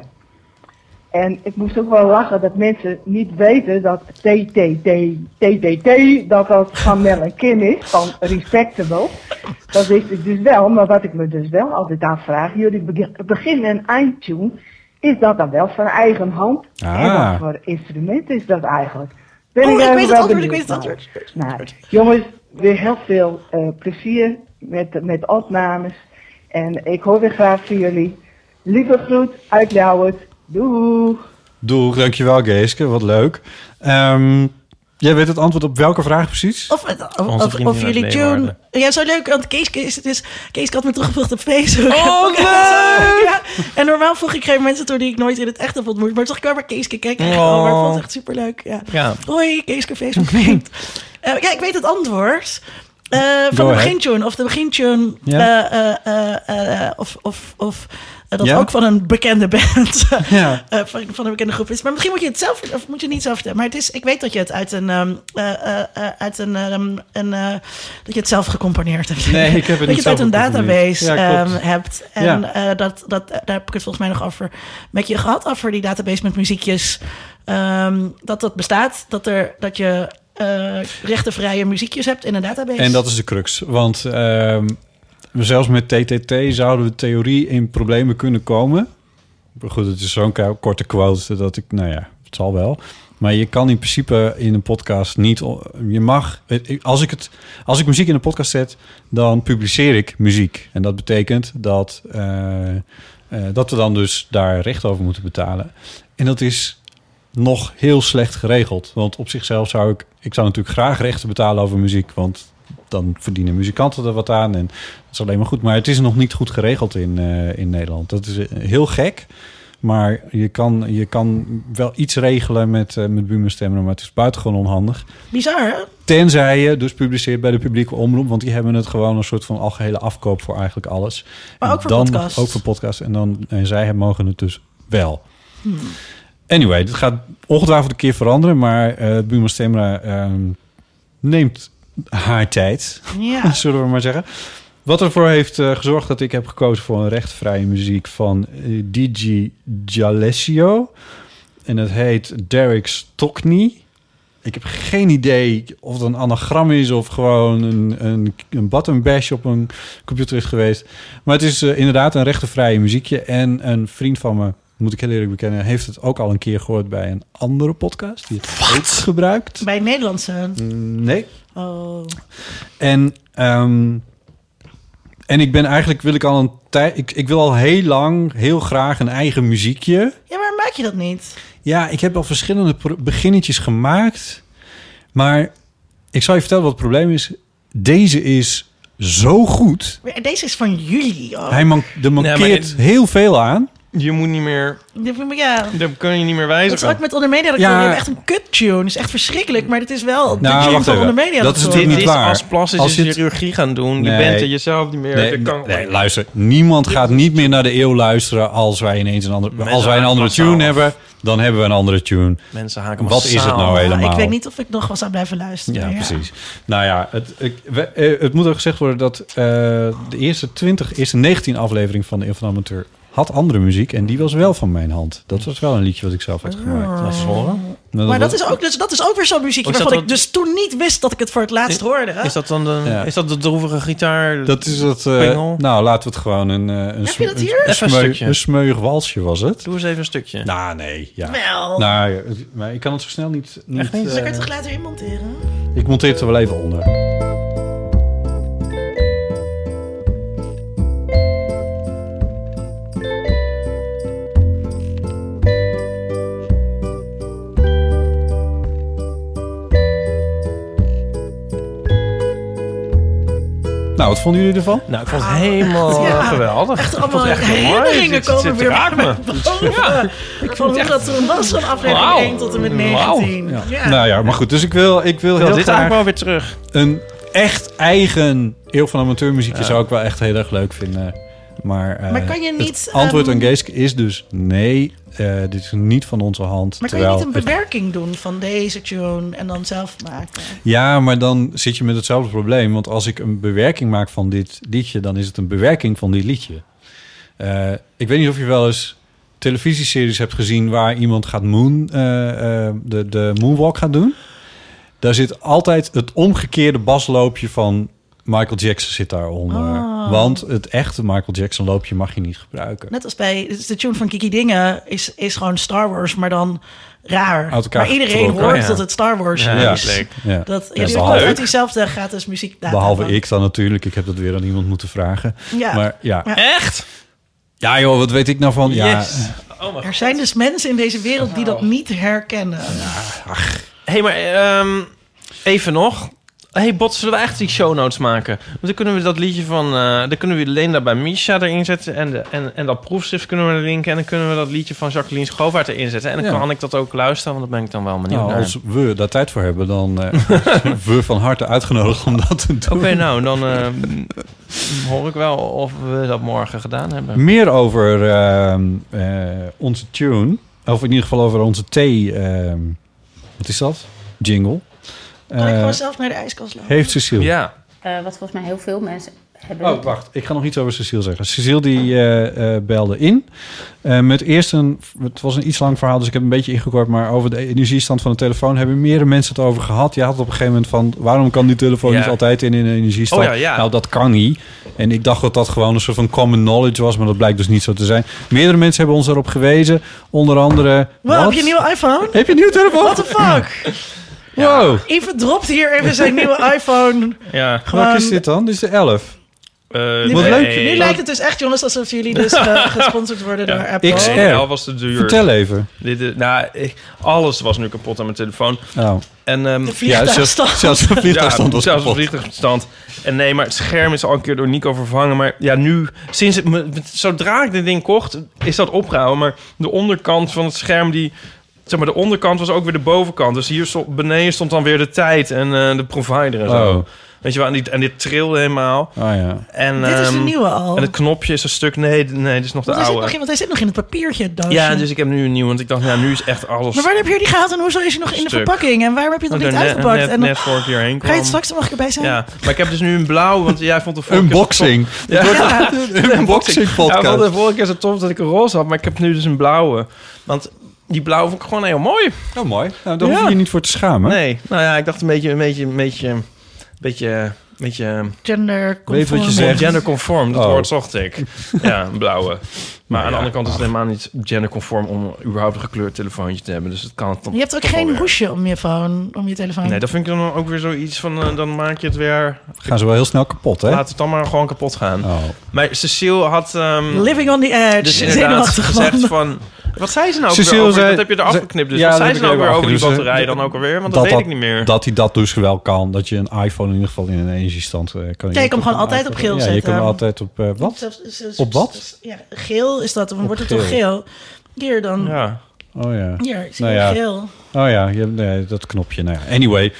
En ik moest ook wel lachen dat mensen niet weten dat TTT, TTT, dat dat van Mel en Kim is, van Respectable. Dat wist ik dus wel, maar wat ik me dus wel altijd afvraag, jullie beg- begin en eindtune, is dat dan wel van eigen hand? Ah. En wat voor instrument is dat eigenlijk? Ben Oh, ik even weet het wel antwoord, ik benieuwd weet het naar. antwoord. Nou, jongens, weer heel veel eh, plezier met, met opnames. En ik hoor weer graag van jullie. Lieve groet uit Ljouwert. Doeg! Doeg, dankjewel Geeske, wat leuk. Ehm, jij weet het antwoord op welke vraag precies? of, of, Onze of, vriendin of uit jullie tune. Leeuwarden. Ja, zo leuk, want Keeske, is, het is, Keeske had me teruggebracht op Facebook. Oh, Ook, leuk! [laughs] ja. En normaal vroeg ik geen mensen toe die ik nooit in het echt heb ontmoet. Maar toch kwam maar Keeske kijken. en Oh. Maar ik vond het echt superleuk. Ja. Ja. Hoi, [laughs] Keeske Facebook vriend. Eh, ja, ik weet het antwoord. Eh, van Go de ahead. begintune. Of de begintune. Ja. eh, eh, eh, eh, of of, of eh, dat Ja? ook van een bekende band. [laughs] Ja. Eh, van, van een bekende groep is. Maar misschien moet je het zelf of moet je het niet zelf vertellen. Maar het is, ik weet dat je het uit een, ehm, eh, eh, eh, uit een, ehm, een eh, dat je het zelf gecomponeerd hebt. Nee, ik heb het niet [laughs] dat je het uit zelf een gecomponeerd. database Ja, klopt. ehm, hebt. En Ja. eh, dat, dat, daar heb ik het volgens mij nog over met je gehad over die database met muziekjes. Ehm, dat dat bestaat, dat er dat je eh rechtenvrije muziekjes hebt in een database. En dat is de crux. Want ehm, zelfs met TTT zouden we theorie in problemen kunnen komen. Maar Goed, het is zo'n k- korte quote dat ik, nou ja, het zal wel. Maar je kan in principe in een podcast niet. o- Je mag. Als ik, het, als ik muziek in een podcast zet, dan publiceer ik muziek. En dat betekent dat, eh, eh, dat we dan dus daar recht over moeten betalen. En dat is nog heel slecht geregeld. Want op zichzelf zou ik... Ik zou natuurlijk graag rechten betalen over muziek. Want dan verdienen muzikanten er wat aan. En dat is alleen maar goed. Maar het is nog niet goed geregeld in, eh, in Nederland. Dat is eh, heel gek. Maar je kan, je kan wel iets regelen met, eh met Buma-stemmen. Maar het is buitengewoon onhandig. Bizar, [laughs] hè? Tenzij je dus publiceert bij de publieke omroep. Want die hebben het gewoon een soort van algehele afkoop voor eigenlijk alles. Maar En ook voor dan, podcasts. Ook voor podcasts. En, dan, en zij hebben- mogen het dus wel. Hmm. Anyway, dit gaat ongetwijfeld een keer veranderen. Maar eh Buma Stemra ehm, neemt haar tijd. [laughs] Ja. Zullen we maar zeggen. Wat ervoor heeft eh, gezorgd dat ik heb gekozen voor een rechtvrije muziek van eh, DJ Jalessio. En het heet Derek Stockney. Ik heb geen idee of het een anagram is of gewoon een, een, een button bash op een computer is geweest. Maar het is eh, inderdaad een rechtenvrije muziekje. En een vriend van me, moet ik heel eerlijk bekennen, heeft het ook al een keer gehoord bij een andere podcast. Die het ook gebruikt. Bij Nederlandse. Nee. Oh. En, ehm, en ik ben eigenlijk, wil ik al een tijd, ik, ik wil al heel lang heel graag een eigen muziekje. Ja, maar maak je dat niet? Ja, ik heb al verschillende pro- beginnetjes gemaakt. Maar ik zal je vertellen wat het probleem is. Deze is zo goed. Maar Deze is van jullie. Oh. Hij man- er mankeert het- heel veel aan. je moet niet meer, Ja, daar kun je niet meer dat is wijzigen. ook met onder media redacteur. Ja. Die hebben echt een kut tune. is echt verschrikkelijk. Maar dit is wel de Nou, tune wacht van even. onder media Dat is redacteur. natuurlijk dit niet is waar. als plastisch Als je het- chirurgie gaan doen. Nee. Je bent er jezelf niet meer. Nee, dat kan- nee, luister. Niemand gaat niet meer naar de eeuw luisteren als wij ineens een andere, Mensen als wij een haken andere massaal tune af. hebben. Dan hebben we een andere tune. Mensen haken Wat is het massaal nou af. helemaal? Nou, ik weet niet of ik nog was aan blijven luisteren. Ja, precies. Nou ja, het, ik, we- eh, het moet ook gezegd worden dat eh, de eerste 20, eerste 19 aflevering van de Eeuw van de Amateur had andere muziek. En die was wel van mijn hand. Dat was wel een liedje wat ik zelf had gemaakt. Ah. Nou, Laat eens horen. Maar dat is ook, dus, dat is ook weer zo'n Oh, muziekje is dat waarvan ik dat- dus toen niet wist dat ik het voor het laatst hoorde. Is dat dan de, Ja. is dat de droevige gitaar? Dat is het. eh, Pingel? nou, laten we het gewoon een, eh, een, Heb je dat een- hier? een, Even een smeu- stukje. een smeuig walsje was het. Doe eens even een stukje. Nou, nee. Ja. Wel. Dus Nou, ja, maar ik kan het zo snel niet. niet, Echt niet? eh, Zal ik er toch later in monteren? [laughs] ik monteer het er wel even onder. Nou, wat vonden jullie ervan? Nou, ik vond het helemaal Ja. geweldig. Echt Ik vond allemaal het echt mooi. herinneringen Dit- komen dit weer raakt me. boven. Ik vond hoe dat toen was van aflevering Wauw. 1 tot en met Wauw. 19. Ja. Nou ja, maar goed. Dus ik wil, ik wil Ik wil heel dit graag eigenlijk wel weer terug. een echt eigen eeuw van amateurmuziekje zou ik wel echt heel erg leuk vinden. Maar, eh, Maar kan je niet, het antwoord ehm, aan Geeske is dus nee, eh, dit is niet van onze hand. Maar kan je terwijl niet een het- bewerking doen van deze tune en dan zelf maken? Ja, maar dan zit je met hetzelfde probleem. Want als ik een bewerking maak van dit liedje, dan is het een bewerking van dit liedje. Eh, ik weet niet of je wel eens televisieseries hebt gezien waar iemand gaat moon, eh, eh, de, de moonwalk gaat doen. Daar zit altijd het omgekeerde basloopje van Michael Jackson zit daaronder. Ah. Want het echte Michael Jackson loopje mag je niet gebruiken. Net als bij dus de tune van Kiki Dingen is, is gewoon Star Wars, maar dan raar. Uit elkaar maar iedereen getrokken, hoort ja. dat het Star Wars Ja, is. leuk. Ja. Dat, ja, Ja, die behalve- komt uit diezelfde gratis muziek. Behalve ik dan natuurlijk. Ik heb dat weer aan iemand moeten vragen. Ja. Maar ja. Ja. Echt? ja joh, wat weet ik nou van? Ja, Yes. Oh mijn Er zijn dus mensen in deze wereld die dat niet herkennen. Hé, hey, maar ehm, even nog. hey, Bot, zullen we echt die show notes maken? Want dan kunnen we dat liedje van... eh, dan kunnen we Linda bij Misha erin zetten. En, de, en, en dat proefschrift kunnen we er linken. En dan kunnen we dat liedje van Jacqueline Schoovaart erin zetten. En dan Ja. kan ik dat ook luisteren, want daar ben ik dan wel benieuwd Nou, naar. als we daar tijd voor hebben, dan eh we van harte uitgenodigd om dat te Oké, doen. nou, dan ehm, hoor ik wel of we dat morgen gedaan hebben. Meer over ehm, eh, onze tune, of in ieder geval over onze thee, ehm, wat is dat? Jingle. Kan Oh, ik Eh, gewoon zelf naar de ijskast lopen? heeft Cecile. Ja. Eh, wat volgens mij heel veel mensen hebben. Oh, wacht. Ik ga nog iets over Cecile zeggen. Cecile die eh, eh, belde in. Eh, met eerst een... Het was een iets lang verhaal, dus ik heb een beetje ingekort. Maar over de energiestand van de telefoon hebben meerdere mensen het over gehad. Je had het op een gegeven moment van... Waarom kan die telefoon Ja. niet altijd in, in een energiestand? Oh ja, ja. Nou, dat kan niet. En ik dacht dat dat gewoon een soort van common knowledge was. Maar dat blijkt dus niet zo te zijn. Meerdere mensen hebben ons erop gewezen. Onder andere... Wow, Wat? Oh. heb je een nieuwe iPhone? Heb je een nieuwe telefoon? What the [laughs] fuck? Wow. Even dropt hier even zijn nieuwe iPhone. Ja. Um, Wat Gewoon- is dit dan? Dit is de 11. Eh, Nu, Wat nee. leuk. nu lijkt het dus echt, jongens, alsof jullie [laughs] dus eh, gesponsord worden door Apple. XR. Oh, wel was te duur. Vertel even. Dit, is- nou, ik- alles was nu kapot aan mijn telefoon. [laughs] Oh. En, ehm, De Ja, zelfs, vliegtuigstand. zelfs de vliegtuigstand ja, was zelfs kapot. een vliegtuigstand. En nee, maar het scherm is al een keer door Nico vervangen. Maar ja, nu, sinds het, me- zodra ik dit ding kocht, is dat opgehouden. Maar de onderkant van het scherm, die, zeg maar, de onderkant was ook weer de bovenkant. Dus hier stond, beneden stond dan weer de tijd en eh, de provider en zo. Oh. Weet je wel, en, die, en dit trilde helemaal. Ah ja. En, Dit is de ehm, nieuwe al. En het knopje is een stuk, nee, nee, dit is nog de Want hij, zit nog oude. in, want hij zit nog in het papiertje doosje. Ja, dus ik heb nu een nieuw, want ik dacht, ja, nu is echt alles... Maar waar heb je die gehaald en hoezo is hij nog in de Stuk. verpakking? En waarom heb je het nog Want niet er net- Net, uitgepakt? en net voor ik hierheen ga je het kwam. straks, mag ik erbij zijn? [laughs] Ja, maar ik heb dus nu een blauw, want jij vond de vorige keer- [laughs] Unboxing. Ja. Een unboxing Ja, podcast. want de vorige keer zo tof dat ik een roze had, maar ik heb nu dus een blauwe. Want die blauwe vond ik gewoon heel mooi. Nou, mooi. Nou, daar Ja. hoef je je niet voor te schamen. Nee, nou ja, ik dacht een beetje, een beetje, een beetje, een beetje, een beetje eh, Gender Weet wat je zegt. genderconform. Dat Oh. woord zocht ik. Ja, een blauwe. Maar aan de andere kant is het helemaal niet genderconform om überhaupt een gekleurd telefoontje te hebben. Dus het kan het dan Je hebt ook toch wel geen weer. hoesje om je phone, om je telefoon. Nee, dat vind ik dan ook weer zoiets van, eh, dan maak je het weer, Gaan ze wel heel snel kapot, hè? laat het dan maar gewoon kapot gaan. Oh. Maar Cecile had... ehm, Living on the edge. dus Zenuwachtig inderdaad gezegd van... man. Wat zei ze nou ook Cecile weer over? zei- dat heb je eraf ze- geknipt. Dus ja, dat wat zei heb ze ik nou even weer over die afgeknipt. Dus, batterij eh, dan ook alweer? Want dat, weet ik niet meer. Dat hij dat dus wel kan. Dat je een iPhone in ieder geval in een energiestand eh, kan. Ja, je kan hem gewoon altijd op geel Ja, je zetten. kan hem altijd op eh, wat? Zelfs- zelfs- Op wat? Ja, geel is dat. Dan wordt het toch geel. geel? Hier dan. ja. Oh ja. Hier, zie Nou je ja. geel. Oh ja, je, nee, dat knopje. Nou ja. Anyway,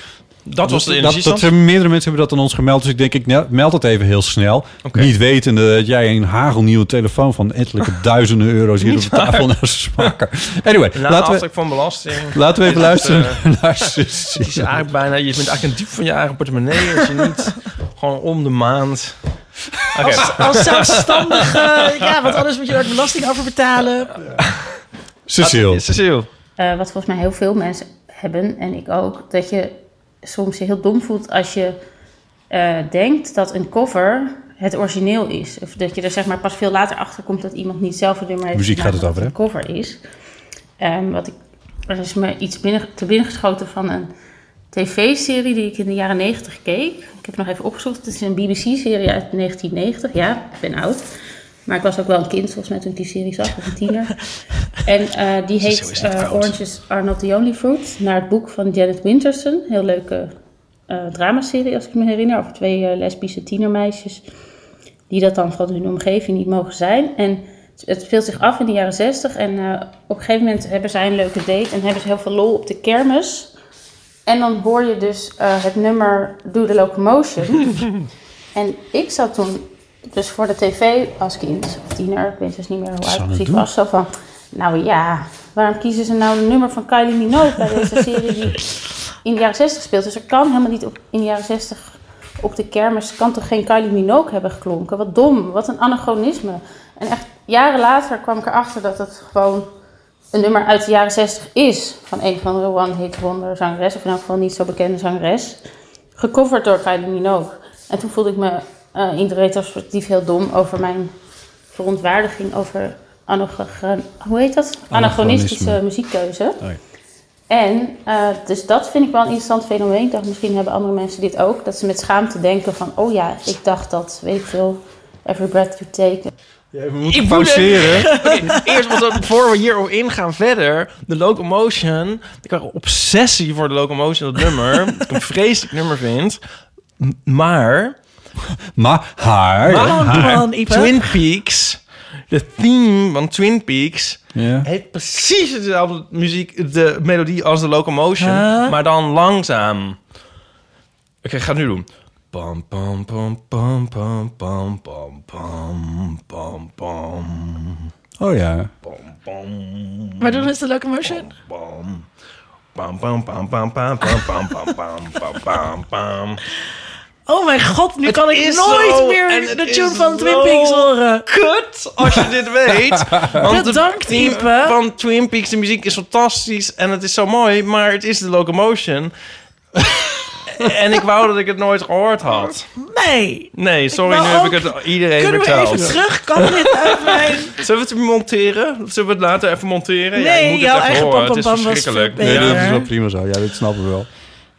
Dat was de dat, dat energiestand. er meerdere mensen hebben dat aan ons gemeld. Dus ik denk, ik ne- meld dat even heel snel. Niet wetende dat jij een hagelnieuwe telefoon van ettelijke [laughs] duizenden euro's hier op de tafel naar ze smaken. Anyway, Na de laten, we, aftrek van belasting. laten we even Dit is, luisteren [laughs] eh, naar Het is Cecile. eigenlijk bijna, je bent eigenlijk een diep van je eigen portemonnee als je [laughs] niet gewoon om de maand. Oké, Als [laughs] zelfstandige. ja, want anders moet je er ook belasting over betalen. Cecile. Cecile. Eh, wat volgens mij heel veel mensen hebben, en ik ook, dat je soms je heel dom voelt als je eh, denkt dat een cover het origineel is. Of dat je er zeg maar pas veel later achter komt dat iemand niet zelf het nummer heeft Muziek gemaakt, gaat het maar over, dat het een cover is. Ehm, wat ik, er is me iets binnen, te binnen geschoten van een tv-serie die ik in de jaren 90 keek. Ik heb het nog even opgezocht. Het is een BBC-serie uit 1990. Ja, ik ben oud. Maar ik was ook wel een kind volgens mij toen ik die serie zag, of een tiener. En eh, die heet eh, Oranges Are Not The Only Fruit, naar het boek van Janet Winterson. Heel leuke eh dramaserie, als ik me herinner, over twee eh, lesbische tienermeisjes die dat dan van hun omgeving niet mogen zijn. En het speelt zich af in de jaren zestig. En eh, op een gegeven moment hebben zij een leuke date en hebben ze heel veel lol op de kermis. En dan hoor je dus eh, het nummer Do the Locomotion. en ik zat toen dus voor de tv als kind, of tiener, ik weet dus niet meer hoe oud ik precies was, zo van... Nou ja, waarom kiezen ze nou een nummer van Kylie Minogue bij deze serie die in de jaren 60 speelt? Dus er kan helemaal niet op, in de jaren 60 op de kermis, kan toch geen Kylie Minogue hebben geklonken? Wat dom, wat een anachronisme. En echt jaren later kwam ik erachter dat het gewoon een nummer uit de jaren 60 is. Van een van de One Hit Wonder zangeres, of in elk geval niet zo bekende zangeres. Gecoverd door Kylie Minogue. En toen voelde ik me eh, in de retrospectief heel dom over mijn verontwaardiging over anachron- hoe heet dat? anachronistische muziekkeuze. En eh, dus dat vind ik wel een interessant fenomeen. Ik dacht, misschien hebben andere mensen dit ook. Dat ze met schaamte denken van, oh ja, ik dacht dat, weet ik veel, every breath you take. we moeten Ik pauzeren. Oké, eerst was dat voor we hierop ingaan verder. De Locomotion. Ik had een obsessie voor de Locomotion, dat [laughs] nummer. dat ik een vreselijk nummer vind. M- Maar Maar haar. Maar- Come on, come on, Ipe. Twin Peaks, de theme van Twin Peaks, Ja. heeft precies dezelfde muziek, de melodie als de Locomotion, Huh? maar dan langzaam. Oké, ik ga het nu doen. Pam pam pam pam pam pam pam pam pam pam. Oh ja. Maar dan is de locomotion. Bam. Pam pam pam pam pam pam pam pam pam pam pam pam. Oh mijn god, nu Het kan ik is nooit zo en meer het de is tune van Twin zo Peaks horen. Kut als je dit weet. [laughs] Want Bedankt, de theme Ipe. van Twin Peaks, de muziek is fantastisch en het is zo mooi, maar het is de [laughs] locomotion. en ik wou dat ik het nooit gehoord had. Nee. Nee, sorry, Ik nu wou heb ik ook- het iedereen Kunnen we even verteld. terug? Kan dit [laughs] uit mijn... Zullen we het monteren? Zullen we het later even monteren? ja, Nee, ik moet jouw het even eigen horen. pam, pam, het pam is was verschrikkelijk. veel beter. Ja. Dat is wel prima zo. Ja, dit snappen we wel.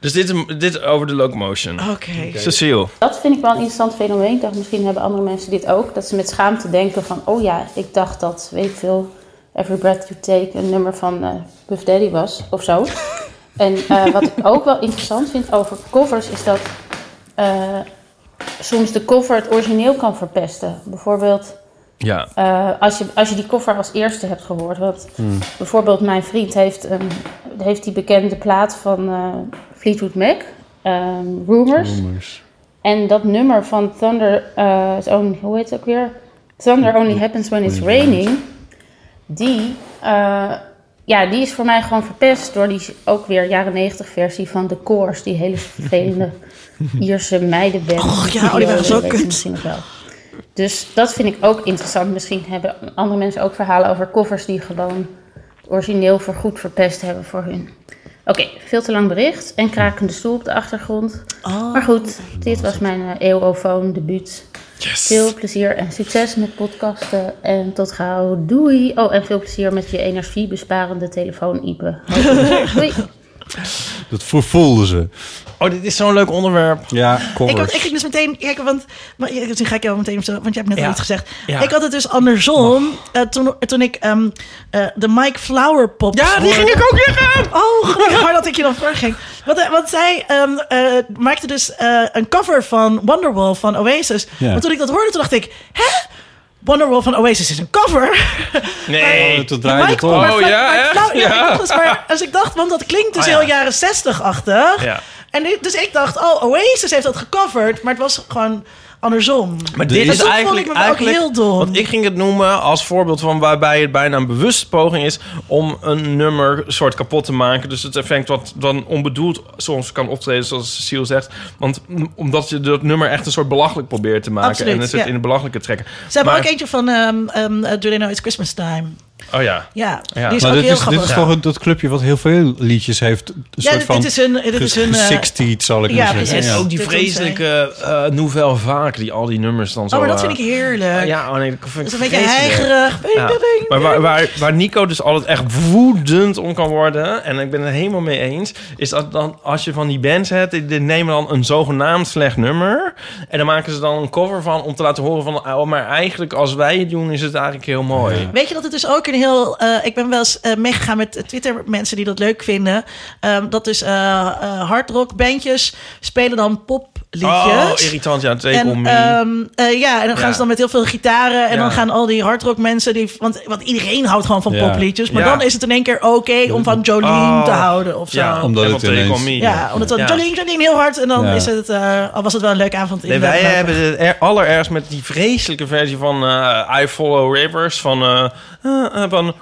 Dus dit, dit over de locomotion. Oké. Cecile. Dat vind ik wel een interessant fenomeen. Ik dacht, misschien hebben andere mensen dit ook. Dat ze met schaamte denken van, oh ja, ik dacht dat, weet ik veel, Every Breath You Take een nummer van eh Puff Daddy was, of zo. en eh, wat ik ook wel interessant vind over covers is dat eh, soms de cover het origineel kan verpesten. Bijvoorbeeld Ja. eh, als, je, als je die koffer als eerste hebt gehoord. Want bijvoorbeeld mijn vriend heeft, een, heeft die bekende plaat van eh, Fleetwood Mac, ehm, Rumors. En dat nummer van Thunder, eh, is only, hoe heet het ook weer? Thunder Only Happens When It's Raining. Die, eh, ja, die is voor mij gewoon verpest door die ook weer jaren 90 versie van The Course. Die hele [laughs] vervelende Ierse meidenband. Och ja, oh, die waren zo Weet je kut. misschien nog wel. Dus dat vind ik ook interessant. Misschien hebben andere mensen ook verhalen over covers die gewoon het origineel voorgoed verpest hebben voor hun. Oké, veel te lang bericht en krakende stoel op de achtergrond. Oh. Maar goed, dit was mijn eh, eeuwofoon debuut. Veel plezier en succes met podcasten en tot gauw. Doei! Oh, en veel plezier met je energiebesparende telefoon, Ipe. Doei! Dat vervoelden ze. Oh, dit is zo'n leuk onderwerp. Ja, Ik, had, covers. ik ging dus meteen kijken, want maar, ja, nu ga ik jou meteen vertellen, want je hebt net Ja. al iets gezegd. Ja. Ik had het dus andersom eh, toen, toen ik ehm, eh, de Mike Flower pop. Ja, die ging ik ook weer aan. Oh, gelukkig maar dat ik je dan voor ging. Want, eh, want zij ehm, eh, maakte dus eh, een cover van Wonderwall van Oasis. Ja. Maar toen ik dat hoorde, toen dacht ik, hè? Wonderwall van Oasis is een cover. Nee. Toen Maar draaide Oh, het Mike- om. maar Oh, Mike- ja, Mike echt? Flower- ja, Ja. ik dacht dus maar, als ik dacht, want dat klinkt dus Oh, ja. heel jaren 60-achtig. Ja. En ik- dus ik dacht, oh, Oasis heeft dat gecoverd, maar het was gewoon andersom. Maar dit En is toen eigenlijk, vond ik me ook eigenlijk heel dom. Want ik ging het noemen als voorbeeld van waarbij het bijna een bewuste poging is om een nummer soort kapot te maken. Dus het effect wat dan onbedoeld soms kan optreden, zoals Cecile zegt. Want mm, omdat je dat nummer echt een soort belachelijk probeert te maken. Absoluut, en het ja. in de belachelijke trekken. Ze hebben maar- ook eentje van ehm ehm, eh, Do They Know It's Christmas Time. Oh ja. Ja, Ja. die is Maar ook dit heel is, dit grappig. is toch een- dat clubje wat heel veel liedjes heeft. Een soort dit- van dit is hun- dit is hun, eh, gesixtied, zal ik ja, maar zeggen. precies. En Ja. ook die Dit vreselijke eh nouvelle vaak die al die nummers dan zo... Oh, maar dat eh, vind ik heerlijk. Ja, oh nee, dat vind Dat is ik een beetje vreselijk. heigerig. Weet je Ja. dat ding? Maar waar, waar, waar Nico dus altijd echt woedend om kan worden, en ik ben het helemaal mee eens, is dat dan als je van die bands hebt, die die nemen dan een zogenaamd slecht nummer. En dan maken ze dan een cover van om te laten horen van, oh, maar eigenlijk als wij het doen, is het eigenlijk heel mooi. Weet je dat het dus ook een heel... eh, ik ben wel eens eh, meegegaan met Twitter mensen die dat leuk vinden. Ehm, dat dus eh eh, hardrock bandjes spelen dan Oh, popliedjes. irritant, ja, take on en, me. ehm, eh, ja, en dan gaan Ja. ze dan met heel veel gitaren. En Ja. dan gaan al die hardrock mensen... Die, want, want iedereen houdt gewoon van Ja. popliedjes. Maar Ja. dan is het in één keer oké om van Jolene Oh. te houden of zo. ja, Ja. Omdat en het van Take ineens- On Me. omdat dan Ja. Jolene, Jolene heel hard en dan Ja. is het, eh, al was het wel een leuke avond. in Nee, de wij nou- loop. hebben het er, allerergst met die vreselijke versie van eh, I Follow Rivers van... eh, eh, eh, van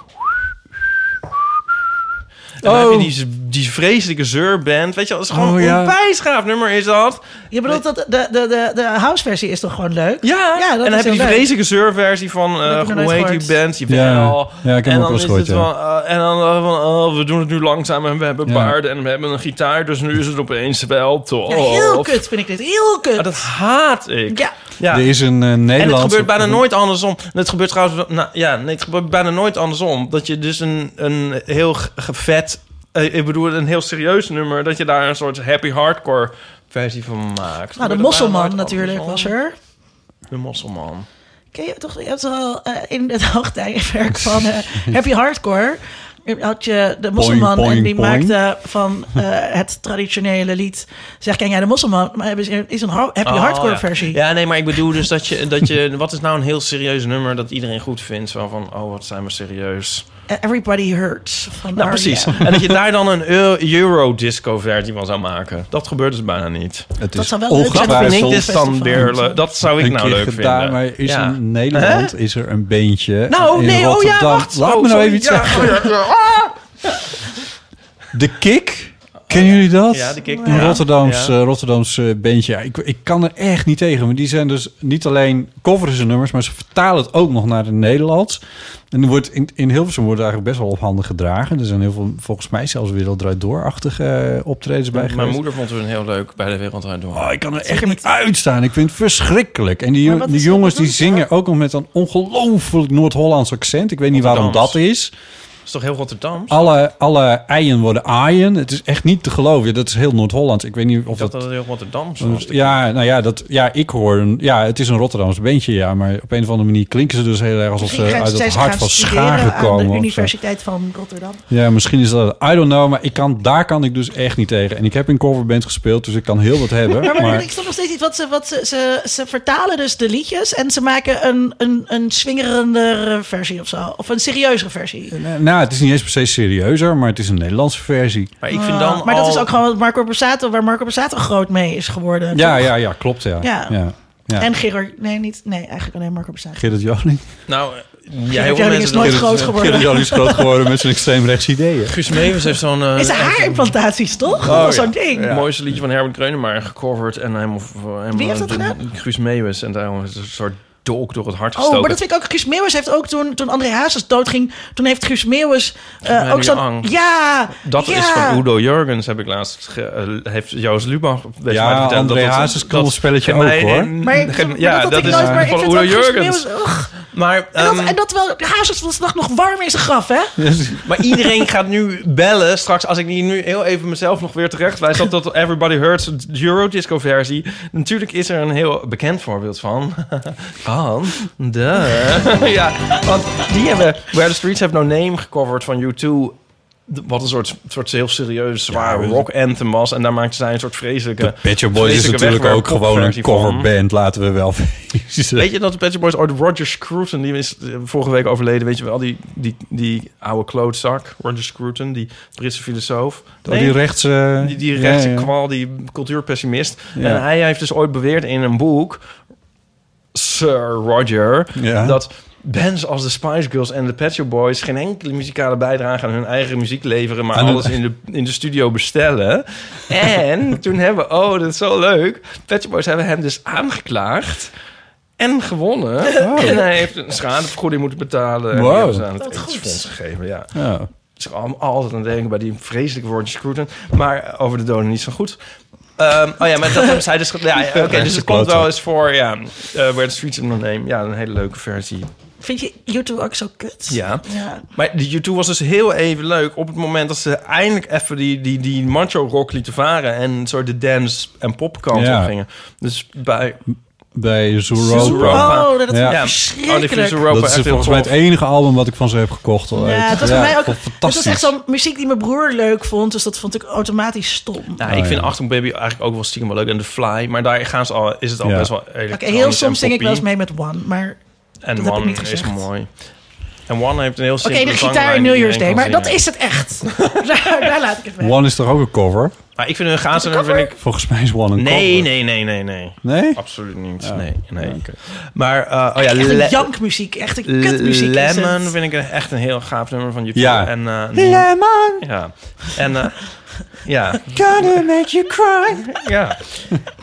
en dan heb je die, die vreselijke zeurband. Weet je, wel, dat is gewoon Oh, een ja. onwijs gaaf nummer is dat. Je bedoelt dat de, de, de, de houseversie is toch gewoon leuk? Ja, Ja, dat en dan heb je is heel die leuk. vreselijke zeurversie van heb ik eh nog hoe nooit heet die gehoord. band? Je Ja. wel. Ja, ik heb hem ook en dan wel eens is het gehoord, van, eh, en dan eh, van, oh, we doen het nu langzaam en we hebben Ja. paarden en we hebben een gitaar. Dus nu is het opeens wel tof. Ja, heel kut vind ik dit. Heel kut. Ah, dat haat ik. Ja. Ja. Er is een eh, En het Nederlandse... gebeurt bijna nooit andersom. En het gebeurt trouwens, wel- nou, ja, nee, het gebeurt bijna nooit andersom. Dat je dus een, een heel ge- gevet, eh, ik bedoel een heel serieus nummer, dat je daar een soort happy hardcore versie van maakt. nou, de Gebeurt bijna Mosselman nooit natuurlijk was andersom. er. De Mosselman. Ken je toch? Je hebt wel eh, in het [laughs] hoogtijwerk [laughs] van eh, Happy Hardcore. Had je de Mosselman Boing, en boing, die boing. maakte van eh, het traditionele lied. Zeg, ken jij de Mosselman? Maar hebben ze- is een ho- Happy Oh, Hardcore ja. versie. Ja, nee, maar ik bedoel dus dat je, dat je... Wat is nou een heel serieus nummer dat iedereen goed vindt? Zo van, oh, wat zijn we [laughs] serieus. Eh, Everybody Hurts. Van Nou, R.E.M. precies. En dat je daar dan een Eu- Eurodisco-versie van zou maken. Dat gebeurt dus bijna niet. Het Dat is zou wel leuk zijn. Dat vind ik ongetwijfeld dus dan weer... le- Dat zou ik een nou keer leuk gedaan, vinden. maar is Ja. in Nederland is er een beentje Nou, in nee, oh ja, Rotterdam. wacht. Laat Oh, me nou sorry. even iets Ja, zeggen. oh, ja, ja. [laughs] De Kick. Kennen jullie dat? Ja, de Kick, Een ja. Rotterdams, Ja. eh, Rotterdams eh, bandje. Ja, ik, ik kan er echt niet tegen. Maar die zijn dus niet alleen coveren ze nummers... maar ze vertalen het ook nog naar het Nederlands. En er wordt in, in Hilversum wordt eigenlijk best wel op handen gedragen. Er zijn heel veel, volgens mij zelfs werelddraaidoorachtige eh, optredens bij Mijn geweest. moeder vond het dus een heel leuk bij de Wereld Draait Door. Oh, ik kan er echt niet uitstaan. Ik vind het verschrikkelijk. En die, Maar wat die is- jongens wat die doen ze dan? zingen ook nog met een ongelooflijk Noord-Hollands accent. Ik weet niet waarom dat Rotterdams. is. Dat is toch heel Rotterdams? Alle, alle eien worden aaien. Het is echt niet te geloven. Dat is heel Noord-Hollands. Ik weet niet of Ik dacht dat... dat het heel Rotterdams was. Ja, nou ja, dat, ja, ik hoor... Een, ja, het is een Rotterdams bandje, ja. Maar op een of andere manier klinken ze dus heel erg... alsof ze Misschien gaan uit ze het zijn ze hart gaan van studeren Schaar aan gekomen. de of zo. Universiteit van Rotterdam. Ja, misschien is dat... I don't know, maar ik kan, daar kan ik dus echt niet tegen. En ik heb in coverband gespeeld, dus ik kan heel wat hebben. [laughs] Maar, maar, maar- ik snap nog steeds niet wat ze... Wat ze, ze, ze vertalen dus de liedjes en ze maken een, een, een swingerender versie of zo. Of een serieuzere versie. Nou, het is niet eens per se serieuzer, maar het is een Nederlandse versie. Maar ik vind dan Ah, maar al... dat is ook gewoon wat Marco Borsato, waar Marco Borsato groot mee is geworden. Ja, toch? ja, ja, klopt, ja. Ja. ja. ja. En Gerard... Nee, niet, nee eigenlijk alleen Marco Borsato. Gerrit Joling. Eh, Nou, ja, heel veel Gerard Joling is mensen... nooit dat- groot geworden. Gerrit Joling is groot geworden met zijn extreemrechts ideeën. Guus Meeuwis heeft zo'n... eh, Is zijn haarimplantaties, toch? dat was ja. zo'n ding. Het mooiste liedje van Herbert Grönemeyer gecoverd. En helemaal, helemaal Wie heeft dat de- gedaan? Guus Meeuwis. En daarom is het een soort dolk door het hart Oh, gestoken. maar dat vind ik ook. Guus Meeuwis heeft ook toen, toen André Hazes doodging. Toen heeft Guus Meeuwis eh, mij ook die zo'n. angst. Ja! Dat ja. is van Udo Jurgens, heb ik laatst... ge- eh, heeft Joost Lubach... weet Ja, mij verteld André dat dat- Hazes kan dat- ons spelletje geen- ook, hoor. geen- Maar ik, [laughs] ja, dat, had ik is nooit, maar ik van vind Udo wel Guus Jurgens. Meeuwis, ugh. Maar, En dat, ehm, en dat wel, Hazelsdag nog warm in zijn graf, hè? maar iedereen gaat nu bellen straks. Als ik niet nu heel even mezelf nog weer terecht wijs op dat Everybody Hurts de Eurodisco versie. Natuurlijk is er een heel bekend voorbeeld van. [laughs] Van de... [laughs] ja, want die hebben Where the Streets Have No Name gecoverd van U2... Wat een soort, soort heel serieus zwaar rock anthem was. En daar maakten zij een soort vreselijke... De Pet Shop Boys is vreselijke natuurlijk ook gewoon een wegwerppopversie van. coverband, laten we wel [laughs] wezen. Weet je dat de Pet Shop Boys ooit Roger Scruton, die is eh, vorige week overleden, weet je wel, die, die, die oude klootzak, Roger Scruton, die Britse filosoof. Oh, Nee, die rechts... eh, die, die rechtse ja, ja. kwal, die cultuurpessimist. Ja. En hij heeft dus ooit beweerd in een boek, Sir Roger, Ja. dat bands als de Spice Girls en de Pet Shop Boys geen enkele muzikale bijdrage aan hun eigen muziek leveren, maar Aan de- alles in de, in de studio bestellen. en toen hebben, we- oh, dat is zo leuk, Pet Shop Boys hebben hem dus aangeklaagd. En gewonnen. En hij heeft een schadevergoeding moeten betalen. En die Wow. hebben ze aan het Wat goed. Eetfonds gegeven. Ja. Ja. Dus ik al- altijd aan het denken bij die vreselijke woordjes Scruton. Maar over de doden niet zo goed. Ehm, oh ja, maar dat hebben zij dus... ge- [laughs] Ja, ja, oké, dus het komt wel eens voor, ja. eh Where the Streets Have No Name. Ja, een hele leuke versie. Vind je YouTube ook zo kut? Ja. ja. Maar de U2 was dus heel even leuk op het moment dat ze eindelijk even die, die, die macho rock lieten varen. En zo de dance en popkant Ja. op gingen. Dus bij... Bij Zooropa. Zooropa. Oh, dat is Ja. Ja, oh, die verschrikkelijk. Vries Europa Dat is echt heel volgens mij het tof. enige album wat ik van ze heb gekocht. al Ja, ooit. het was voor mij ook. Het was Fantastisch. echt zo'n muziek die mijn broer leuk vond. Dus dat vond ik automatisch stom. Nou, Oh, ik vind ja. Achtung Baby eigenlijk ook wel stiekem wel leuk. En The Fly. Maar daar gaan ze al, is het al Ja. best wel Oké, elektronisch heel en soms zing ik wel eens poppy. mee met One. Maar En Dat heb One ik niet is gezegd. mooi. En One heeft een heel oké, simpele de gitaar zanglijn in die New Year's Day. iedereen Maar kan zingen. dat is het echt. [laughs] daar, daar laat ik het bij. One is toch ook een cover? Maar ik vind hun gaas en vind ik... Volgens mij is One een Nee, cover. nee, nee, nee, nee. Nee? Absoluut niet. Nee, nee. Maar, eh, oh ja, Echt Le- een jankmuziek. Echt een kutmuziek. is het. Lemon vind ik een- echt een heel gaaf nummer van YouTube. Ja. En, eh, Lemon, ja. En, [laughs] eh, ja. gonna make you cry. [laughs] Ja.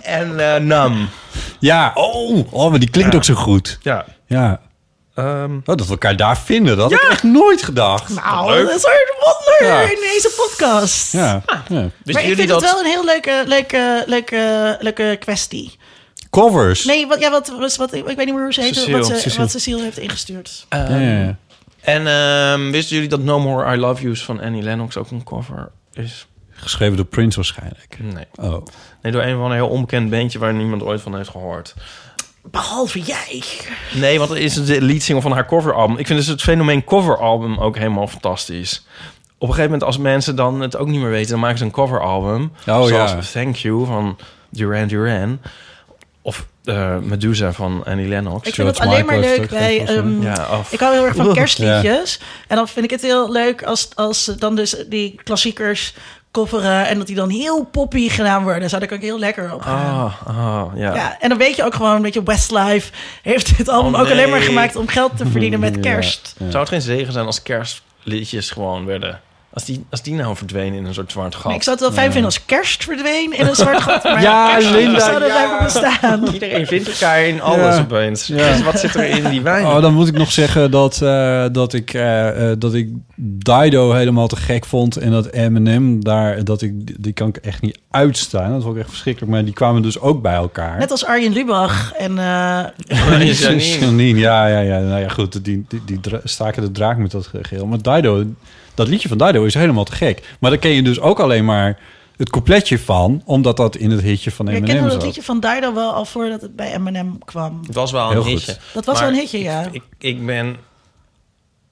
En eh Nam. Ja, oh, oh, maar die klinkt Ja. ook zo goed. Ja. Ja. Ehm, Oh, dat we elkaar daar vinden, dat had ik echt nooit gedacht. Nou, dat is een wonder Ja. in deze podcast. Ja. ja. wisten Maar ik jullie vind dat... het wel een heel leuke, leuke, leuke, leuke kwestie. Covers. Nee, wat, ja, wat, wat, wat- ik weet niet meer hoe ze heet. Cecile. Wat, ze, Cecile. wat Cecile heeft ingestuurd. Ja, ja, ja. En ehm, wisten jullie dat No More I Love You's van Annie Lennox ook een cover is? Geschreven door Prince waarschijnlijk. Nee. Oh. Nee, door een van een heel onbekend bandje waar niemand ooit van heeft gehoord. Behalve jij. Nee, want het is de leadsingle van haar coveralbum. Ik vind dus het fenomeen coveralbum ook helemaal fantastisch. Op een gegeven moment, als mensen dan het ook niet meer weten, dan maken ze een coveralbum. Oh, zoals ja. Thank You van Duran Duran. Of eh, Medusa van Annie Lennox. Ik vind George het alleen maar Michael leuk heeft ook bij... wel zo'n- ehm, Ja, of- Ik hou heel erg van kerstliedjes. En dan vind ik het heel leuk als, als ze dan dus die klassiekers kofferen... en dat die dan heel poppy gedaan worden. Zou ik ook heel lekker op. gaan. Ah, ah, ja. Ja, en dan weet je ook gewoon, weet je, Westlife heeft dit album Oh, ook alleen maar nee. gemaakt om geld te verdienen met kerst. Zou het geen zegen zijn als kerstliedjes gewoon werden... Als die, als die nou verdwenen in een soort zwart gat. Maar ik zou het wel fijn vinden als kerst verdween in een zwart gat. Maar Ja, kerstliedjes Linda, [laughs] zouden blijven bestaan. Iedereen vindt elkaar in alles Ja. opeens. Ja. Dus wat zit er in die wijn? [laughs] Oh, dan moet ik nog zeggen dat, eh, dat, ik, eh, eh, dat ik Dido helemaal te gek vond. En dat Eminem, daar, dat ik, die kan ik echt niet uitstaan. Dat vond ik echt verschrikkelijk. Maar die kwamen dus ook bij elkaar. Net als Arjen Lubach en eh, Oranje Janine. Janine, ja, ja, ja. Nou ja, goed, die, die, die dra- staken de draak met dat ge- geheel. Maar Dido, dat liedje van Dido is helemaal te gek. Maar daar ken je dus ook alleen maar het coupletje van, omdat dat in het hitje van Maar Ik Eminem kende dat zat. liedje van Dido wel al voordat het bij Eminem kwam. Het was wel een Heel goed. hitje. Dat was Maar wel een hitje, ja. Ik, ik ben...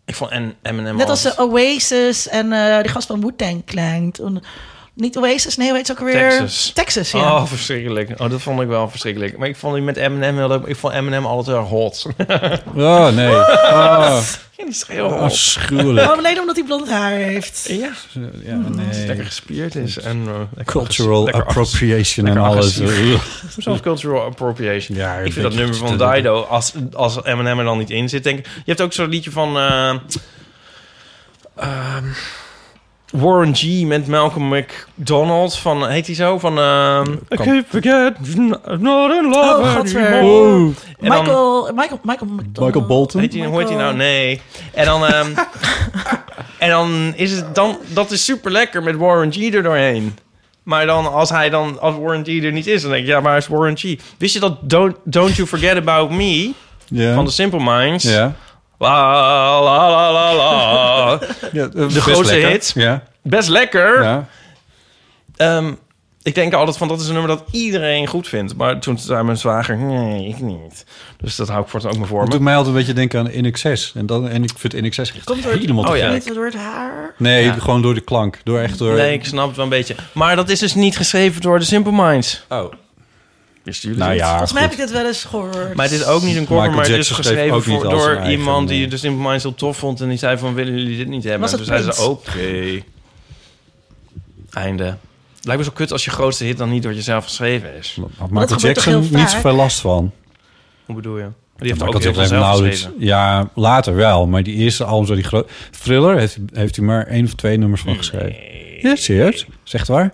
Ik vond M&M en Eminem Net als altijd- de Oasis en eh, die gast van Wu-Tang Clan. Toen- Niet Oasis, nee, hoe heet ze ook weer? Texas. Texas, ja. Oh, verschrikkelijk. Oh, dat vond ik wel verschrikkelijk. Maar ik vond die met Eminem heel leuk. Ik vond Eminem altijd heel hot. [laughs] Oh, [laughs] nee. Oh, die is heel hot. afschuwelijk. Gewoon alleen Oh, omdat hij blond haar heeft. Ja, Ja, Mm. die nee. lekker gespierd is. En, eh, lekker Cultural lekker agressief. appropriation en lekker alles. Hoezo cultural appropriation? Ja, ik een vind dat beetje nummer van te- Dido, als, als Eminem er dan niet in zit, denk ik... Je hebt ook zo'n liedje van... eh, ehm, Warren G. met Malcolm McDonald. Van, heet hij zo? Van... ehm, I keep forget, I'm not in love Oh, godver. anymore. Oeh. En dan- Michael, Michael, Michael McDonald. Michael Bolton. Heet die, hoe heet die nou? Michael. Nee. En dan, ehm, en dan is het dan, dat is super lekker met Warren G er doorheen. Maar dan als hij dan, als Warren G er niet is, dan denk ik, ja, waar is Warren G? Wist je dat Don't, Don't You Forget About Me Ja. van de Simple Minds. Ja. La, la, la, la, [laughs] la. ja de grootste hit. Ja. Best lekker. ja. Ehm, ik denk altijd van dat is een nummer dat iedereen goed vindt. Maar toen zei mijn zwager, nee, ik niet. Dus dat hou ik voortaan ook me voor Dat doet me. mij altijd een beetje denken aan NXS. En, dan, en ik vind NXS echt Komt door het, helemaal te Oh ja. gek. komt door het haar. Nee, Ja. gewoon door de klank. Door echt door... Nee, ik snap het wel een beetje. Maar dat is dus niet geschreven door de Simple Minds. Oh. Wisten jullie Nou dit? ja, Volgens mij heb goed. ik dit wel eens gehoord. Maar het is ook niet een cover, Michael maar het is Jackson schreef geschreven ook niet voor- als door zijn eigen, iemand die nee. de Simple Minds heel tof vond. En die zei van, willen jullie dit niet hebben? Was en dat toen zei ze, Prince? oké. Einde. Lijkt me zo kut als je grootste hit dan niet door jezelf geschreven is. Had dat Michael gebeurt toch heel Jackson vaak? niet zoveel last van. Hoe bedoel je? Die heeft Michael ook heel veel Jackson zelf nauwelijks- geschreven. Ja, later wel. Maar die eerste albums, waar die groot... Thriller heeft, heeft hij maar één of twee nummers van geschreven. Ja, serieus. Zegt waar?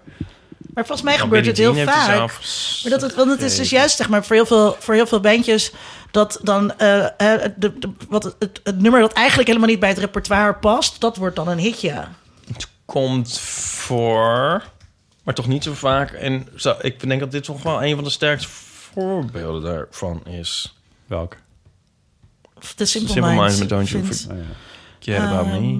Maar volgens mij Nou, gebeurt het Billie heel Jean heeft hij vaak. zelf Maar dat het, want het is dus geschreven. juist, zeg maar, voor heel veel, voor heel veel bandjes... dat dan eh, eh, de, de- wat, het, het, het nummer dat eigenlijk helemaal niet bij het repertoire past... dat wordt dan een hitje. komt voor, maar toch niet zo vaak. En zo, ik denk dat dit toch wel een van de sterkste voorbeelden daarvan is. Welke? Of The Simple, Simple Minds. Minds met Don't You vindt- Forget About Me. Ehm,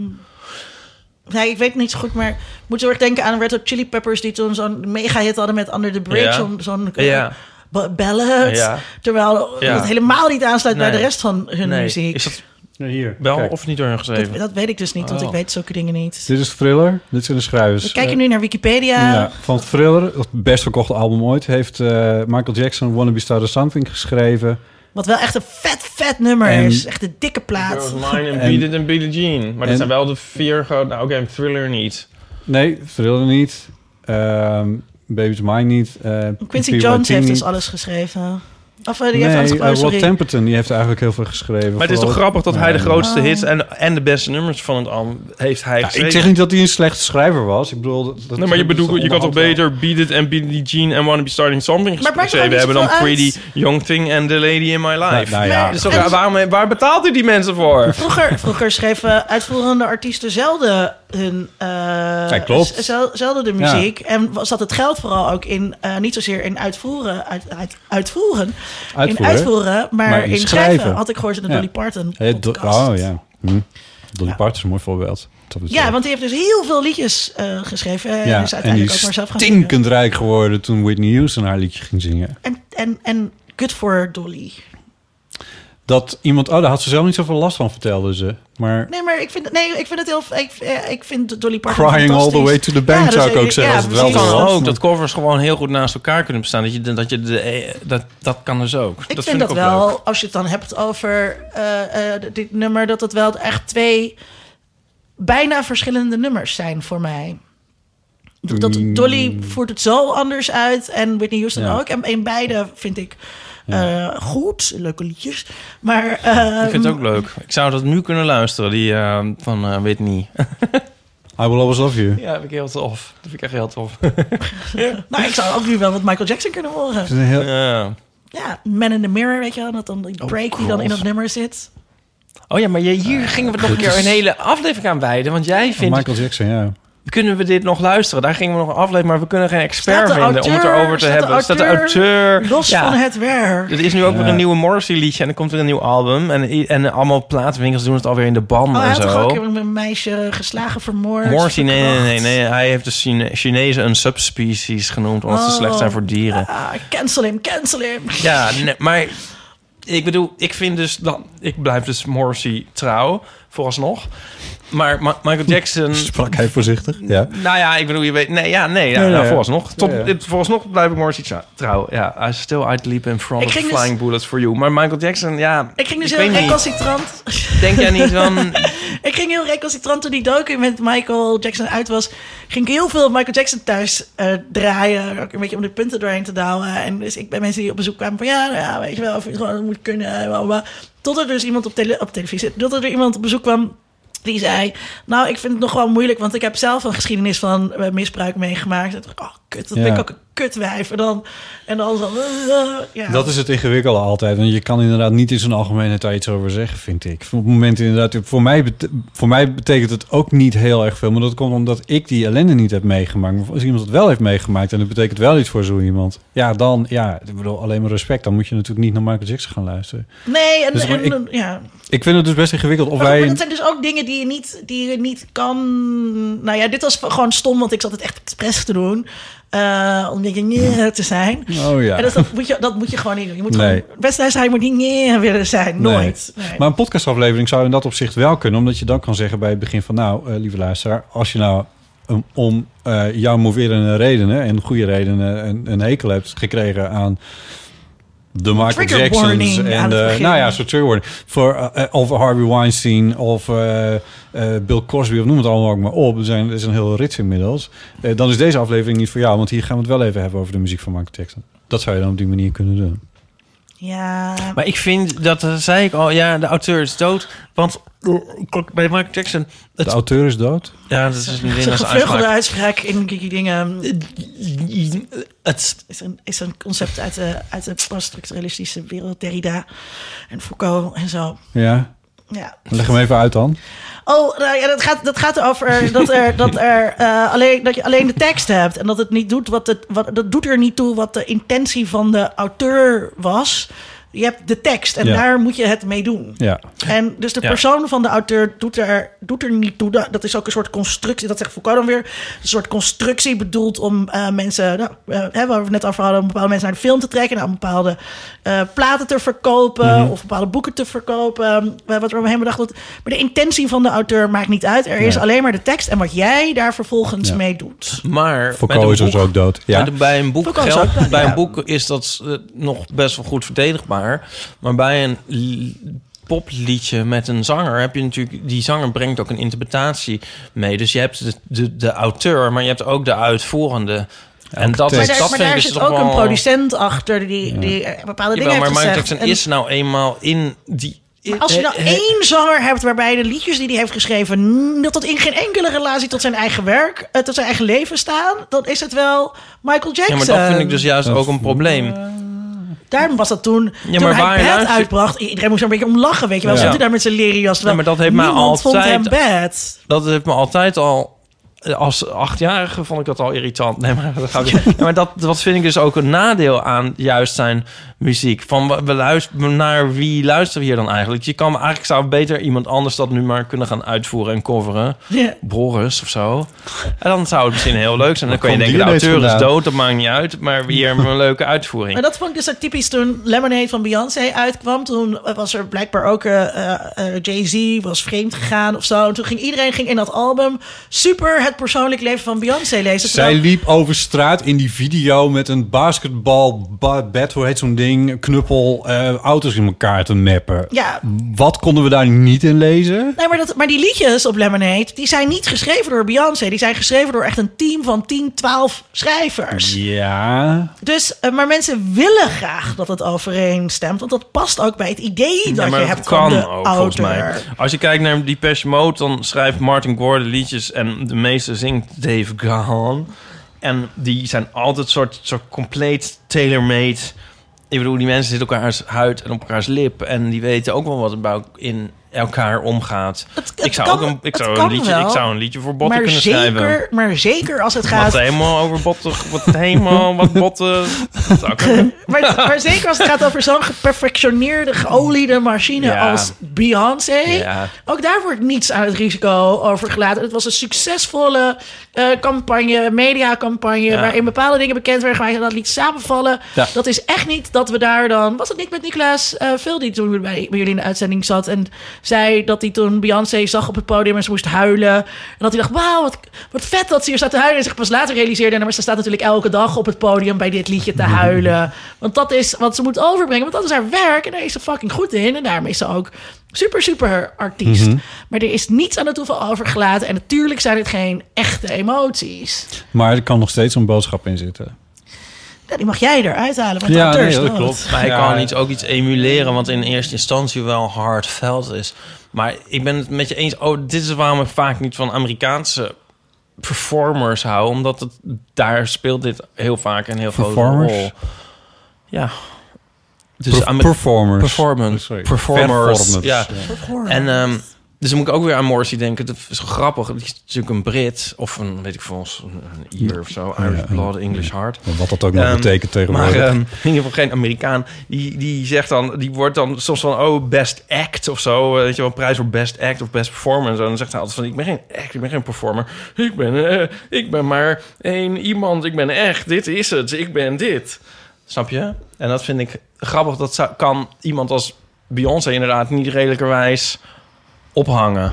Nee, ik weet het niet zo goed, maar ik moet heel erg denken aan Red Hot Chili Peppers... die toen zo'n mega-hit hadden met Under the Bridge. Ja. Zo'n zo'n, eh, Ja. ba- ballad. Ja. Terwijl Ja. het helemaal niet aansluit bij Nee. de rest van hun Nee, muziek. is dat hier. wel of niet door hen geschreven? dat, dat weet ik dus niet, want Oh. ik weet zulke dingen niet. Dit is Thriller. Dit zijn de schrijvers. We kijken nu naar Wikipedia. Dus, eh, Ja, van Thriller, het best verkochte album ooit, heeft eh, Michael Jackson Wanna Be Star of Something geschreven. Wat wel echt een vet, vet nummer En- is. Echt een dikke plaat. Girls Mine en En- Beat It en Billie Jean. Maar dat en- zijn wel de vier grote... Nou, oké, een Thriller niet. Nee, Thriller niet. ehm, Baby's Mine niet. eh, Quincy PYT Jones heeft niet. dus alles geschreven. Of eh, die Nee, heeft alles eh, geplozen, Rod sorry. Temperton die heeft eigenlijk heel veel geschreven. Maar het is toch Vooral- grappig dat hij de Ja. grootste Oh. hits en, en de beste nummers van het album heeft hij Ja, geschreven. ik zeg niet dat hij een slechte schrijver was. Ik bedoel, dat, dat- Nee, maar je, bedoelt, je kan toch onderhand wel. beter Beat It en Billie Jean en Wanna Be Starting Something Maar het maakt geschreven toch ook hebben niet dan zoveel Pretty Young Thing en The Lady in My Nou, Life. nou ja, Dus toch, waarom, waar betaalt u die mensen voor? Vroeger, vroeger schreven uitvoerende artiesten zelden hun... eh, Ja, klopt. z- zel- zelden de muziek. En zat het geld vooral ook in... eh, niet zozeer in uitvoeren, uit, uit- uitvoeren, In Uitvoeren. uitvoeren, maar, Maar in in schrijven. schrijven. Had ik gehoord in de Ja. Dolly Parton Hey, do- podcast. oh ja. Hm. Dolly Ja. Parton is een mooi voorbeeld. Dat betreft. Ja, want die heeft dus heel veel liedjes eh, geschreven. En Ja, is en die uiteindelijk ook maar is zelf gaan zingen. stinkend rijk geworden toen Whitney Houston haar liedje ging zingen. En, en, en good for Dolly. Dat iemand, oh, daar had ze zelf niet zoveel last van, vertelde ze. Maar Nee, maar ik vind, nee, ik vind het heel... Ik, eh, ik vind Dolly Parton Crying all the fantastisch. way to the bank zou ik ook zeggen, als het wel precies. zo was. ook dat covers gewoon heel goed naast elkaar kunnen bestaan. Dat, je, dat, je de, eh, dat, dat kan dus ook. Ik dat vind dat ik ook wel, leuk. als je het dan hebt over eh, eh, dit nummer... dat het wel echt twee bijna verschillende nummers zijn voor mij. Dat- Dat Dolly voert het zo anders uit en Whitney Houston Ja. ook. En in beide vind ik eh, goed, leuke liedjes. Maar eh, Ik vind het ook leuk. Ik zou dat nu kunnen luisteren, die eh, van eh, Whitney. I Will Always Love You. Ja, dat vind ik heel tof. Dat vind ik echt heel tof. nou, ik zou ook nu wel wat Michael Jackson kunnen horen. Het is een heel- Ja. Ja, Man in the Mirror, weet je wel. Dat dan die break die dan in dat nummer zit. Oh ja, maar je- hier gingen we nog een keer een hele aflevering aan wijden. Want jij vindt, Michael Jackson, ja. kunnen we dit nog luisteren? Daar gingen we nog een aflevering, maar we kunnen geen expert Staat de vinden om het auteur- erover te staat de hebben. Er staat de auteur. Los Ja. van het werk. Er is nu ook weer Ja. een nieuwe Morrissey liedje en er komt weer een nieuw album. En, i- en allemaal platenwinkels doen het alweer in de ban Oh, hij en had toch ook een zo. keer met een meisje geslagen, vermoord. Morrissey, nee, nee, nee, verkracht? nee. Hij heeft de Chine Chinezen een subspecies genoemd omdat ze Oh. slecht zijn voor dieren. Ah, cancel hem, cancel hem. Ja, nee, maar ik bedoel, ik vind dus dan, ik blijf dus Morrissey trouw, vooralsnog. Maar Ma- [laughs] Michael Jackson. Sprak hij voorzichtig. Ja. Nou ja, ik bedoel, je weet... Nee, ja, nee, ja, Nee, nou, ja. vooralsnog. Tot, Ja, ja. dit- Vooralsnog blijf ik Morrissey tra- trouw. Ja, I still outleap in front Ik of ging flying dus- bullets for you. Maar Michael Jackson, ja... Ik ging dus ik heel weet niet. recalcitrant. Denk jij niet van... [laughs] ik ging heel recalcitrant toen die docu met Michael Jackson uit was. Ging ik heel veel Michael Jackson thuis eh, draaien. Ook een beetje om de punten doorheen te douwen. En dus ik bij mensen die op bezoek kwamen van ja, nou ja weet je wel, of je het gewoon moet kunnen. eh, bla, bla, bla. Tot er dus iemand op, tele op televisie, tot er iemand op bezoek kwam. Die zei, nou, ik vind het nog wel moeilijk, want ik heb zelf een geschiedenis van eh, misbruik meegemaakt. En toen dacht ik, oh, kut, dat Ja. ben ik ook een kutwijf. En dan, en dan zo... eh, ja. Dat is het ingewikkelde altijd. Want je kan inderdaad niet in zijn algemene tijd iets over zeggen, vind ik. Op het moment inderdaad, voor mij, bete- voor mij betekent het ook niet heel erg veel. Maar dat komt omdat ik die ellende niet heb meegemaakt. Maar als iemand het wel heeft meegemaakt en dat betekent wel iets voor zo iemand. Ja, dan, ja, ik bedoel, alleen maar respect. Dan moet je natuurlijk niet naar Michael Jackson gaan luisteren. Nee, en, Dus maar en, ik- ja. Ik vind het dus best ingewikkeld of Maar goed, wij... maar dat zijn dus ook dingen die je, niet, die je niet kan... Nou ja, dit was gewoon stom, want ik zat het echt expres te doen. eh, om een beetje nee te zijn. Oh ja. En dat, dat, moet je, dat moet je gewoon niet doen. Je moet Nee. gewoon... Best luisteraar, je moet niet nee willen zijn. Nee. Nooit. Nee. Maar een podcastaflevering zou in dat opzicht wel kunnen. Omdat je dan kan zeggen bij het begin van... nou, eh, lieve luisteraar, als je nou um, om eh, jouw moverende redenen... en goede redenen een, een hekel hebt gekregen aan... De Michael Trigger Jacksons warning en aan het de, begin. nou ja, soort trigger warning. Voor, eh, eh, of Harvey Weinstein of eh, eh, Bill Cosby of noem het allemaal ook maar op. Er, zijn, er is een heel rits inmiddels. Eh, dan is deze aflevering niet voor jou, want hier gaan we het wel even hebben over de muziek van Michael Jackson. Dat zou je dan op die manier kunnen doen. Ja. Maar ik vind, dat eh, zei ik al, ja, de auteur is dood. Want bij Michael Jackson... De auteur is dood. Ja, dat is een Het is een Nederlandse gevleugelde uitspraak. uitspraak in Kiki Dingen. Het, Is een, is een concept uit de, uit de poststructuralistische wereld. Derrida en Foucault en zo. Ja, Ja. leg hem even uit dan. Oh, nou ja, dat gaat, dat gaat erover eh, dat, [laughs] er, dat, er, eh, alleen, dat je alleen de tekst hebt. En dat het niet doet wat het. Wat, dat doet er niet toe wat de intentie van de auteur was. Je hebt de tekst en Ja. daar moet je het mee doen. Ja. En dus de Ja. persoon van de auteur doet er, doet er niet toe. Dat- Dat is ook een soort constructie. Dat zegt Foucault dan weer. Een soort constructie bedoeld om eh, mensen... Nou, eh, hè, waar we het net over hadden... om bepaalde mensen naar de film te trekken. nou, Om bepaalde eh, platen te verkopen. Mhm. Of bepaalde boeken te verkopen. eh, Wat er omheen bedacht wordt. Maar de intentie van de auteur maakt niet uit. Er is Nee. alleen maar de tekst. En wat jij daar vervolgens Ja. mee doet. maar bij Foucault een is ons boek- ook dood. Ja. Bij, de- bij een boek Foucault is geldt- ook dood, bij ja. een boek is dat eh, nog best wel goed verdedigbaar. Maar bij een l- popliedje met een zanger heb je natuurlijk... Die zanger brengt ook een interpretatie mee. Dus je hebt de, de, de auteur, maar je hebt ook de uitvoerende. en dat, tekst. Maar dat daar, maar vind daar ik dus zit toch ook een wel- producent achter... die, die eh, bepaalde dingen Jawel, maar heeft Michael gezegd. Jackson En- is nou eenmaal in die... Maar Als je Eh, nou één zanger hebt waarbij de liedjes die hij heeft geschreven... mm, dat dat in geen enkele relatie tot zijn eigen werk, eh, tot zijn eigen leven staan... dan is het wel Ja, Michael Jackson. maar dat vind ik dus eh, juist ook een probleem. Daarom was dat toen, Ja, toen maar waar hij Bad luister- uitbracht... iedereen moest er een beetje om lachen, weet je wel. Ja. Zat hij daar met zijn leren jas, terwijl Ja, maar dat heeft mij niemand vond hem altijd- bad. Dat heeft me altijd al... Als achtjarige vond ik dat al irritant. Nee, maar dat [laughs] gaat weer. Ja, maar dat, dat vind ik dus ook een nadeel aan juist zijn muziek. Van wa- we luisteren, naar wie luisteren we hier dan eigenlijk? Je kan eigenlijk zou beter iemand anders dat nu maar kunnen gaan uitvoeren en coveren. Ja. Boris of zo. En dan zou het misschien heel leuk zijn. Dan kun je komt denken, de die ineens auteur is vandaan? dood, dat maakt niet uit. [laughs] Maar wie heeft een leuke uitvoering. Maar dat vond ik dus ook typisch toen Lemonade van Beyoncé uitkwam. Toen was er blijkbaar ook eh, eh, eh, Jay-Z was vreemd gegaan of zo. En toen ging iedereen ging in dat album super het persoonlijk leven van Beyoncé lezen. Zij Terwijl- liep over straat in die video met een basketbal, ba- bed, hoe heet zo'n ding, knuppel, eh, auto's in elkaar te meppen. ja, Wat konden we daar niet in lezen? Nee, maar, dat, maar die liedjes op Lemonade, die zijn niet geschreven door Beyoncé. Die zijn geschreven door echt een team van 10, 12 schrijvers. Ja. Dus, eh, maar mensen willen graag dat het overeenstemt. Want dat past ook bij het idee dat Ja, maar je dat hebt van de kan ook, volgens auteur. mij. Als je kijkt naar Depeche Mode, dan schrijft Martin Gore de liedjes... en de meeste zingt Dave Gahan. En die zijn altijd soort, soort compleet tailor-made. Ik bedoel, die mensen zitten op elkaars huid en op elkaars lip... en die weten ook wel wat er bij elk- in elkaar omgaat. Het- het ik, zou kan- ook een, ik, het zou kan een liedje, wel. ik zou een liedje voor botten Maar kunnen schrijven. zeker, maar zeker als het Wat gaat... helemaal over botten, wat helemaal, [laughs] wat botten. Dat zou kunnen. Maar, [laughs] maar zeker als het gaat over zo'n geperfectioneerde, geoliede machine Ja. als Beyoncé. Ja. Ook daar wordt niets aan het risico over gelaten. Het was een succesvolle eh, campagne, mediacampagne, waarin bepaalde dingen bekend werden gemaakt en dat liet samenvallen. Ja. Dat is echt niet dat we daar dan. Was het niet met Nicolaas eh Veel die toen bij, bij jullie in de uitzending zat en zei dat hij toen Beyoncé zag op het podium en ze moest huilen. En dat hij dacht, wauw, wat, wat vet dat ze hier staat te huilen. En zich pas later realiseerde, nou, maar ze staat natuurlijk elke dag op het podium bij dit liedje te huilen. Want dat is wat ze moet overbrengen, want dat is haar werk en daar is ze fucking goed in. En daarmee is ze ook super, super artiest. Maar er is niets aan het toeval overgelaten en natuurlijk zijn het geen echte emoties. Maar er kan nog steeds een boodschap in zitten. Nou, die mag jij eruit halen, want Ja, de auteur nee, is dat dood. klopt. Maar hij Ja, kan ja. niet ook iets emuleren wat in eerste instantie wel hardveld is. Maar ik ben het met je eens. Oh, dit is waarom ik vaak niet van Amerikaanse performers hou. Omdat het, daar speelt dit heel vaak een heel Performers? grote rol. Ja. Dus aan mijn- performers. Oh, Performance. Sorry. Performers. Performance. Ja. Performance. En ehm, dus dan moet ik ook weer aan Morrissey denken. Dat is grappig. Die is natuurlijk een Brit of een, weet ik veel, een een Ier of zo. Irish Ja. Blood, English Heart. Wat dat ook nog Ehm, betekent Maar tegenwoordig. ehm, in ieder geval geen Amerikaan. Die, die zegt dan, die wordt dan soms van, oh, best act of zo. eh, Weet je wel, een prijs voor best act of best performer. En zo. En dan zegt hij altijd van, ik ben geen act, ik ben geen performer. Ik ben, eh, ik ben maar één iemand, ik ben echt, dit is het, ik ben dit. Snap je? En dat vind ik grappig. Dat zou- kan iemand als Beyoncé inderdaad niet redelijkerwijs ophangen. Dat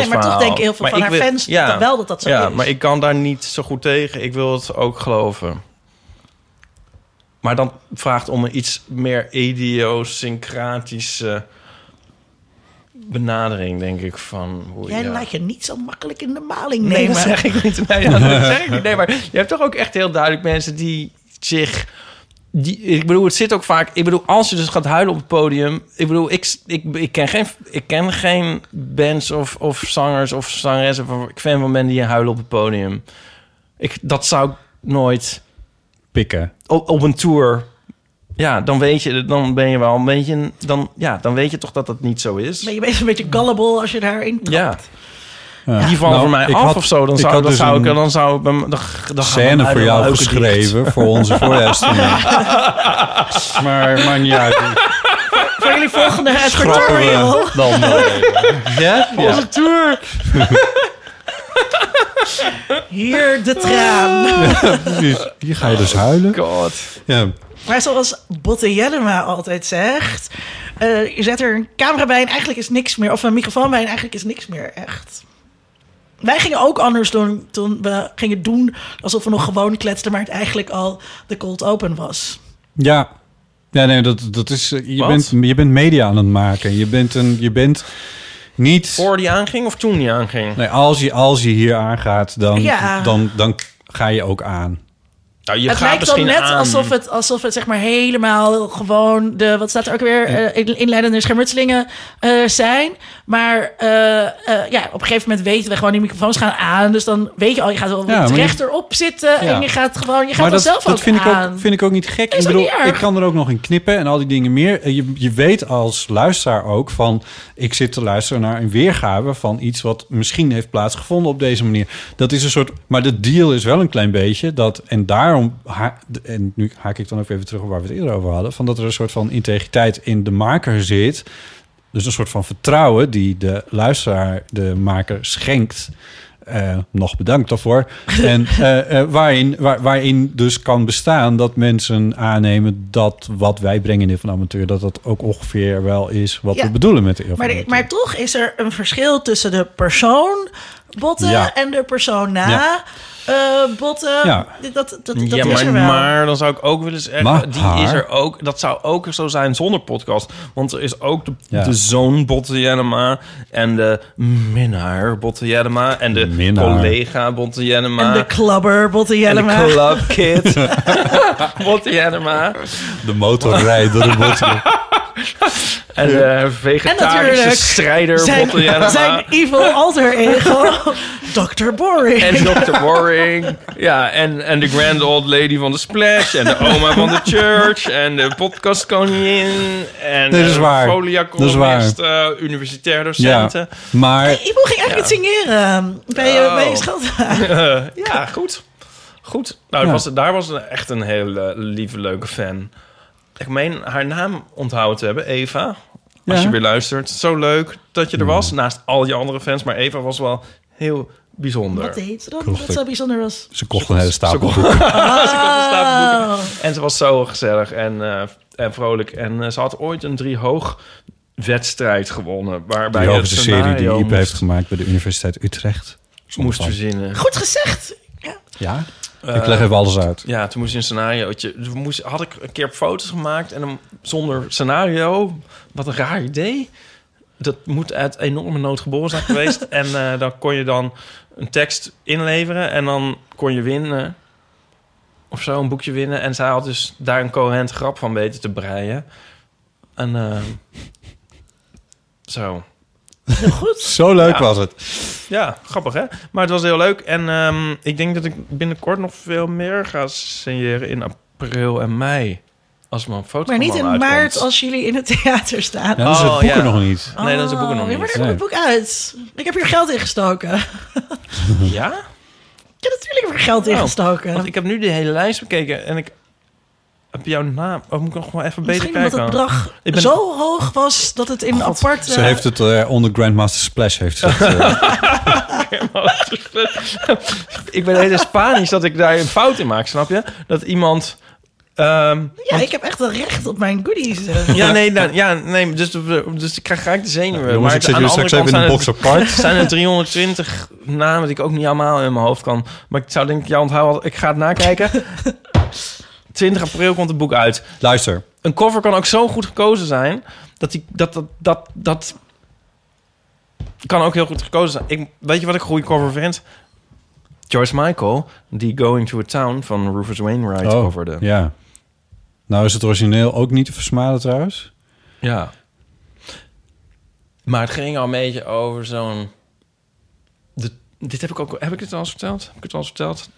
Nee, maar toch verhaal. denken heel veel Maar ik van haar fans dat wel dat dat zo ja, is. maar ik kan daar niet zo goed tegen. Ik wil het ook geloven. Maar dan vraagt om een iets meer idiosyncratische benadering, denk ik, van hoe Jij ja. laat je niet zo makkelijk in de maling nemen. [laughs] Nee, maar zeg ik niet. Nee, ja, dat zeg ik niet. Nee, maar je hebt toch ook echt heel duidelijk mensen die zich... Die, ik bedoel, het zit ook vaak... Ik bedoel, als je dus gaat huilen op het podium... Ik bedoel, ik, ik, ik, ken, geen, ik ken geen bands of, of zangers of zangeressen... Of, ik fan van mensen die huilen op het podium. Ik, dat zou ik nooit... Pikken. Op, op een tour... Ja, dan weet je... Dan ben je wel een beetje... een- Dan, ja, dan weet je toch dat dat niet zo is. Ben je best een beetje gullible als je daarin trapt. Ja. Ja. Die vallen Nou, voor mij ik af had- of zo. Dan ik zou, had dan dus zou ik... een- Dan zou ik... Dan, dan, dan gaan we scène voor huilen, jou leuke geschreven voor onze voorjuistering. maar maakt niet uit. Voor jullie [laughs] volgende Schrappen advertorial. we dan. eh, Ja? ja. tour. Hier de traan. precies. Hier ga je dus huilen. God. Ja. Maar zoals Botte Jellema altijd zegt... eh, je zet er een camera bij en eigenlijk is niks meer... of een microfoon bij en eigenlijk is niks meer echt. Wij gingen ook anders doen toen we gingen doen... alsof we nog gewoon kletsten... maar het eigenlijk al de cold open was. Ja. Ja, nee, dat, dat is... eh, Je Wat? bent, je bent media aan het maken. Je bent, een, je bent niet... Voor die aanging of toen die aanging? Nee, als je, als je hier aangaat, dan, Ja. dan, dan ga je ook aan. Nou, je het lijkt dan net alsof het, alsof het zeg maar helemaal gewoon de, wat staat er ook weer, eh, in- inleidende schermutselingen eh, zijn. Maar eh, eh, ja, op een gegeven moment weten we gewoon, die microfoons gaan aan. Dus dan weet je al, je gaat wel Ja, maar je- rechterop zitten Ja. en je gaat gewoon, je gaat maar wel dat, zelf dat ook vind aan. ik ook, vind ik ook niet gek. Is ik ook bedoel, niet erg. ik kan er ook nog in knippen en al die dingen meer. En Je, je weet als luisteraar ook van... ik zit te luisteren naar een weergave van iets... wat misschien heeft plaatsgevonden op deze manier. Dat is een soort... Maar de deal is wel een klein beetje dat... en daarom... ha- en nu haak ik dan ook even terug op waar we het eerder over hadden... van dat er een soort van integriteit in de maker zit... Dus een soort van vertrouwen die de luisteraar, de maker schenkt. Eh, nog bedankt [laughs] daarvoor. En eh, eh, waarin, waar, waarin dus kan bestaan dat mensen aannemen dat wat wij brengen in Eeuw van de Amateur, dat dat ook ongeveer wel is wat Ja. we bedoelen met de Eeuw van Maar, de de- Amateur. maar toch is er een verschil tussen de persoon botten Ja. en de persoon na Ja. eh, botten. Ja. Dat, dat, dat, dat ja, is maar, er wel. maar dan zou ik ook willen zeggen... Maar die haar- is er ook, dat zou ook zo zijn zonder podcast. Want er is ook de, Ja. de zoon Botte Jellema... en de minnaar Botte Jellema... en de Minnaar. collega Botte Jellema... en de klabber botten en de Jellema. clubkid [laughs] Botte Jellema... De motorrijder. en de vegetarische natuurlijk strijder Botte Jellema... eh, zijn, zijn evil alter [laughs] ego, Dr. Boring. [laughs] En Dr. Warring. Ja, en, en de grand old lady van de Splash. En de oma van de church. En de podcastkoningin. En Dat is de waar. folia-columnist, eh, universitair ja, docenten. [laughs] maar Ivo ging eigenlijk niet zingeren bij, eh, Oh. bij Schelda. Ja, goed. Goed. Nou, Ja. was, daar was een- echt een hele lieve, leuke fan. Ik meen haar naam onthouden te hebben, Eva. Als Ja. Hmm. je weer luistert. Zo leuk dat je er was. Naast al je andere fans. Maar Eva was wel heel bijzonder. Wat deed ze dan? Klopt. Dat zo bijzonder [laughs] was. ze kocht een hele stapel Ze boeken. Oh. En ze was zo gezellig en, eh, en vrolijk. En eh, ze had ooit een driehoog wedstrijd gewonnen. Waarbij Die het hoogste serie die scenario Iep heeft moest, gemaakt bij de Universiteit Utrecht. moest verzinnen. Eh, Goed gezegd. Ja. Ja, ik leg even alles uit. Ja, toen moest je een scenariootje. Dus moest, had ik een keer foto's gemaakt en dan zonder scenario. Wat een raar idee. Dat moet uit enorme nood geboren zijn geweest. en eh, dan kon je dan een tekst inleveren en dan kon je winnen. Of zo, een boekje winnen. En zij had dus daar een coherent grap van weten te breien. En eh, zo. Heel goed. Zo leuk Ja. was het. Ja, grappig hè? Maar het was heel leuk. En ehm, ik denk dat ik binnenkort nog veel meer ga signeren in april en mei. Als mijn foto Maar niet in maart als jullie in het theater staan. Ja, dan is het Oh, boek er ja. nog niet. Nee, dan is de boeken nog Oh, ja, Maar niet. daar komt het boek uit. Ik heb hier geld in gestoken. Ja? Ja, natuurlijk heb ik er geld in Oh, gestoken. Want ik heb nu de hele lijst bekeken en ik heb jouw naam. Oh, moet ik nog wel even beter Misschien omdat kijken? het bedrag Ik ben- zo hoog was dat het in een apart... Ze heeft het eh, onder Grandmaster Splash. Heeft ze het, eh, [laughs] ik ben helemaal Spanisch dat ik daar een fout in maak, snap je? Dat iemand. ehm, Ja, ik heb echt wel recht op mijn [laughs] goodies. eh. ja, nee, nou, ja, nee, dus, dus ik krijg graag de zenuwen. jongens, ik zet aan de jullie andere straks even kant in de zijn box het- apart. Het zijn er 320 namen die ik ook niet allemaal in mijn hoofd kan. Maar ik zou denk ik, ja, onthouden. Ik ga het [laughs] nakijken. 20 april komt het boek uit. Luister, Een cover kan ook zo goed gekozen zijn dat die, dat, dat, dat, dat kan ook heel goed gekozen zijn. Ik, weet je wat ik een goede cover vind? George Michael, die Going to a Town van Rufus Wainwright Oh, coverde. Ja. Ja. Nou is het origineel ook niet te versmaden trouwens. Maar het ging al een beetje over zo'n... de- Dit heb ik ook... Heb ik het al eens verteld? Heb ik het al eens verteld?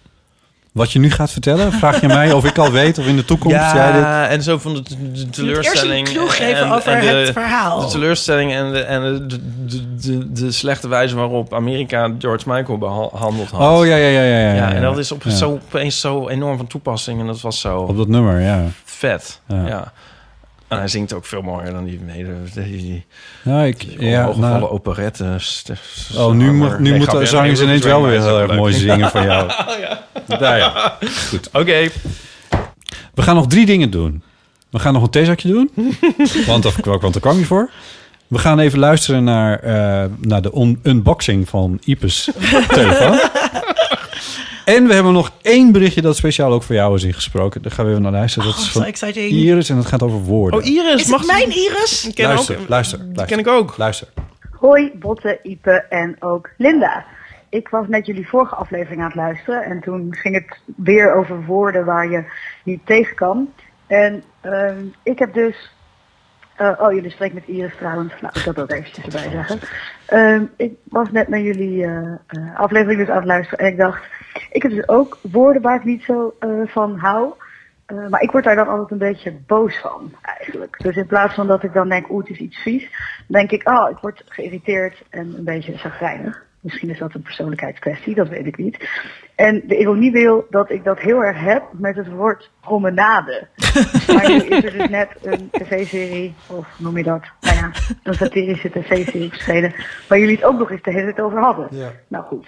Wat je nu gaat vertellen, vraag je mij of ik al weet of in de toekomst jij dit... ja, en zo van de, de- de Je moet eerst een teleurstelling... clue geven en- over en de- het verhaal. De teleurstelling en de, en de, de, de, de, de slechte wijze waarop Amerika George Michael behandeld had. Oh, ja, ja, ja, ja. ja, Ja, ja. en dat is op, Ja. zo, opeens zo enorm van toepassing. En dat was zo Op dat nummer, ja. vet. Ja. Ja. En hij zingt ook veel mooier dan die hele die, die, Nou, ik... die Ja, hooggevallen nou, operettes. dus- oh, nu, moet nu Nee, moet grapje. de zangers Nee, ineens Rufus wel weer heel Wainwright erg is [laughs] mooi leuk. zingen van jou. Nou ja. Oké. We gaan nog drie dingen doen. We gaan nog een theezakje doen. want, of, want daar kwam je voor. We gaan even luisteren naar, eh, naar de un- unboxing van Ipes telefoon. en we hebben nog één berichtje dat speciaal ook voor jou is ingesproken. Daar gaan we even naar luisteren. Dat Oh, is zo van exciting. Iris en dat gaat over woorden. Oh, Iris, Is mag het mijn Iris? Ik ken luister, ook, luister, Die luister. ken ik ook. Luister. Hoi Botte, Ipe en ook Linda. Ik was net jullie vorige aflevering aan het luisteren en toen ging het weer over woorden waar je niet tegen kan. En ehm, ik heb dus... eh, oh, jullie spreken met Iris trouwens. Nou, ik dat ook eventjes erbij zeggen. Ehm, ik was net naar jullie eh, eh, aflevering dus aan het luisteren en ik dacht... Ik heb dus ook woorden waar ik niet zo eh, van hou. Eh, maar ik word daar dan altijd een beetje boos van, eigenlijk. Dus in plaats van dat ik dan denk, oeh, het is iets vies, denk ik, ah, ik word geïrriteerd en een beetje chagrijnig. Misschien is dat een persoonlijkheidskwestie, dat weet ik niet. En de ironie wil dat ik dat heel erg heb met het woord promenade. Maar nu is er dus net een tv-serie, of noem je dat, nou ja, een satirische tv-serie verschenen, waar jullie het ook nog eens de hele tijd over hadden. Nou goed.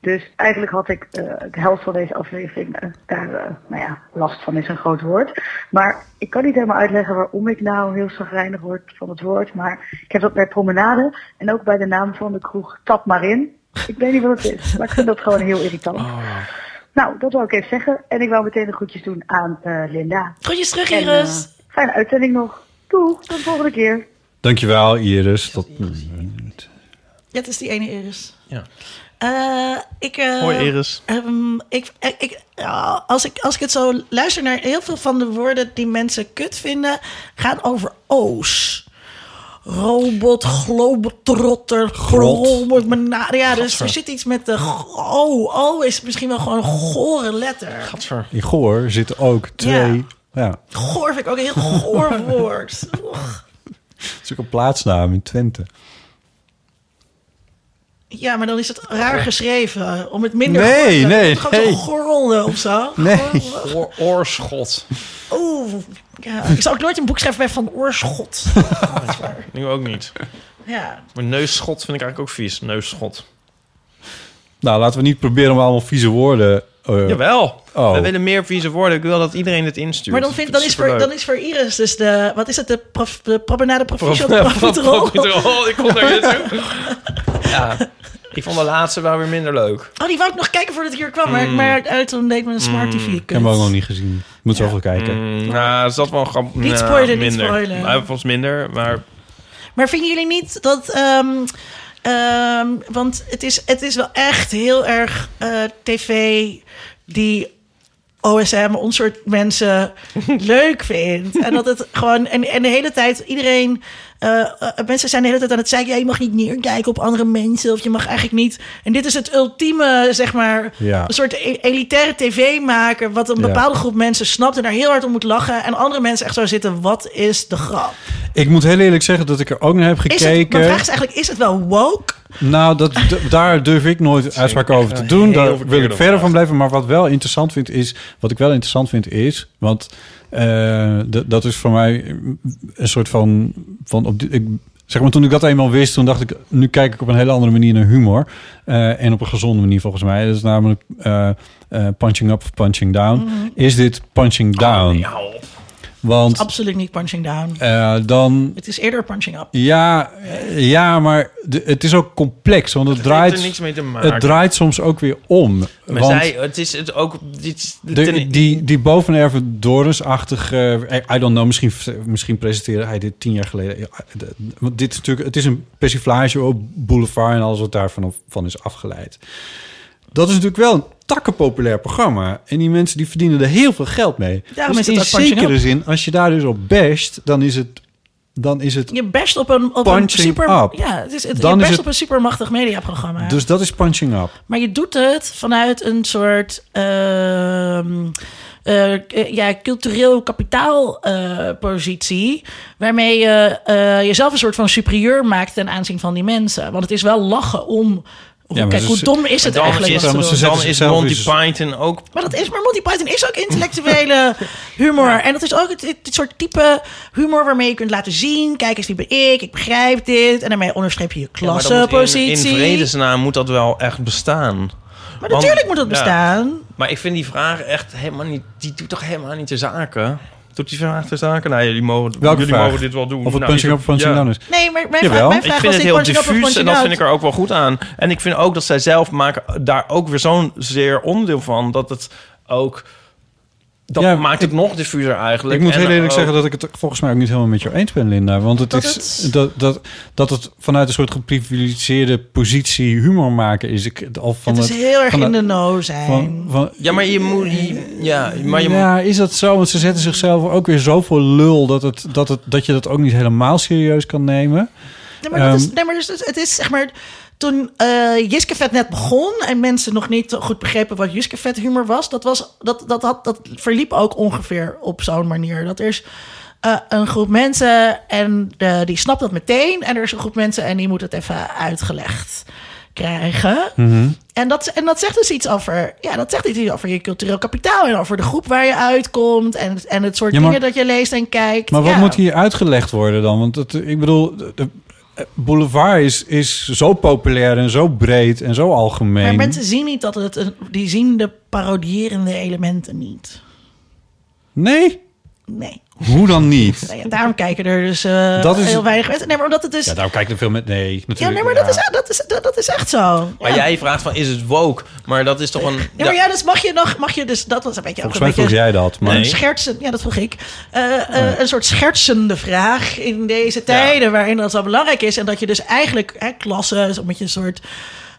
Dus eigenlijk had ik eh, de helft van deze aflevering eh, daar, eh, nou ja, last van is een groot woord. Maar ik kan niet helemaal uitleggen waarom ik nou heel chagrijnig word van het woord. Maar ik heb dat bij promenade en ook bij de naam van de kroeg Tap maar in. Ik weet niet wat het is, maar ik vind dat gewoon heel irritant. Nou, dat wil ik even zeggen. En ik wou meteen de groetjes doen aan eh, Linda. Groetjes terug, En, Iris. eh, fijne uitzending nog. Doeg, tot de volgende keer. Dankjewel, Iris. Dat, Ja, het is die ene Iris. Ja. Eh, ik, eh, Hoi, Iris. ehm, ik, ik, ik- ja, als, ik, als ik het zo luister naar heel veel van de woorden die mensen kut vinden, gaan over O's. Robot, globetrotter, grobot, mena- ja, dus er zit iets met de g- O. O is misschien wel gewoon een gore letter. in Goor zitten ook twee... Ja. Goor vind ik ook een heel [laughs] goor woord. Oeh. het is ook een plaatsnaam in Twente. Ja, maar dan is het raar geschreven. Om het minder Nee, goor te- nee, Gewoon nee. zo gorrelde of zo. Nee. Oor- oorschot. Oeh, ja. ik zou ook nooit een boek schrijven bij Van [laughs] Oorschot. Nu ook niet. Ja. Maar neusschot vind ik eigenlijk ook vies. Neusschot. Nou, laten we niet proberen om allemaal vieze woorden... eh, Jawel. Oh. We willen meer vieze woorden. Ik wil dat iedereen het instuurt. Maar dan, vind, dan, is voor, Superleuk. dan is voor Iris dus de... Wat is het? De, prof, de promenade proficiat [laughs] Profiterol. profiterol? oh, Ik kom naar je toe. [laughs] Ja, ik vond de laatste wel weer minder leuk. Oh, die wou ik nog kijken voordat ik hier kwam. Maar, maar uit, toen deed mijn smart TV kut. Ik heb hem ook nog niet gezien. Moet zo zoveel kijken. Mm. nou, is dat wel grappig. Hmm. Niet spoilen, niet minder. spoilen. Hij was minder, maar Maar vinden jullie niet dat... ehm, ehm, want het is, het is wel echt heel erg eh, tv die OSM, ons soort mensen, leuk vindt. En dat het gewoon... En, en de hele tijd iedereen... Eh, eh, mensen zijn de hele tijd aan het zeggen... Ja, je mag niet neerkijken op andere mensen... of je mag eigenlijk niet... En dit is het ultieme, zeg maar... Ja. een soort e- elitaire tv maken... wat een Ja. bepaalde groep mensen snapt... en daar heel hard om moet lachen... en andere mensen echt zo zitten... wat is de grap? Ik moet heel eerlijk zeggen dat ik er ook naar heb Is het, gekeken. mijn vraag is eigenlijk, is het wel woke? Nou, dat, d- daar durf ik nooit uitspraak over te doen. heel Daar verkeerde wil ik verder vraag. van blijven. Maar wat wel interessant vind is, wat ik wel interessant vind is, want eh, d- dat is voor mij een soort van, van op die- ik, zeg maar, toen ik dat eenmaal wist, toen dacht ik, nu kijk ik op een hele andere manier naar humor Eh, en op een gezonde manier volgens mij. Dat is namelijk eh, eh, punching up of punching down. Mhm. Is dit punching down? Want Absoluut niet punching down. eh, dan Het is eerder punching up. ja, eh, ja, maar de- het is ook complex, want het, Het draait. heeft er niks mee te maken. Het draait soms ook weer om. maar want zij, het is het ook... Dit, is- de- ten- die, die bovenerven Dorens-achtig... eh, I don't know, misschien, misschien presenteerde hij dit tien jaar geleden. Ja, de- Want dit is natuurlijk, het is een persiflage op Boulevard... en alles wat daarvan van is afgeleid. Dat is natuurlijk wel een takkenpopulair programma. En die mensen die verdienen er heel veel geld mee. Daarom Dus is het in ook punching zekere up. zin, als je daar dus op basht... dan is het... Dan is het Je best op een, op een Punching super... up. Ja, het is, het, Dan je is best het- op een supermachtig mediaprogramma. Dus dat is punching up. Maar je doet het vanuit een soort ehm, eh, eh, ja, cultureel kapitaalpositie. waarmee je eh, jezelf een soort van superieur maakt ten aanzien van die mensen. Want het is wel lachen om. Hoe, maar kijk, dus- hoe dom is het dan eigenlijk? is, wat ze ze dan, doen? zetten is zichzelf Monty in Python ook... Maar dat is, maar Monty Python is ook intellectuele humor. [laughs] En dat is ook het, het- dit soort type humor waarmee je kunt laten zien: kijk eens, die ben ik, ik begrijp dit. En daarmee onderstreep je je Ja, maar dat moet in, in klassenpositie. vredesnaam moet dat wel echt bestaan. maar want- natuurlijk moet dat ja. bestaan. Maar ik vind die vraag echt helemaal niet... Die doet toch helemaal niet de zaken? Doet die vraag de zaken? Nou, jullie mogen, Welke jullie vraag? mogen dit wel doen. Of het Nou, punching ik- up of punching ja. down is. Nee, maar mijn Jawel. vraag, mijn Ik vraag vind was het niet heel punching up of diffuus en punching dat out. vind ik er ook wel goed aan. En ik vind ook dat zij zelf maken daar ook weer zo'n zeer onderdeel van. Dat het ook... Dat Ja, maakt het nog diffuser eigenlijk. Ik moet En oh. heel eerlijk ook- zeggen dat ik het volgens mij ook niet helemaal met jou eens ben, Linda. Want het Dat is het- Dat, dat, dat het vanuit een soort geprivilegeerde positie humor maken is. Ik, al van het is heel erg van in de het- know zijn. van, van, Ja, maar je moet... je- Ja, maar je moet... ja, is dat zo? Want ze zetten zichzelf ook weer zoveel lul dat, het, dat, het, dat je dat ook niet helemaal serieus kan nemen. nee, maar, dat is, Ehm. nee, maar dus het, het is zeg maar... Toen eh Jiskevet net begon en mensen nog niet goed begrepen wat Jiskevet humor was, dat, was dat, dat, had, dat verliep ook ongeveer op zo'n manier. Dat er is eh, een groep mensen en eh, die snapt dat meteen. En er is een groep mensen en die moet het even uitgelegd krijgen. Mhm. En dat, en dat zegt dus iets over, ja, dat zegt iets over je cultureel kapitaal en over de groep waar je uitkomt en, en het soort Ja, maar- dingen dat je leest en kijkt. Maar wat Ja. moet hier uitgelegd worden dan? Want het, ik bedoel, de- de- eh, Boulevard is, is zo populair en zo breed en zo algemeen. Maar mensen zien niet dat het een, die zien de parodierende elementen niet. Nee, Nee. hoe dan [laughs] niet? Nou ja, daarom kijken er dus eh, Dat is- heel weinig mensen. Nee, maar omdat het is. Ja, Ja, daarom kijken er veel met... Nee, natuurlijk. nee, maar Dat, is, ah, dat, is, dat, dat is echt zo. Maar ja. jij vraagt van, is het woke? Maar dat is toch een... Ja, maar ja, dus mag je nog, mag je dus, dat was een beetje ook Volgens een mij beetje vroeg jij dat, maar... een schertsen, ja, dat vroeg ik. Eh, eh, Een soort schertsende vraag in deze tijden, waarin dat zo belangrijk is. En dat je dus eigenlijk hè, klassen, zo'n beetje een soort.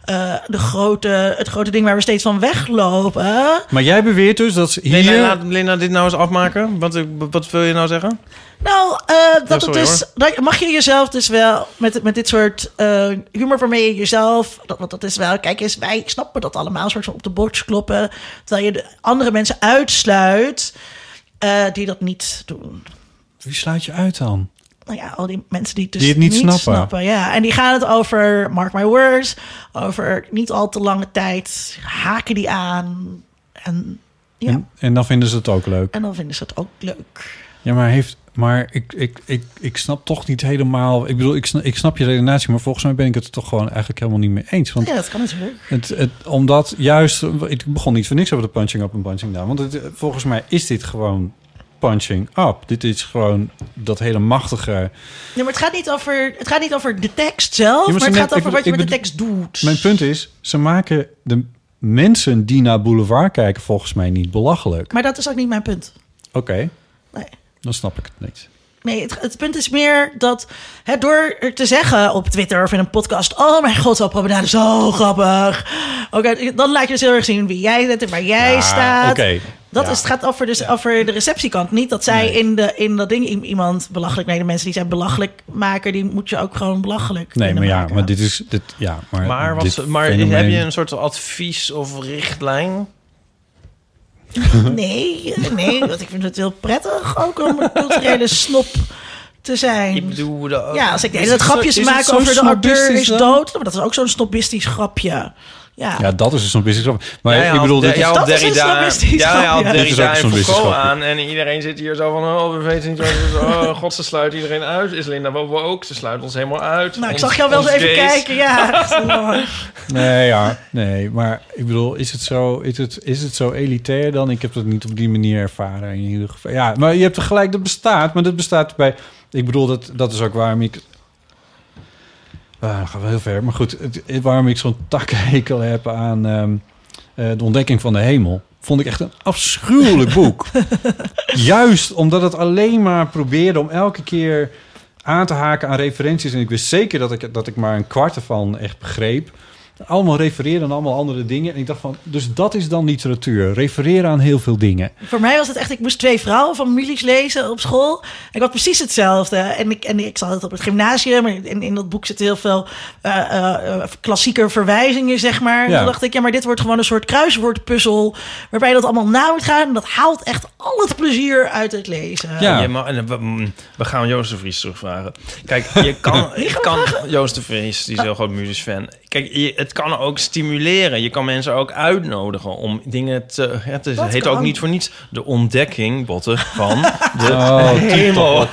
eh, de grote, het grote ding waar we steeds van weglopen. Maar jij beweert dus dat ze hier... Linda, laat Linda dit nou eens afmaken. Wat, wat wil je nou zeggen? Nou, eh, dat sorry, het dus, dat, mag je jezelf dus wel met, met dit soort eh, humor waarmee je jezelf, dat, want dat is wel, kijk eens, wij snappen dat allemaal, een soort van op de borst kloppen, terwijl je de andere mensen uitsluit eh, die dat niet doen. Wie sluit je uit dan? Nou ja, al die mensen die het dus Die het niet niet, snappen. snappen. Ja, en die gaan het over, mark my words, over niet al te lange tijd, haken die aan en ja, En, en dan vinden ze het ook leuk. en dan vinden ze het ook leuk. Ja, maar heeft... Maar ik, ik, ik, ik snap toch niet helemaal... Ik bedoel, ik snap, ik snap je redenatie, maar volgens mij ben ik het er toch gewoon eigenlijk helemaal niet mee eens. Want Ja, dat kan natuurlijk. Het, het, omdat juist, ik begon niet voor niks over de punching up en punching down. Want het, volgens mij is dit gewoon punching up. Dit is gewoon dat hele machtige. Ja, maar het gaat niet over, het gaat niet over de tekst zelf, Ja, maar maar, ze het net- gaat over ik- wat je ik met de bedoel- tekst doet. Mijn punt is, ze maken de mensen die naar Boulevard kijken volgens mij niet belachelijk. Maar dat is ook niet mijn punt. Oké, Nee. dan snap ik het niet. Nee, het, het punt is meer dat hè, door er te zeggen op Twitter of in een podcast: Oh mijn god, wat promenade zo grappig. Oké, dan laat je dus heel erg zien wie jij bent en waar jij staat. oké. Dat is, het gaat over, dus, over de receptiekant. Niet dat zij in, de, in dat ding i- iemand belachelijk... Nee, de mensen die zij belachelijk maken... die moet je ook gewoon belachelijk Nee, kunnen maar ja, maken. maar dit is... Dit, ja, maar Maar, dit wat, maar fenomeen- heb je een soort advies of richtlijn? Nee, nee, want ik vind het heel prettig ook om een culturele snop te zijn. Ik bedoel, de, ja, als ik de hele Is het tijd grapjes zo- is het maak zo over de auteur snobistisch dan? is dood, maar dat is ook zo'n snobistisch grapje. Ja, Ja, dat is dus zo'n business grap. Maar Ja, ja, ik bedoel, de- dit is- ja, op dat is een Derrida, snobistisch ja, ja, op grapje. Dit is ook Derrida en zo'n Foucault wetenschapje. aan. En iedereen zit hier zo van, oh, we weten niet wat het is. Oh, god, ze sluit iedereen uit. Is Linda Bobo ook? Ze sluit ons helemaal uit. nou, ik Ons- zag jou wel eens ons even gays. kijken. Ja, [laughs] Nee, ja, nee, maar ik bedoel, is het, zo, is, het, is het zo elitair dan? Ik heb dat niet op die manier ervaren in ieder geval. Ja, maar je hebt gelijk, dat bestaat, maar dat bestaat bij... Ik bedoel, dat, dat is ook waarom ik... Ah, dan gaan we heel ver, maar goed. Het, het- waarom ik zo'n takkenhekel heb aan ehm, eh, De Ontdekking van de Hemel... vond ik echt een afschuwelijk boek. Juist omdat het alleen maar probeerde om elke keer aan te haken aan referenties. En ik wist zeker dat ik, dat ik maar een kwart ervan echt begreep. Allemaal refereren aan allemaal andere dingen. En ik dacht van, dus dat is dan literatuur. Refereren aan heel veel dingen. Voor mij was het echt, ik moest twee vrouwenfamilies lezen op school. Ik had precies hetzelfde. En ik, en ik zat altijd op het gymnasium. En in, in dat boek zitten heel veel eh eh, eh, klassieke verwijzingen, zeg maar. En Ja. Toen dacht ik, ja, maar dit wordt gewoon een soort kruiswoordpuzzel... waarbij dat allemaal na moet gaan. En dat haalt echt al het plezier uit het lezen. Ja. Ja, maar en we, mm, we gaan Joost de Vries terugvragen. Kijk, [laughs] je kan, je kan Joost de Vries, die is heel groot muzisch fan. Kijk, je- het kan ook stimuleren. Je kan mensen ook uitnodigen om dingen te... Het is- Dat heet kan. ook niet voor niets de ontdekking, botten, [laughs] van de Oh, hemel. Als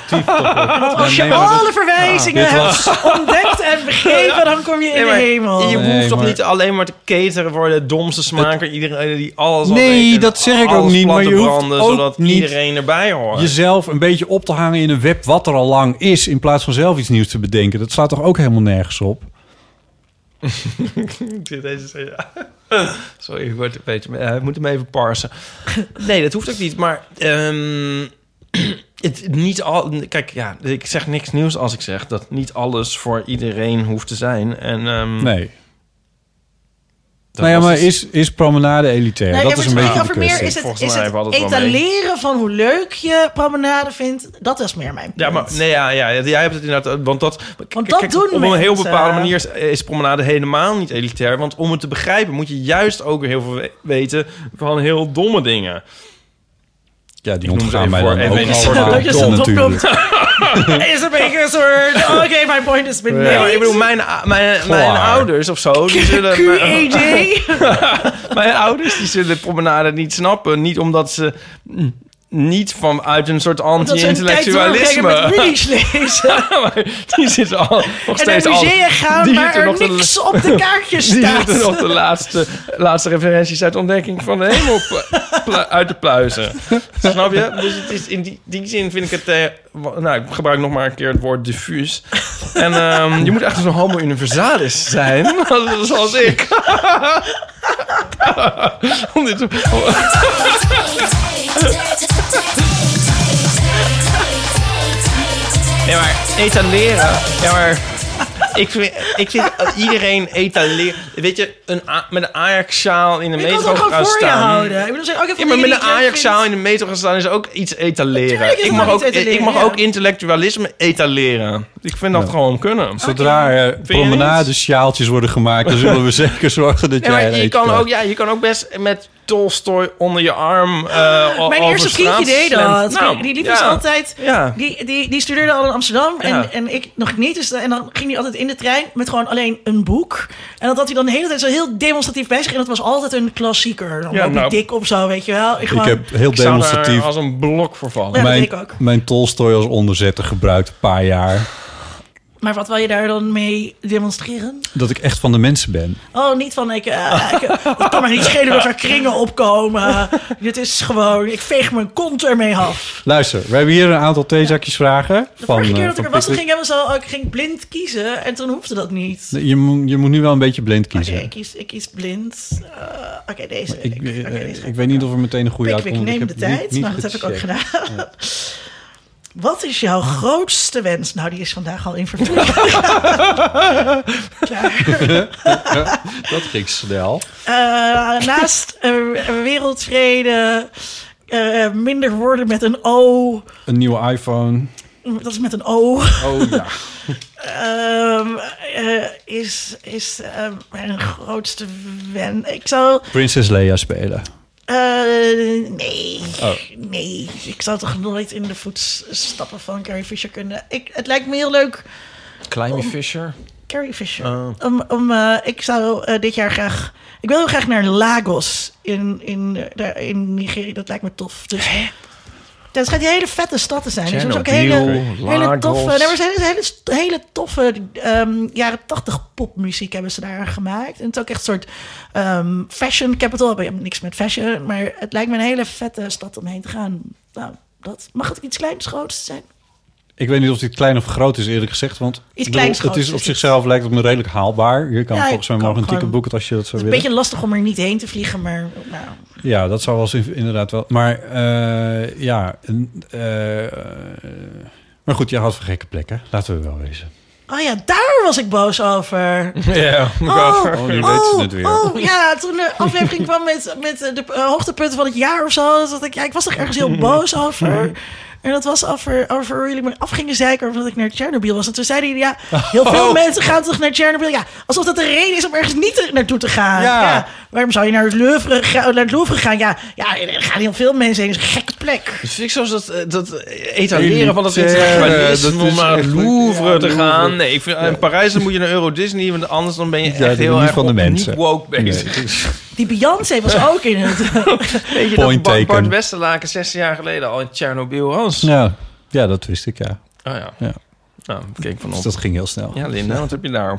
je nee, maar dat- alle verwijzingen Ja, dit hebt ontdekt en begrepen... dan kom je in Nee, de maar hemel. Je hoeft Nee, toch maar- niet alleen maar te cateren voor de domste smaker. Iedereen die alles al Nee, weet en dat zeg ik alles ook niet, plat maar te je hoeft branden, ook zodat niet iedereen erbij hoort. Jezelf een beetje op te hangen in een web wat er al lang is... in plaats van zelf iets nieuws te bedenken. Dat slaat toch ook helemaal nergens op? Deze- ja. [laughs] Sorry, ik word een beetje... eh, ik moet hem even parsen. [laughs] Nee, dat hoeft ook niet, maar... ehm, [clears throat] het, niet al, kijk, ja, ik zeg niks nieuws als ik zeg dat niet alles voor iedereen hoeft te zijn. En, ehm, Nee. dat nou ja, was dus- maar het. is, is promenade elitair? Nee, dat ja, is een maar het beetje ging de over meer kwestie. is het, Volgens is mij het valt het wel mee. etaleren van hoe leuk je promenade vindt. Dat was meer mijn punt. Ja, maar nee, ja, ja, jij hebt het inderdaad. eh, Want dat, Want dat doen op een heel mensen. bepaalde manier is, is promenade helemaal niet elitair. Want om het te begrijpen moet je juist ook heel veel we- weten van heel domme dingen. Ja, die Ik noem ze ontgaan even mij voor, dan even ook in het allemaal voordeel. Dat je ze dom opnoemt. natuurlijk. [laughs] is een beetje een soort... [laughs] Oké, my point is been Nee, maar made. ik bedoel, mijn, mijn, mijn Klaar. ouders of [laughs] zo, die zullen. mijn, [laughs] QED. mijn ouders die zullen promenade niet snappen. Niet omdat ze. mm, Niet vanuit een soort Dat ze een tijd anti-intellectualisme. doorbrengen met [laughs] Willys lezen. Maar die zitten al, nog En steeds naar al. musea gaan die waar zitten er nog te- niks op de kaartjes [laughs] Die zitten staat. nog de laatste, laatste referenties uit Ontdekking van de Hemel pla- pla- uit de pluizen. [laughs] Snap je? Dus het is in die, die zin vind ik het... eh, wa- nou, ik gebruik nog maar een keer het woord diffuus. En ehm, je moet echt zo'n homo universalis zijn, [laughs] zoals ik. Om dit [laughs] te- Nee, maar etaleren. Ja, maar ik vind, ik vind iedereen etaleren. Weet je, een, a- met een Ajax-sjaal in de Je kan het metro ook gewoon gaan voor je staan. houden. Ik bedoel, zeg ook even Ja, maar dingen met die een ik leuk Ajax-zaal in vind. de metro gaan staan is ook iets Natuurlijk etaleren. is Ik het mag, wel ook, iets etaleren, ik mag ja. ook intellectualisme etaleren. Ik vind dat gewoon kunnen. Zodra er je niet? promenadesjaaltjes worden gemaakt, dan [laughs] zullen we zeker zorgen dat jij Ja, maar er je, eentje kan krijgt. ook, ja, je kan ook best met Tolstoy onder je arm. eh, o- Ah, Mijn over eerste straat vriendje deed dat. slenteren. Nou, die, die liep ja. dus altijd... Ja. Die, die, die studeerde al in Amsterdam Ja. en, en ik nog niet. Dus, en dan ging hij altijd in de trein met gewoon alleen een boek. En dat had hij dan de hele tijd zo heel demonstratief bij zich. En dat was altijd een klassieker. Dan Ja, ook nou. dik of zo, weet je wel. Ik, Ik gewoon, heb heel Ik zou daar demonstratief als een blok voor vallen. [laughs] Ja, dat mijn, denk ik ook. mijn Tolstoy als onderzetter gebruikt een paar jaar. Maar wat wil je daar dan mee demonstreren? Dat ik echt van de mensen ben. Oh, niet van ik, eh, [laughs] ik het kan maar niet schelen dat er kringen opkomen. Dit is gewoon, ik veeg mijn kont ermee af. Luister, we hebben hier een aantal theezakjes vragen. van, De vorige eh, keer dat ik van er was, toen Patrick. ging ik helemaal zo, oh, ik ging blind kiezen en toen hoefde dat niet. je, moet, je moet nu wel een beetje blind Oké, kiezen. Oh, ik, kies, ik kies blind. Eh, Oké, deze. ik, Oké, eh, deze ga ik weet niet of er meteen een goede Pickwick, uitkomt. want neem ik de heb niet- tijd. niet nou, dat heb ik ook gecheckt. gedaan. Wat is jouw Ah. grootste wens? Nou, die is vandaag al in vervulling. Klaar. Dat ging snel. [laughs] Eh, naast eh, wereldvrede, eh, minder worden met een O. Een nieuwe iPhone. Dat is met een O. Oh [laughs] ja. Ehm, eh, is is eh, mijn grootste wen. Ik zou. Princess Leia spelen. eh, nee. Oh. Nee. Ik zou toch nooit in de voetstappen van Carrie Fisher kunnen. Ik, het lijkt me heel leuk. Climby Fisher. Oh. Carrie Fisher. Om, om, eh, ik zou eh, dit jaar graag. Ik wil heel graag naar Lagos in, in, eh, daar in Nigeria. Dat lijkt me tof. Dus, dat schijnt een hele vette stad te zijn. Er zijn dus ook hele, Chernobyl, hele Lagos. toffe. Nee, maar er zijn dus hele, hele toffe ehm, jaren tachtig popmuziek hebben ze daar gemaakt. En het is ook echt een soort ehm, fashion capital. Ik heb niks met fashion, maar het lijkt me een hele vette stad om heen te gaan. Nou, dat mag het iets kleins, groots zijn. Ik weet niet of dit klein of groot is, eerlijk gezegd. Want ik bedoel, kleins, het groots is is op het. zichzelf lijkt het me redelijk haalbaar. Je kan Ja, volgens mij ik morgen kan een ticket gewoon- boeken als je dat Het zou is een willen. beetje lastig om er niet heen te vliegen, maar nou, Ja, dat zou wel eens in- inderdaad wel. Maar eh, ja, een, eh, maar goed, je had van gekke plekken. Laten we wel wezen. Oh ja, daar was ik boos over. Ja, Oh, Oh, nu weten ze het weer. oh, ja, toen de aflevering kwam met, met de eh, hoogtepunten van het jaar of zo. dat ik, ja, ik was toch ergens heel boos [laughs] over. En dat was over, over jullie me afgingen zeiken over dat ik naar Tsjernobyl was. En toen zeiden jullie, ja, heel Oh. veel mensen gaan toch naar Tsjernobyl. Ja, alsof dat de reden is om ergens niet te- naartoe te gaan. Ja. waarom zou je naar het Louvre, ga- naar het Louvre gaan? Ja, ja, er gaan heel veel mensen heen. Dat is een gekke plek. Dus vind ik zoals dat, eh, dat etaleren van dat Elitaire, internationalisme dat om is naar het echt- Louvre ja, te Louvre. gaan. Nee, ik vind, eh, in Parijs dan moet je naar Euro Disney, want anders dan ben je echt dat heel niet erg van de op- mensen. niet woke bezig. Die Beyoncé was ook in [laughs] het... Weet je Point dat Bart, taken. Bart Westerlaken 16 jaar geleden al in Tsjernobyl was? Ja, ja, dat wist ik, ja. Oh ja. Ja. Nou, keek van Dus op. dat ging heel snel. Ja, Linda, wat heb je daarop?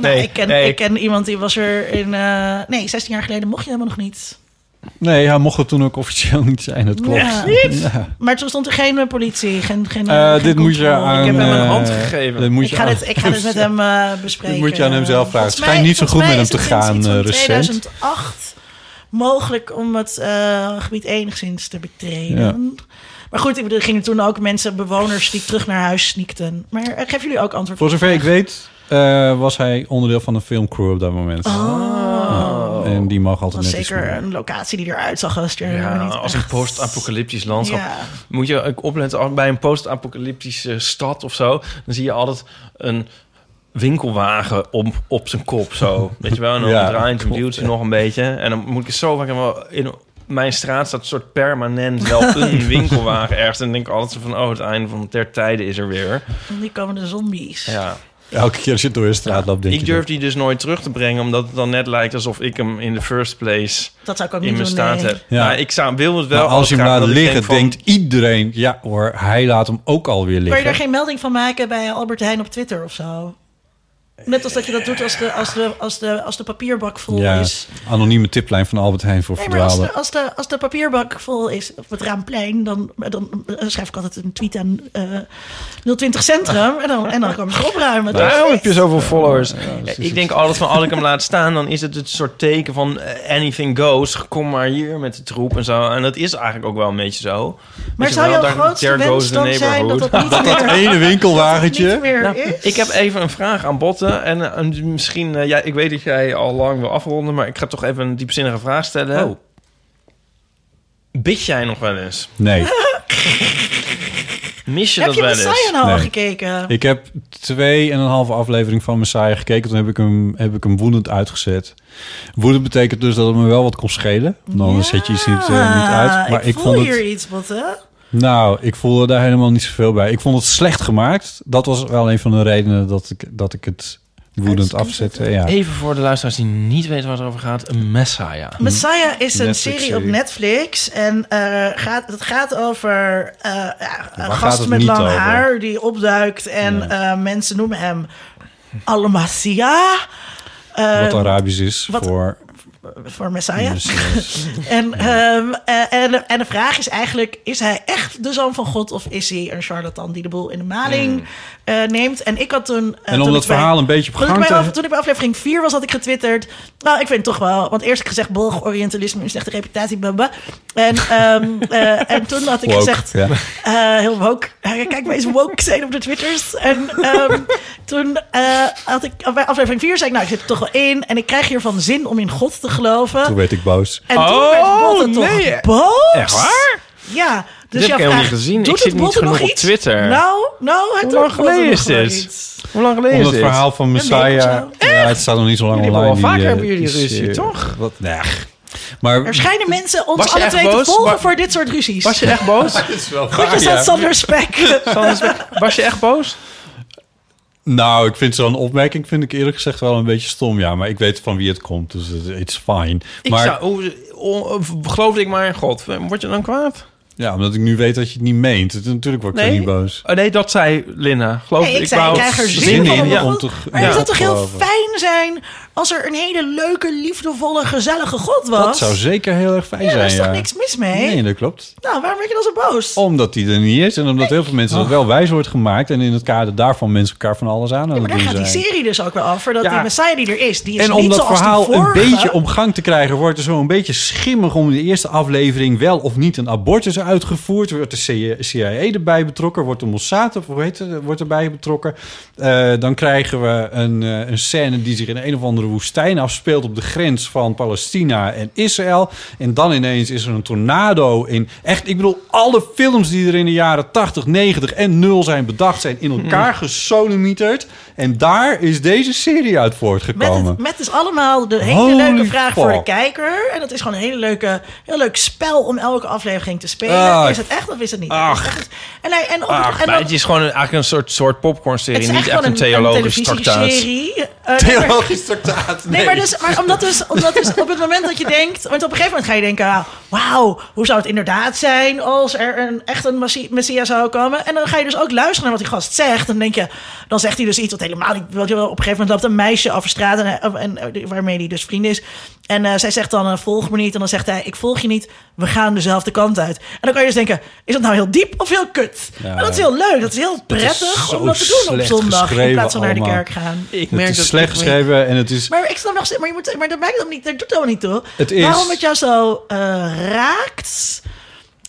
Nou, ik, ken, ik ken iemand die was er in... eh, nee, 16 jaar geleden mocht je helemaal nog niet. Nee, ja, mocht het toen ook officieel niet zijn, dat klopt. Ja. Ja. Maar toen stond er geen eh, politie, geen... geen Eh, geen dit moet je controle. aan... Ik heb hem een eh, hand gegeven. dit moet Ik je ga, aan- dit, ik ga dit [laughs] met hem eh, bespreken. Dit moet je aan hem zelf vragen. Volgens Het schijnt mij- niet zo goed volgens met hem mij is te het sinds gaan, iets eh, van recent. 2008 mogelijk om het eh, gebied enigszins te betreden. Maar goed, ik bedoel, er gingen toen ook mensen, bewoners, die terug naar huis sneakten. Maar eh, geven jullie ook antwoord Voor op? zover ik weet, eh, was hij onderdeel van een filmcrew op dat moment. Ja. En die mag Oh. Dat altijd was net iets zeker meer. een locatie die eruit zag als Jeremy. Ja, niet als een echt- post-apocalyptisch landschap. Ja. Moet je ook opletten, als bij een post-apocalyptische stad of zo... dan zie je altijd een winkelwagen op, op zijn [laughs] kop, zo. Weet je wel? En dan Ja, draait en klopt, duwt hij ja. nog een beetje. En dan moet ik zo vaak... wel- In mijn straat staat een soort [laughs] permanent wel een winkelwagen ergens. En dan denk ik altijd zo van... oh, het einde van der tijden is er weer. En nu komen de zombies. Ja. Elke keer als je door de straat loopt, denk Ik je durf die dus nooit terug te brengen... omdat het dan net lijkt alsof ik hem in the first place... Dat zou ik ook in niet mijn doen. staat nee. heb. Ja. Nou, ik zou, wil het dat. wel... Maar als je hem graag laat dat ik liggen, denk van- denkt iedereen... Ja hoor, hij laat hem ook alweer Kun je daar liggen. geen melding van maken bij Albert Heijn op Twitter of zo? Net als dat je dat doet als de, als de, als de, als de papierbak vol Ja, is. anonieme tiplijn van Albert Heijn voor Nee, maar als de, verdwaalden. als, de, als de papierbak vol is op het Raamplein... dan, dan schrijf ik altijd een tweet aan eh 020 Centrum... en dan, en dan komen ze opruimen. Daarom heb je zoveel followers. dat is ik denk altijd van als ik hem laat staan, dan is het het soort teken van eh, anything goes. Kom maar hier met de troep en zo. En dat is eigenlijk ook wel een beetje zo. maar Weet je zou wel, jouw daar- grootste there goes the wens dan zijn dat dat [laughs] neighborhood. niet meer, Ene niet winkelwagentje. meer Nou, is? ik heb even een vraag aan Botten. En eh, en misschien, eh, ja, ik weet dat jij al lang wil afronden, maar ik ga toch even een diepzinnige vraag stellen. Oh. Bid jij nog wel eens? Nee, Mis je heb dat je wel Messiah eens? nou al Nee. gekeken? ik heb twee en een halve aflevering van Messiah gekeken. Toen heb ik hem, heb ik hem woedend uitgezet. Woedend betekent dus dat het me wel wat kon schelen. Want anders zet je iets niet, eh, niet uit. Maar ik, Ah, voel vond het... hier iets, Botte. Nou, ik voelde daar helemaal niet zoveel bij. Ik vond het slecht gemaakt. Dat was wel een van de redenen dat ik, dat ik het woedend afzette. Ja. Even voor de luisteraars die niet weten waar het over gaat, een Messiah. Messiah is een Netflix-serie. serie op Netflix. En eh, gaat, het gaat over eh, ja, een gaat gast het met niet lang over? haar die opduikt. En eh, mensen noemen hem Almasia. Eh, Wat Arabisch is wat- Ah voor voor Messiah. [laughs] Messias. en, ehm, eh, en, en de vraag is eigenlijk: is hij echt de zoon van God of is hij een charlatan die de boel in de maling eh, neemt? En ik had toen. eh, Mm. En om toen dat ik bij- verhaal een beetje op toen ik gang bij te- af- Toen ik bij aflevering 4 was, had ik getwitterd. Nou, ik vind het toch wel. Want eerst heb ik gezegd: Belg Orientalisme, een slechte reputatie, blablabla. En, ehm, [laughs] eh, en toen had ik Woke, gezegd: ja. eh, heel woke. Eh, Kijk, wij eens woke zijn op de Twitters. En ehm, toen eh, had ik bij aflevering 4 zei ik, nou, ik zit er toch wel in. En ik krijg hiervan zin om in God te Toen geloven. werd ik boos. En toen Oh, werd Botte nee. toch boos. Echt waar? Ja. Dus heb ik jij helemaal vraagt, niet gezien. doet Ik zit het niet Botte nog genoeg op iets? Twitter. Nou, nou, het Hoe doet lang Botte geleden nog is wel dit? iets. Hoe lang geleden Om is het dit? verhaal van week of Messiah. zo. Ja, het staat nog niet zo lang Jullie online. hebben wel die, vaker eh, hebben jullie is, ruzie, eh, toch? Wat, nee. Maar [laughs] Er schijnen mensen ons Was je alle echt twee boos? te volgen Wa- voor dit soort ruzies. Was je echt [laughs] Ah, boos? Goedjes aan Sander [laughs] Spek. Was je echt boos? Nou, ik vind zo'n opmerking vind ik eerlijk gezegd wel een beetje stom. Ja, maar ik weet van wie het komt, dus het- it's fine. Ik maar zou, hoe- hoe- geloof ik maar in God. Word je dan kwaad? ja, omdat ik nu weet dat je het niet meent, het- natuurlijk word ik Nee. er niet boos. Oh, nee, dat zei Linda. Geloof Nee, ik, zei, Oh, wou- ik krijg er zin, zin van in, om ja. God- om te- Maar ja, het zou te toch heel geloven. fijn zijn als er een hele leuke, liefdevolle, gezellige God was? Dat zou zeker heel erg fijn ja, zijn. daar is toch ja. niks mis mee? Nee, Oh, dat klopt. Nou, waarom werd je dan zo boos? Omdat die er niet is en omdat heel veel mensen dat wel wijs wordt gemaakt. En in het kader daarvan mensen elkaar van alles aan aan maar het daar doen gaat die zijn. serie dus ook wel over. Dat Ja. die Messiah die er is, die is En niet om dat zoals die verhaal een vorige. beetje om gang te krijgen, wordt er zo een beetje schimmig om de eerste aflevering wel of niet een abortus uitgevoerd. Wordt de CIA erbij betrokken, wordt de Mossad of hoe heet het, wordt erbij betrokken. Eh, dan krijgen we een, eh, een scène die zich in een of andere woestijn afspeelt op de grens van Palestina en Israël. En dan ineens is er een tornado in. Echt, ik bedoel, alle films die er in de jaren 80, 90 en 0 zijn bedacht, zijn in elkaar gesodemieterd. En daar is deze serie uit Met, voortgekomen. het, met dus allemaal de hele Holy leuke vraag voor de fuck. kijker. En dat is gewoon een hele leuke, heel leuk spel om elke aflevering te spelen. Ach. Is het echt of is het niet? Ach. Is het echt? En, hij- en op, Ach, en Ah, maar dan- het is gewoon een, eigenlijk een soort, soort popcorn-serie. het is Niet echt een theologische tractaat. televisieserie. Eh, nee, maar- Theologisch traktaat. Nee, maar, dus, maar omdat, dus, omdat dus op het moment dat je denkt... Want op een gegeven moment ga je denken... ah, wauw, hoe zou het inderdaad zijn als er een, echt een massie- messias zou komen? En dan ga je dus ook luisteren naar wat die gast zegt. En dan denk je, dan zegt hij dus iets wat helemaal niet... Wat, op een gegeven moment loopt een meisje over straat... En, hij- of- en, eh, waarmee hij dus vriend is. En eh, zij zegt dan, eh, volg me niet. En dan zegt hij, ik volg je niet. We gaan dezelfde kant uit. En dan kan je dus denken, is dat nou heel diep of heel kut? Ja. En dat is heel leuk. Dat is heel is prettig zo om dat te doen op slecht zondag. In geschreven plaats van naar de allemaal. kerk gaan. Ik Het merk is dat slecht ik- geschreven en het is... Maar ik snap nog steeds, maar, je moet, maar dat maakt hem niet, dat doet helemaal niet toe. Het is- Waarom het jou zo eh, raakt,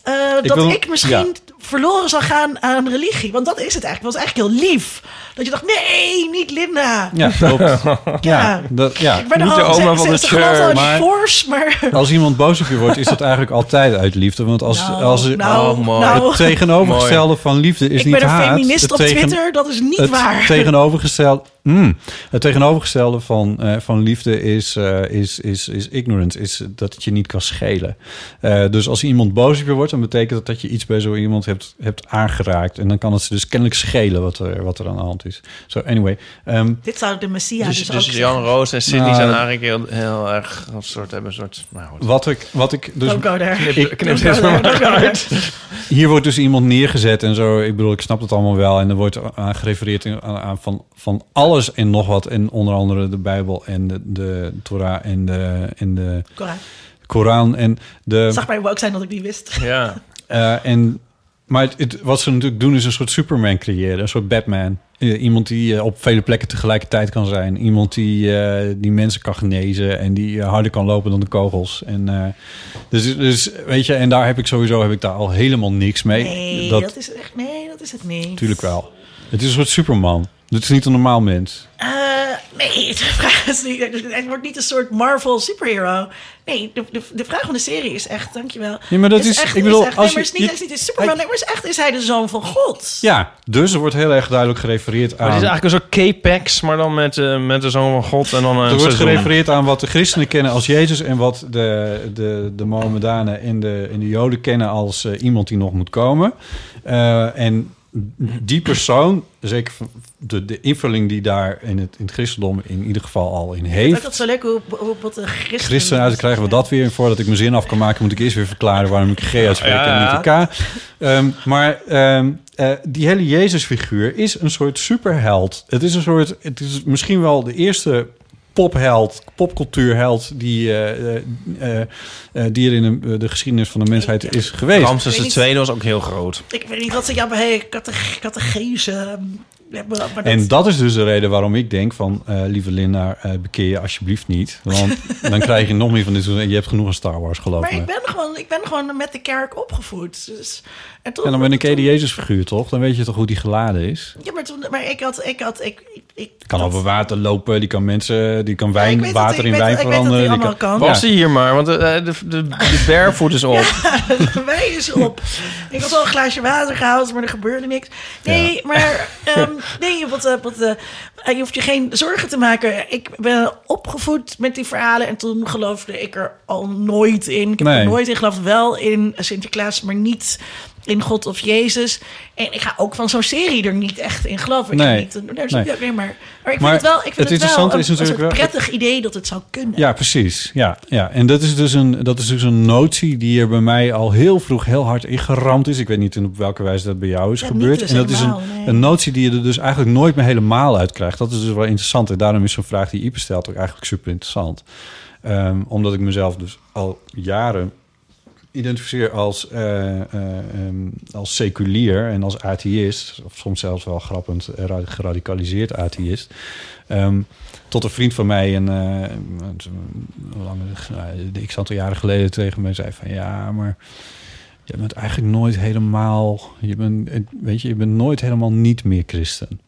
eh, dat wil- ik misschien verloren zou gaan aan religie. Want dat is het eigenlijk. Het was eigenlijk heel lief. Dat je dacht, nee, niet Linda. Ja, klopt. Ja, dat, ja. Ik ben Niet de al- oma ze- van ze- de ze gelooft church, al in maar- die force, maar... [laughs] Als iemand boos op je wordt, is dat eigenlijk altijd uit liefde. Want als, Nou, als nou, Oh, mooi. nou, het tegenovergestelde van liefde is ik niet ben een haat. feminist het op tegen- Twitter, dat is niet het waar. [laughs] Tegenovergestelde, Mm. het tegenovergestelde van, eh, van liefde is, eh, is, is, is ignorant. Is dat het je niet kan schelen. Eh, dus als iemand boos op je wordt, dan betekent dat dat je iets bij zo iemand hebt, hebt aangeraakt. En dan kan het ze dus kennelijk schelen wat er, wat er aan de hand is. Zo, anyway. ehm, Dit zou de Messias dus, dus ook dus zeggen. Jan Roos en Sydney Nou, zijn dat- eigenlijk heel, heel erg een soort, hebben een soort... Nou, goed. wat, ik, wat ik dus Don't go there. Knip, knip Don't dit go maar there, don't go there. Hier wordt dus iemand neergezet en zo. Ik bedoel, ik snap het allemaal wel. En er wordt aan gerefereerd in- aan, aan van, van alles en nog wat. En onder andere de Bijbel en de, de Torah en de, en de Cora, Koran. En de, Zag mij ook zijn dat ik niet wist. Ja. eh, en, maar het, het- wat ze natuurlijk doen is een soort Superman creëren. Een soort Batman. Eh, iemand die eh, op vele plekken tegelijkertijd kan zijn. Iemand die, eh, die mensen kan genezen. En die eh, harder kan lopen dan de kogels. En, eh, dus, dus weet je, en daar heb ik sowieso heb ik daar al helemaal niks mee. Nee, dat, is echt... Nee, dat is het niet. Tuurlijk wel. Het is een soort Superman. Dit is niet een normaal mens. Eh, nee, [laughs] de vraag is niet. Het wordt niet een soort Marvel superhero. Nee, de, de, de vraag van de serie is echt, dankjewel. Ja, maar dat is- ik bedoel, echt, als nee, maar je- is niet, je- is niet een Superman, hij- nee, maar is echt is hij de zoon van God. Ja, dus er wordt heel erg duidelijk gerefereerd Maar het aan... is eigenlijk een soort K-Pax, maar dan met, eh, met de Zoon van God en dan eh, een Er wordt seizoen. gerefereerd aan wat de christenen kennen als Jezus... en wat de, de, de Mohammedanen en de, en de Joden kennen als eh, iemand die nog moet komen. Eh, en die persoon, zeker van de, de invulling die daar in het, in het christendom in ieder geval al in Ik vind heeft... dat zo leuk hoe, hoe botte christen... Christen uit, krijgen we dat weer. En voordat ik mijn zin af kan maken, moet ik eerst weer verklaren waarom ik G uitspreek en niet een K. Ehm, maar ehm, eh, die hele Jezus-figuur is een soort superheld. Het is een soort, het is misschien wel de eerste popheld, popcultuurheld die, eh, eh, eh, eh, die er in de, de geschiedenis van de mensheid is geweest. Ramses II was ook heel groot. Ik weet niet wat ze jammer hey, categ- catechese. ehm, hebben, maar dat- En dat is dus de reden waarom ik denk van... eh, lieve Linda, eh, bekeer je alsjeblieft niet. Want dan krijg je nog meer van dit soort... Je hebt genoeg aan Star Wars, geloof maar me. ik ben, gewoon, ik ben gewoon met de kerk opgevoed. Dus, en toen, En dan ben ik de Jezus-figuur, toch? Dan weet je toch hoe die geladen is? Ja, maar, toen, maar ik had... Ik had ik, ik, ik- Die kan over water lopen, die kan mensen... Die kan ik wijn, weet dat- water ik in weet wijn dat- ik weet dat die veranderen. die allemaal kan. Was hij hier maar, want eh, de, de, de barefoot [laughs] is op. Wij is op. Ik had al een glaasje water gehaald, maar er gebeurde niks. Nee, maar ehm, nee, wat, eh, wat, eh, je hoeft je geen zorgen te maken. Ik ben opgevoed met die verhalen en toen geloofde ik er al nooit in. Ik heb Nee. er nooit in geloofd. Wel in Sinterklaas, maar niet in God of Jezus. En ik ga ook van zo'n serie er niet echt in geloven. Ik Nee. heb niet, nee, Nee. nee, maar, maar ik vind Maar het wel, ik vind het het interessante wel een, is natuurlijk een soort wel- prettig idee dat het zou kunnen. Ja, precies. Ja, ja. En dat is, dus een, dat is dus een notie die er bij mij al heel vroeg heel hard ingeramd is. Ik weet niet in op welke wijze dat bij jou is Ja, niet gebeurd. dus en dat is een, helemaal, nee. een notie die je er dus eigenlijk nooit meer helemaal uit krijgt. Dat is dus wel interessant. En daarom is zo'n vraag die Ieper stelt ook eigenlijk super interessant. Ehm, omdat ik mezelf dus al jaren identificeer als, eh, eh, ehm, als seculier en als atheïst, of soms zelfs wel grappend eh, ra- geradicaliseerd atheïst. Ehm, tot een vriend van mij, een, eh, een- hoe lang is het? Nou, ik zat al jaren geleden tegen mij, zei van ja, maar je bent eigenlijk nooit helemaal, je bent, eh, weet je, je bent nooit helemaal niet meer christen.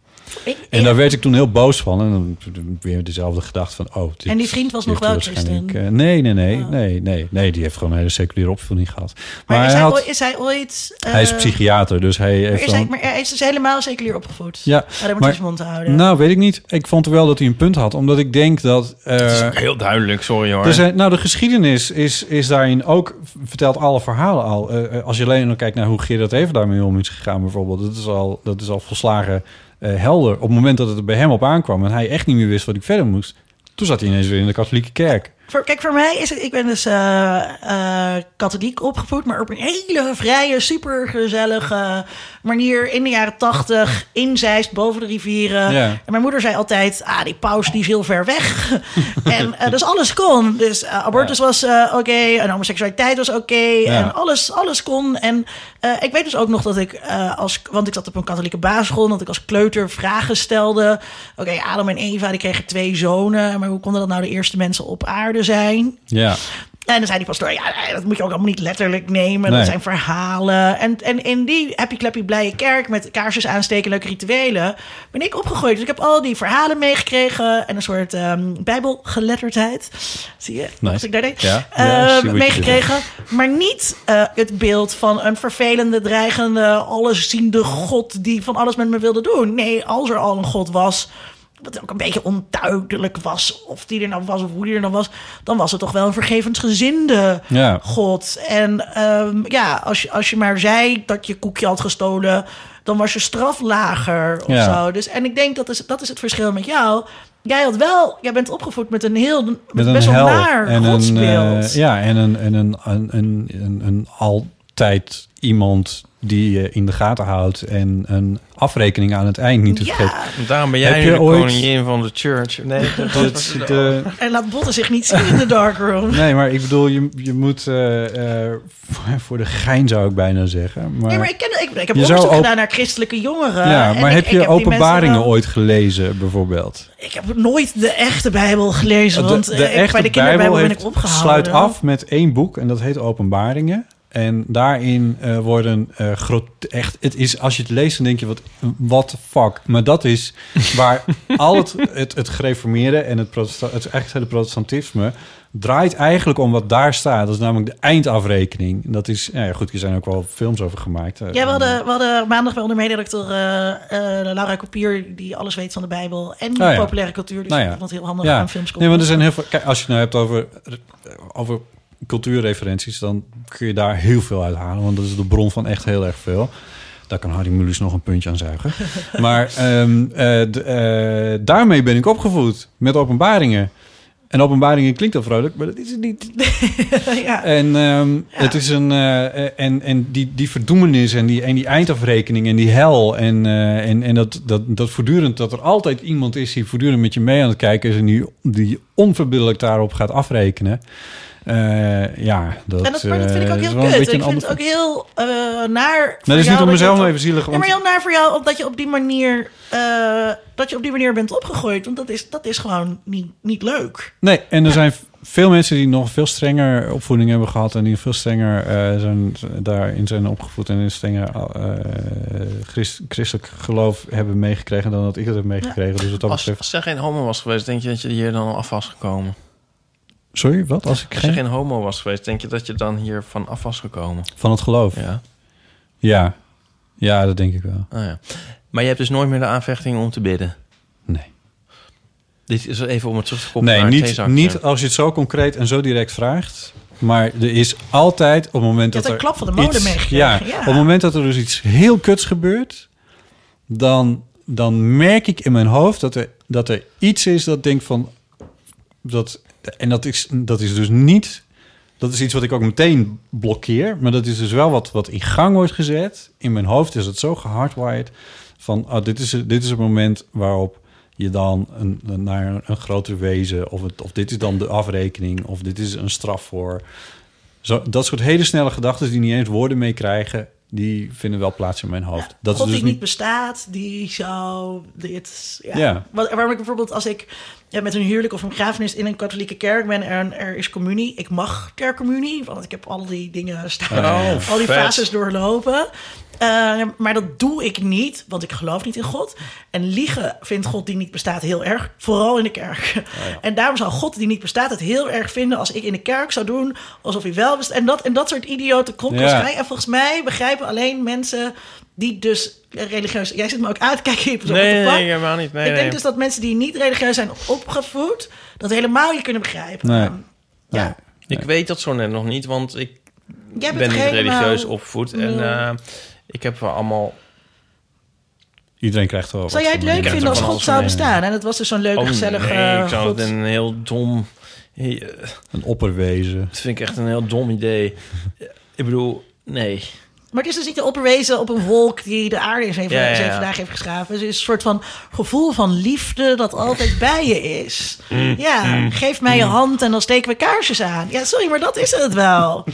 Ik- En daar werd ik toen heel boos van. En dan weer dezelfde gedachte van... Oh, dit- En die vriend was nog heeft wel waarschijnlijk, christen? Oh. eh, nee, nee, nee, nee, nee, nee. Die heeft gewoon een hele seculiere opvoeding gehad. Maar, maar is hij, hij, had, ooit- is hij ooit... eh, hij is psychiater, dus hij Maar heeft is, hij, dan... maar hij is dus helemaal seculier opgevoed. Ja, Maar dan moet maar- hij zijn mond houden. Nou, weet ik niet. Ik vond wel dat hij een punt had. Omdat ik denk dat... eh, Heel duidelijk, sorry hoor. er zijn, nou, de geschiedenis is, is daarin ook... vertelt alle verhalen al. Eh, eh, als je alleen nog kijkt naar hoe Gerard Even daarmee om is gegaan bijvoorbeeld. Dat is al, dat is al volslagen eh, helder. Op het moment dat het er bij hem op aankwam... en hij echt niet meer wist wat ik verder moest... toen zat hij ineens weer in de katholieke kerk. Voor, kijk, voor mij is het... Ik ben dus eh, eh, katholiek opgevoed, maar op een hele vrije, supergezellige manier. In de jaren tachtig, in Zeist, boven de rivieren. Ja. En mijn moeder zei altijd, ah, die paus die is heel ver weg. en eh, dus alles kon. Dus eh, abortus was eh, oké, en homoseksualiteit was oké. En alles, alles kon. En eh, ik weet dus ook nog dat ik, eh, als, want ik zat op een katholieke basisschool... dat ik als kleuter vragen stelde. Oké, Adam en Eva, die kregen twee zonen. Maar hoe konden dat nou de eerste mensen op aarde zijn? Ja, En dan zei die pastoor, ja, nee, dat moet je ook allemaal niet letterlijk nemen. Nee. Dat zijn verhalen. En, en in die happy clappy blije kerk met kaarsjes aansteken, leuke rituelen, ben ik opgegroeid. Dus ik heb al die verhalen meegekregen en een soort ehm, bijbelgeletterdheid. Zie je, als ik daar deed. Ja. Ehm, Ja, I see what you meegekregen. [laughs] Maar niet eh, het beeld van een vervelende, dreigende, allesziende God die van alles met me wilde doen. Nee, als er al een God was, wat ook een beetje onduidelijk was, of die er nou was of hoe die er nou was, dan was het toch wel een vergevensgezinde Ja. God. En ehm, ja, als je, als je maar zei dat je koekje had gestolen, dan was je straf lager of Ja. zo. Dus, en ik denk dat is, dat is het verschil met jou. Jij had wel, jij bent opgevoed met een heel met met een best wel hel naar en een, godsbeeld. eh, ja, en een, en een, een, een, een, een altijd iemand die je in de gaten houdt en een afrekening aan het eind niet te Ja. vergeten. Daarom ben jij Heb nu je de ooit- koningin van de church. Nee, [laughs] dat was Het, de- En laat Botten zich niet zien in de darkroom. nee, maar ik bedoel, je, je moet eh, [laughs] eh, voor- voor de gein zou ik bijna zeggen. Maar, Nee, maar ik, ken, ik, ik heb Je zou onderzoek ook- gedaan naar christelijke jongeren. ja, En maar ik- heb ik je die mensen openbaringen wel- ooit gelezen bijvoorbeeld? Ik heb nooit de echte Bijbel gelezen, want eh, ik- bij de kinderbijbel ben ik opgehouden. sluit af met één boek en dat heet Openbaringen. En daarin eh, worden eh groot, echt, het is als je het leest dan denk je wat, what the fuck. Maar dat [laughs] is waar al het, het, het gereformeerde en het, protesta- het echt hele protestantisme draait eigenlijk om wat daar staat. Dat is namelijk de eindafrekening. En Dat is, nou ja, goed, er zijn ook wel films over gemaakt. eh, Ja, we hadden, we hadden maandag bij onder mededoctor eh, eh, Laura Kopier, die alles weet van de Bijbel. En Nou ja. populaire cultuur, dus Nou ja. ik vond het heel handig aan films komt. Nee, want er zijn heel veel. Kijk, als je het nou hebt over, over cultuurreferenties, dan kun je daar heel veel uit halen. Want dat is de bron van echt heel erg veel. Daar kan Harry Mulisch nog een puntje aan [laughs] zuigen. Maar ehm, eh, d- eh, daarmee ben ik opgevoed met openbaringen. En openbaringen klinkt al vrolijk, maar dat is het niet. [laughs] ja. En ehm, het is een. eh, en en die, die verdoemenis en die, en die eindafrekening en die hel. En, eh, en, en dat, dat, dat voortdurend, dat er altijd iemand is die voortdurend met je mee aan het kijken is en die, die onverbiddelijk daarop gaat afrekenen. Eh, ja, dat, en dat, maar dat vind ik eh, ook is heel wel een kut. Ik beetje een vind ander- het ook heel eh, naar. voor Nou, dat is niet jou om dat je mezelf dat- maar even zielig. Ja, maar Want, heel naar voor jou, omdat je op die manier, eh, dat je op die manier bent opgegroeid. Want dat is, dat is gewoon niet, niet leuk. nee, en er zijn veel mensen die nog veel strenger opvoeding hebben gehad. En die veel strenger eh, zijn, daarin zijn opgevoed. En een strenger eh, christ- christelijk geloof hebben meegekregen dan dat ik het heb meegekregen. Dus wat dat Als, betreft. als zij geen homo was geweest, denk je dat je hier dan al af was gekomen? Sorry, wat? Als ik Als je geen... geen homo was geweest, denk je dat je dan hier van af was gekomen? Van het geloof? Ja. Ja. Ja, dat denk ik wel. Ah, ja. Maar je hebt dus nooit meer de aanvechting om te bidden? Nee. Dit is even om het terug te koppelen Nee, naar het niet, theezakje. niet als je het zo concreet en zo direct vraagt. Maar er is altijd op het moment Je dat hebt er een klap van de molen iets- meegekregen, Ja, ja. op het moment dat er dus iets heel kuts gebeurt... dan, dan merk ik in mijn hoofd dat er, dat er iets is dat denkt van... Dat, en dat is, dat is dus niet... Dat is iets wat ik ook meteen blokkeer. Maar dat is dus wel wat, wat in gang wordt gezet. In mijn hoofd is het zo gehardwired... van ah, dit, is, dit is het moment waarop je dan een, een- naar een groter wezen... Of, het, of dit is dan de afrekening... of dit is een straf voor... Zo, dat soort hele snelle gedachten die niet eens woorden mee krijgen... die vinden wel plaats in mijn hoofd. dat God is dus die niet niet... bestaat, die zou dit... Ja. Ja. Wat, waarom ik bijvoorbeeld als ik ja, met een huwelijk of een begrafenis in een katholieke kerk ben... en er is communie, ik mag ter communie, want ik heb al die dingen staan. Oh, al die vet. fases doorlopen. Eh, maar dat doe ik niet, want ik geloof niet in God. En liegen vindt God die niet bestaat heel erg, vooral in de kerk. En daarom zou God die niet bestaat het heel erg vinden als ik in de kerk zou doen alsof hij wel bestaat. En dat, en dat soort idiote kronkelskrijgen. En volgens mij begrijpen alleen mensen die dus religieus... Jij zit me ook aan te kijken. Iep, zo, Nee, what nee, the fuck? nee, helemaal niet. Nee, ik denk nee. dus dat mensen die niet religieus zijn opgevoed, dat helemaal je kunnen begrijpen. Ehm, Nee. Ja. Nee. Ik weet dat zo net nog niet, want ik Jij bent eh, ben niet helemaal- religieus opgevoed. En Nee. eh, ik heb wel allemaal... Iedereen krijgt wel wat Zou jij het van leuk mij. ken vinden het als van God alles zou omheen. bestaan? En het was dus zo'n leuke, Oh, gezellig nee, eh, ik zou God. het een heel dom... eh, Een opperwezen. Dat vind ik echt een heel dom idee. Ik bedoel, nee. Maar het is dus niet de opperwezen op een wolk die de aarde in zeven, Ja, ja, ja. zeven dagen heeft geschaven. Het is een soort van gevoel van liefde dat altijd bij je is. Mm. ja, geef mij je hand en dan steken we kaarsjes aan. Ja, sorry, maar dat is het wel.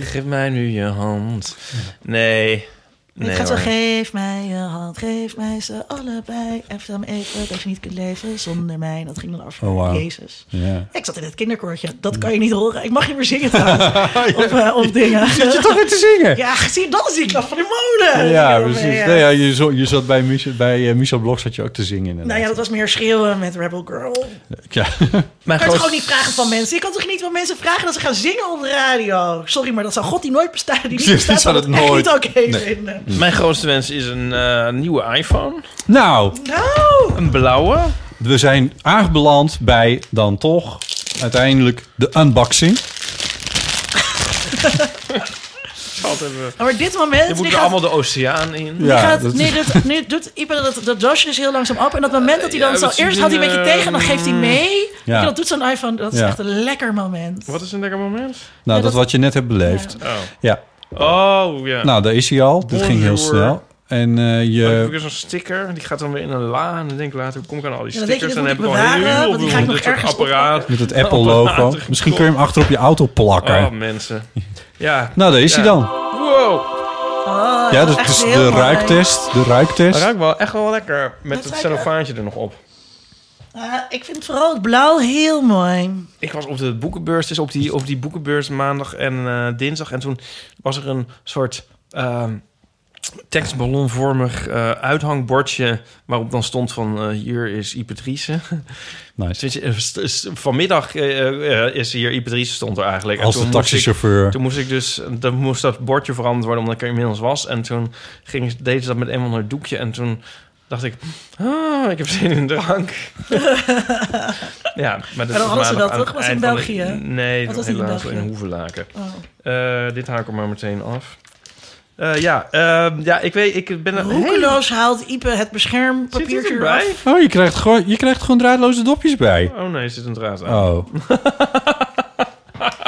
Geef mij nu je hand. Nee. Nee, ik ga zo, hoor. geef mij je hand, geef mij ze allebei. En vertel me even dat je niet kunt leven zonder mij. Dat ging dan af. Oh, wauw. Jezus. [laughs] Ja. Ik zat in het kinderkoortje. Mm. Dat kan je niet horen. Ik mag niet meer [laughs] zingen trouwens. Of, eh, of dingen. Zit je toch weer te zingen? Ja, zie je, dat is die klap van de molen. Ja, Ik bedoel, precies. ja. Nee, ja, je, zo- je zat bij, Michel, bij eh, Michel Blok zat je ook te zingen. Nou ja, Inderdaad. dat was meer schreeuwen met Rebel Girl. ja. [laughs] Mijn Je kan toch grootste- ook niet vragen van mensen? Je kan toch niet van mensen vragen dat ze gaan zingen op de radio? Sorry, maar dat zou God die nooit bestaan. Die niet Die bestaat, zou zou dat dat echt nooit- niet oké Nee. vinden. Mijn grootste wens is een eh, nieuwe iPhone. Nou, Nou, Een blauwe. we zijn aanbeland bij dan toch uiteindelijk de unboxing. eh, maar dit moment... Je nu moet er gaat- allemaal de oceaan in. nu gaat, dat is- nee, dat, nu doet Ipe dat, dat doosje dus heel langzaam open. En dat moment dat hij Ja, dan zo... dat is Eerst had hij een beetje een, tegen en dan geeft hij mee. eh, Ja. Weet je, dat doet zo'n iPhone. Dat is Ja. echt een lekker moment. Wat is een lekker moment? nou, ja, dat dat- wat je net hebt beleefd. Ja, Oh, oh ja. nou, daar is hij al. Dit ging heel Bonjour. snel. En eh, Dan je... heb ik zo'n sticker, die gaat dan weer in een la. En dan denk ik later, hoe kom ik aan al die Ja, dan denk je, stickers? dit En dan heb ik moet al ik bewaren, heel want die ga veel ik van dit nog soort ergens apparaat. Met het Apple-logo. Misschien kun je hem achter op je auto plakken. Oh, mensen. Ja. nou, daar is hij Ja. dan. Wow. Oh, Ja, was dat echt is dus heel de mooi. ruiktest. De ruiktest. Dat ruikt wel Dus- echt wel lekker. Met Dat het ruikt wel- cellofaantje er nog op. Ah, ik vind vooral het blauw heel mooi. Ik was op de boekenbeurs, dus op die, op die boekenbeurs maandag en eh, dinsdag. En toen was er een soort ehm, tekstballonvormig eh, uithangbordje... waarop dan stond van eh, hier is Ipatrice. Nice. Dus, eh, st- st- Vanmiddag eh, eh, is hier Ipatrice stond er eigenlijk. En Als de toen moest ik- taxichauffeur. Toen moest ik dus, dan moest dat bordje veranderd worden omdat ik er inmiddels was. En toen ging, deed ze dat met een of ander doekje. En toen dacht ik, ah, ik heb zin in [laughs] drank. ja, maar dat hadden was ze maandag dat aan toch? het Was in eind van de- België? nee, Wat dat was was die in helaas in, België? Hoevelaken. Oh. Eh, dit haak ik er maar meteen af. Eh, Eh, ja, ehm, ja, ik weet, ik ben een hele... Roekeloos haalt Ipe het Zit beschermpapiertje hij eraf. erbij? Oh, je krijgt gewoon, je krijgt gewoon draadloze dopjes bij. Oh nee, er zit een draad aan. Oh.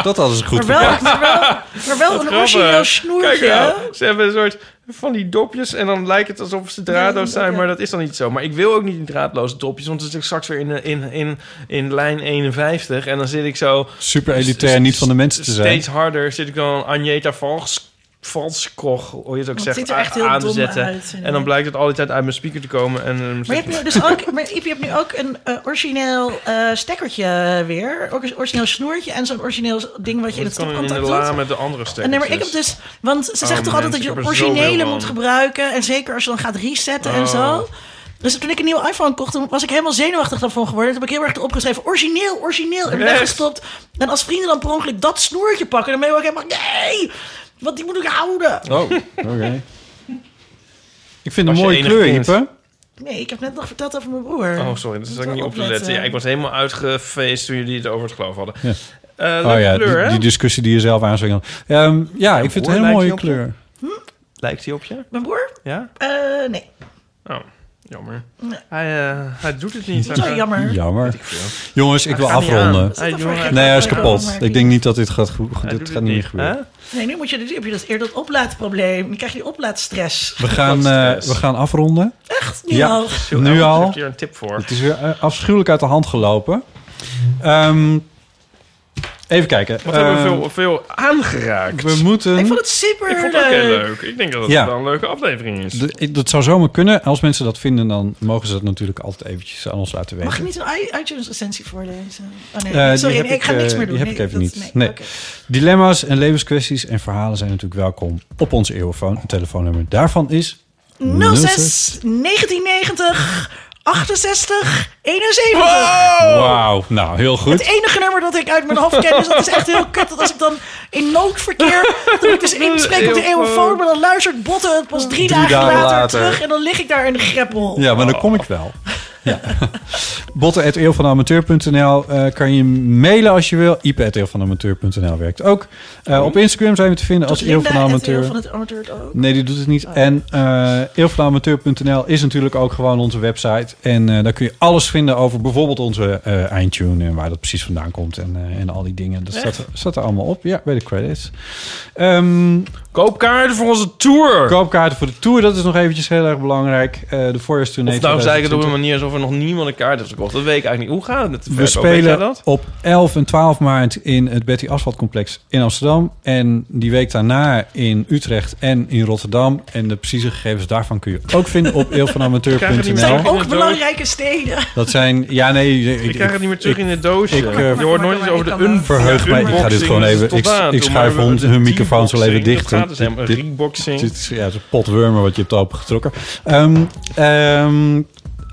[laughs] dat hadden ze goed Maar wel, verpakt. maar wel, maar wel een Grappig. origineel snoertje. Kijk nou, ze hebben een soort van die dopjes en dan lijkt het alsof ze draadloos zijn, maar dat is dan niet zo. Maar ik wil ook niet die draadloze dopjes, want dan zit ik straks weer in, eh, in, in, in lijn 51 en dan zit ik zo Super elitair niet van de mensen te zijn. steeds harder, zit ik dan Agneta Vals, Valskoch, hoe je het ook Want het zegt, ziet er echt a- heel aan te dom zetten. uit, inderdaad. en dan blijkt het al die tijd uit mijn speaker te komen. En, eh, Maar je hebt nu dus ook, maar Iep, je hebt nu ook een eh, origineel eh, stekkertje weer. Ook een origineel snoertje en zo'n origineel ding wat je in het dat kan in de stopcontact la doet. met de andere En stemmen. nee, maar ik heb dus, want ze zegt Oh, toch altijd dat mensen, ik je heb er zoveel originele van. moet gebruiken. En zeker als je dan gaat resetten en Oh. zo. Dus toen ik een nieuwe iPhone kocht, toen was ik helemaal zenuwachtig daarvan geworden. Toen heb ik heel erg opgeschreven, origineel, origineel. En Yes. weggestopt. En als vrienden dan per ongeluk dat snoertje pakken, dan ben je ook helemaal, nee, want die moet ik houden. Oh, oké. [laughs] Ik vind het een Was je mooie enig kleur, kind? Ipe. Nee, ik heb net nog verteld over mijn broer. Oh, sorry, dat zat ik wel niet op te opletten. letten. Ja, ik was helemaal uitgefeest toen jullie het over het geloof hadden. Ja. Eh, leuke Oh ja, kleur, die, hè? die discussie die je zelf aanswingelt. Ehm, ja, ik vind het hoor, een hele lijkt mooie hij op- kleur. Lijkt hij op je? Mijn broer? Ja? Eh, nee. Oh, jammer. Hij, eh, hij doet het niet. Zo jammer. Jammer. veel. Jongens, ik wil Hij gaat niet afronden. aan. Hij dat doet- voor gek? Nee, hij is kapot. Waarom? Ik denk niet dat dit gaat, goed, hij doet dit gaat het niet meer niet. gebeuren. Hè? Nee, nu moet je, nu heb je dat eerder dat oplaadprobleem. Dan krijg je die oplaadstress. We gaan, Wat eh, stress. we gaan afronden. Echt niet Ja. al. Zo, Nu Elvis al? heeft hier een tip voor. Het is weer eh, afschuwelijk uit de hand gelopen. Ehm, even kijken. Wat hebben we Ehm, veel, veel aangeraakt. we moeten... Ik vond het super ik vond het ook heel leuk. Ik denk dat het Ja. wel een leuke aflevering is. De- ik- dat zou zomaar kunnen. Als mensen dat vinden, dan mogen ze dat natuurlijk altijd eventjes aan ons laten weten. Mag ik niet een i- iTunes recensie voorlezen? Oh nee, Eh, die sorry, heb nee, ik ga ik, eh, niks meer doen. die heb nee, ik even dat- niet. Nee. oké. Dilemma's en levenskwesties en verhalen zijn natuurlijk welkom op onze eeuwfoon. Het telefoonnummer daarvan is... 06 1990 68 71. Wauw, nou heel Het goed. enige nummer dat ik uit mijn hoofd ken. Dus dat is echt heel kut. Dat als ik dan in noodverkeer. dat ik dus inspreek op de eeuwenfoon. Maar dan luistert botten het pas drie, dagen, dagen later, later. terug. En dan lig ik daar in de greppel. Ja, maar dan kom ik [laughs] wel. Ja. Botten.eeuwvanamateur.nl eh kan je mailen als je wil. Ipe.eeuwvanamateur.nl werkt ook. Hm. Eh, op Instagram zijn we te vinden als Eeuw van de Amateur. Van het amateur het ook. Nee, die doet het Oh, niet. En eh eeuwvanamateur.nl is natuurlijk ook gewoon onze website. En eh, daar kun je alles vinden over bijvoorbeeld onze eh, eindtune en waar dat precies vandaan komt en, eh, en al die dingen. Dat staat, staat er allemaal op. Ja, bij de credits. Ehm, Koopkaarten voor onze tour. koopkaarten voor de tour, dat is nog eventjes heel erg belangrijk. Eh, de voorjaarstournee. of nou zei ik het op 2020. een manier alsof er nog niemand een kaart heeft gekocht. Dat weet ik eigenlijk niet. Hoe gaat het met de We verkoop? Weet jij spelen dat? op 11 en 12 maart in het Betty Asphalt Complex in Amsterdam. En die week daarna in Utrecht en in Rotterdam. En de precieze gegevens daarvan kun je ook vinden [laughs] op Krijgen we die eeuwvanamateur.nl. Het zijn Nou. ook belangrijke steden. Dat zijn... Ja, nee. Ik krijg het niet meer terug ik- in het doosje. ik, eh, je hoort nooit iets over de un Verheug mij. Ik ga dit gewoon even... Ik, ik schuif hun, hun microfoon zo even dicht. Dat gaat dus helemaal Dit- dit- reboxing. dit is, ja, het is een potwurmer wat je hebt opengetrokken. Ehm, ehm,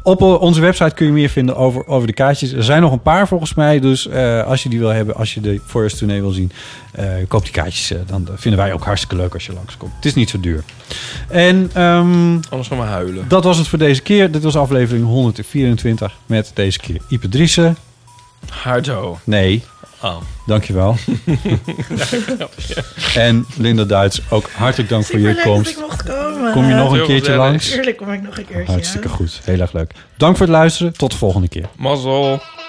op onze website kun je meer vinden over, over de kaartjes. Er zijn nog een paar volgens mij. Dus eh, als je die wil hebben, als je de Forest tournee wil zien, eh, koop die kaartjes. eh, dan vinden wij ook hartstikke leuk als je langskomt. Het is niet zo duur. En ehm, Anders gaan we huilen. dat was het voor deze keer. Dit was aflevering 124 met deze keer Ipe Driessen. Hardo. Nee. Oh. Dankjewel. en Linda Duits, ook hartelijk dank voor je Superleuk dat ik komst. mocht komen. Kom je nog een Eh, Heel keertje gezellig. langs? Tuurlijk kom ik nog een keertje. Hartstikke ja. goed. Heel erg leuk. Dank voor het luisteren. Tot de volgende keer. Mazzel.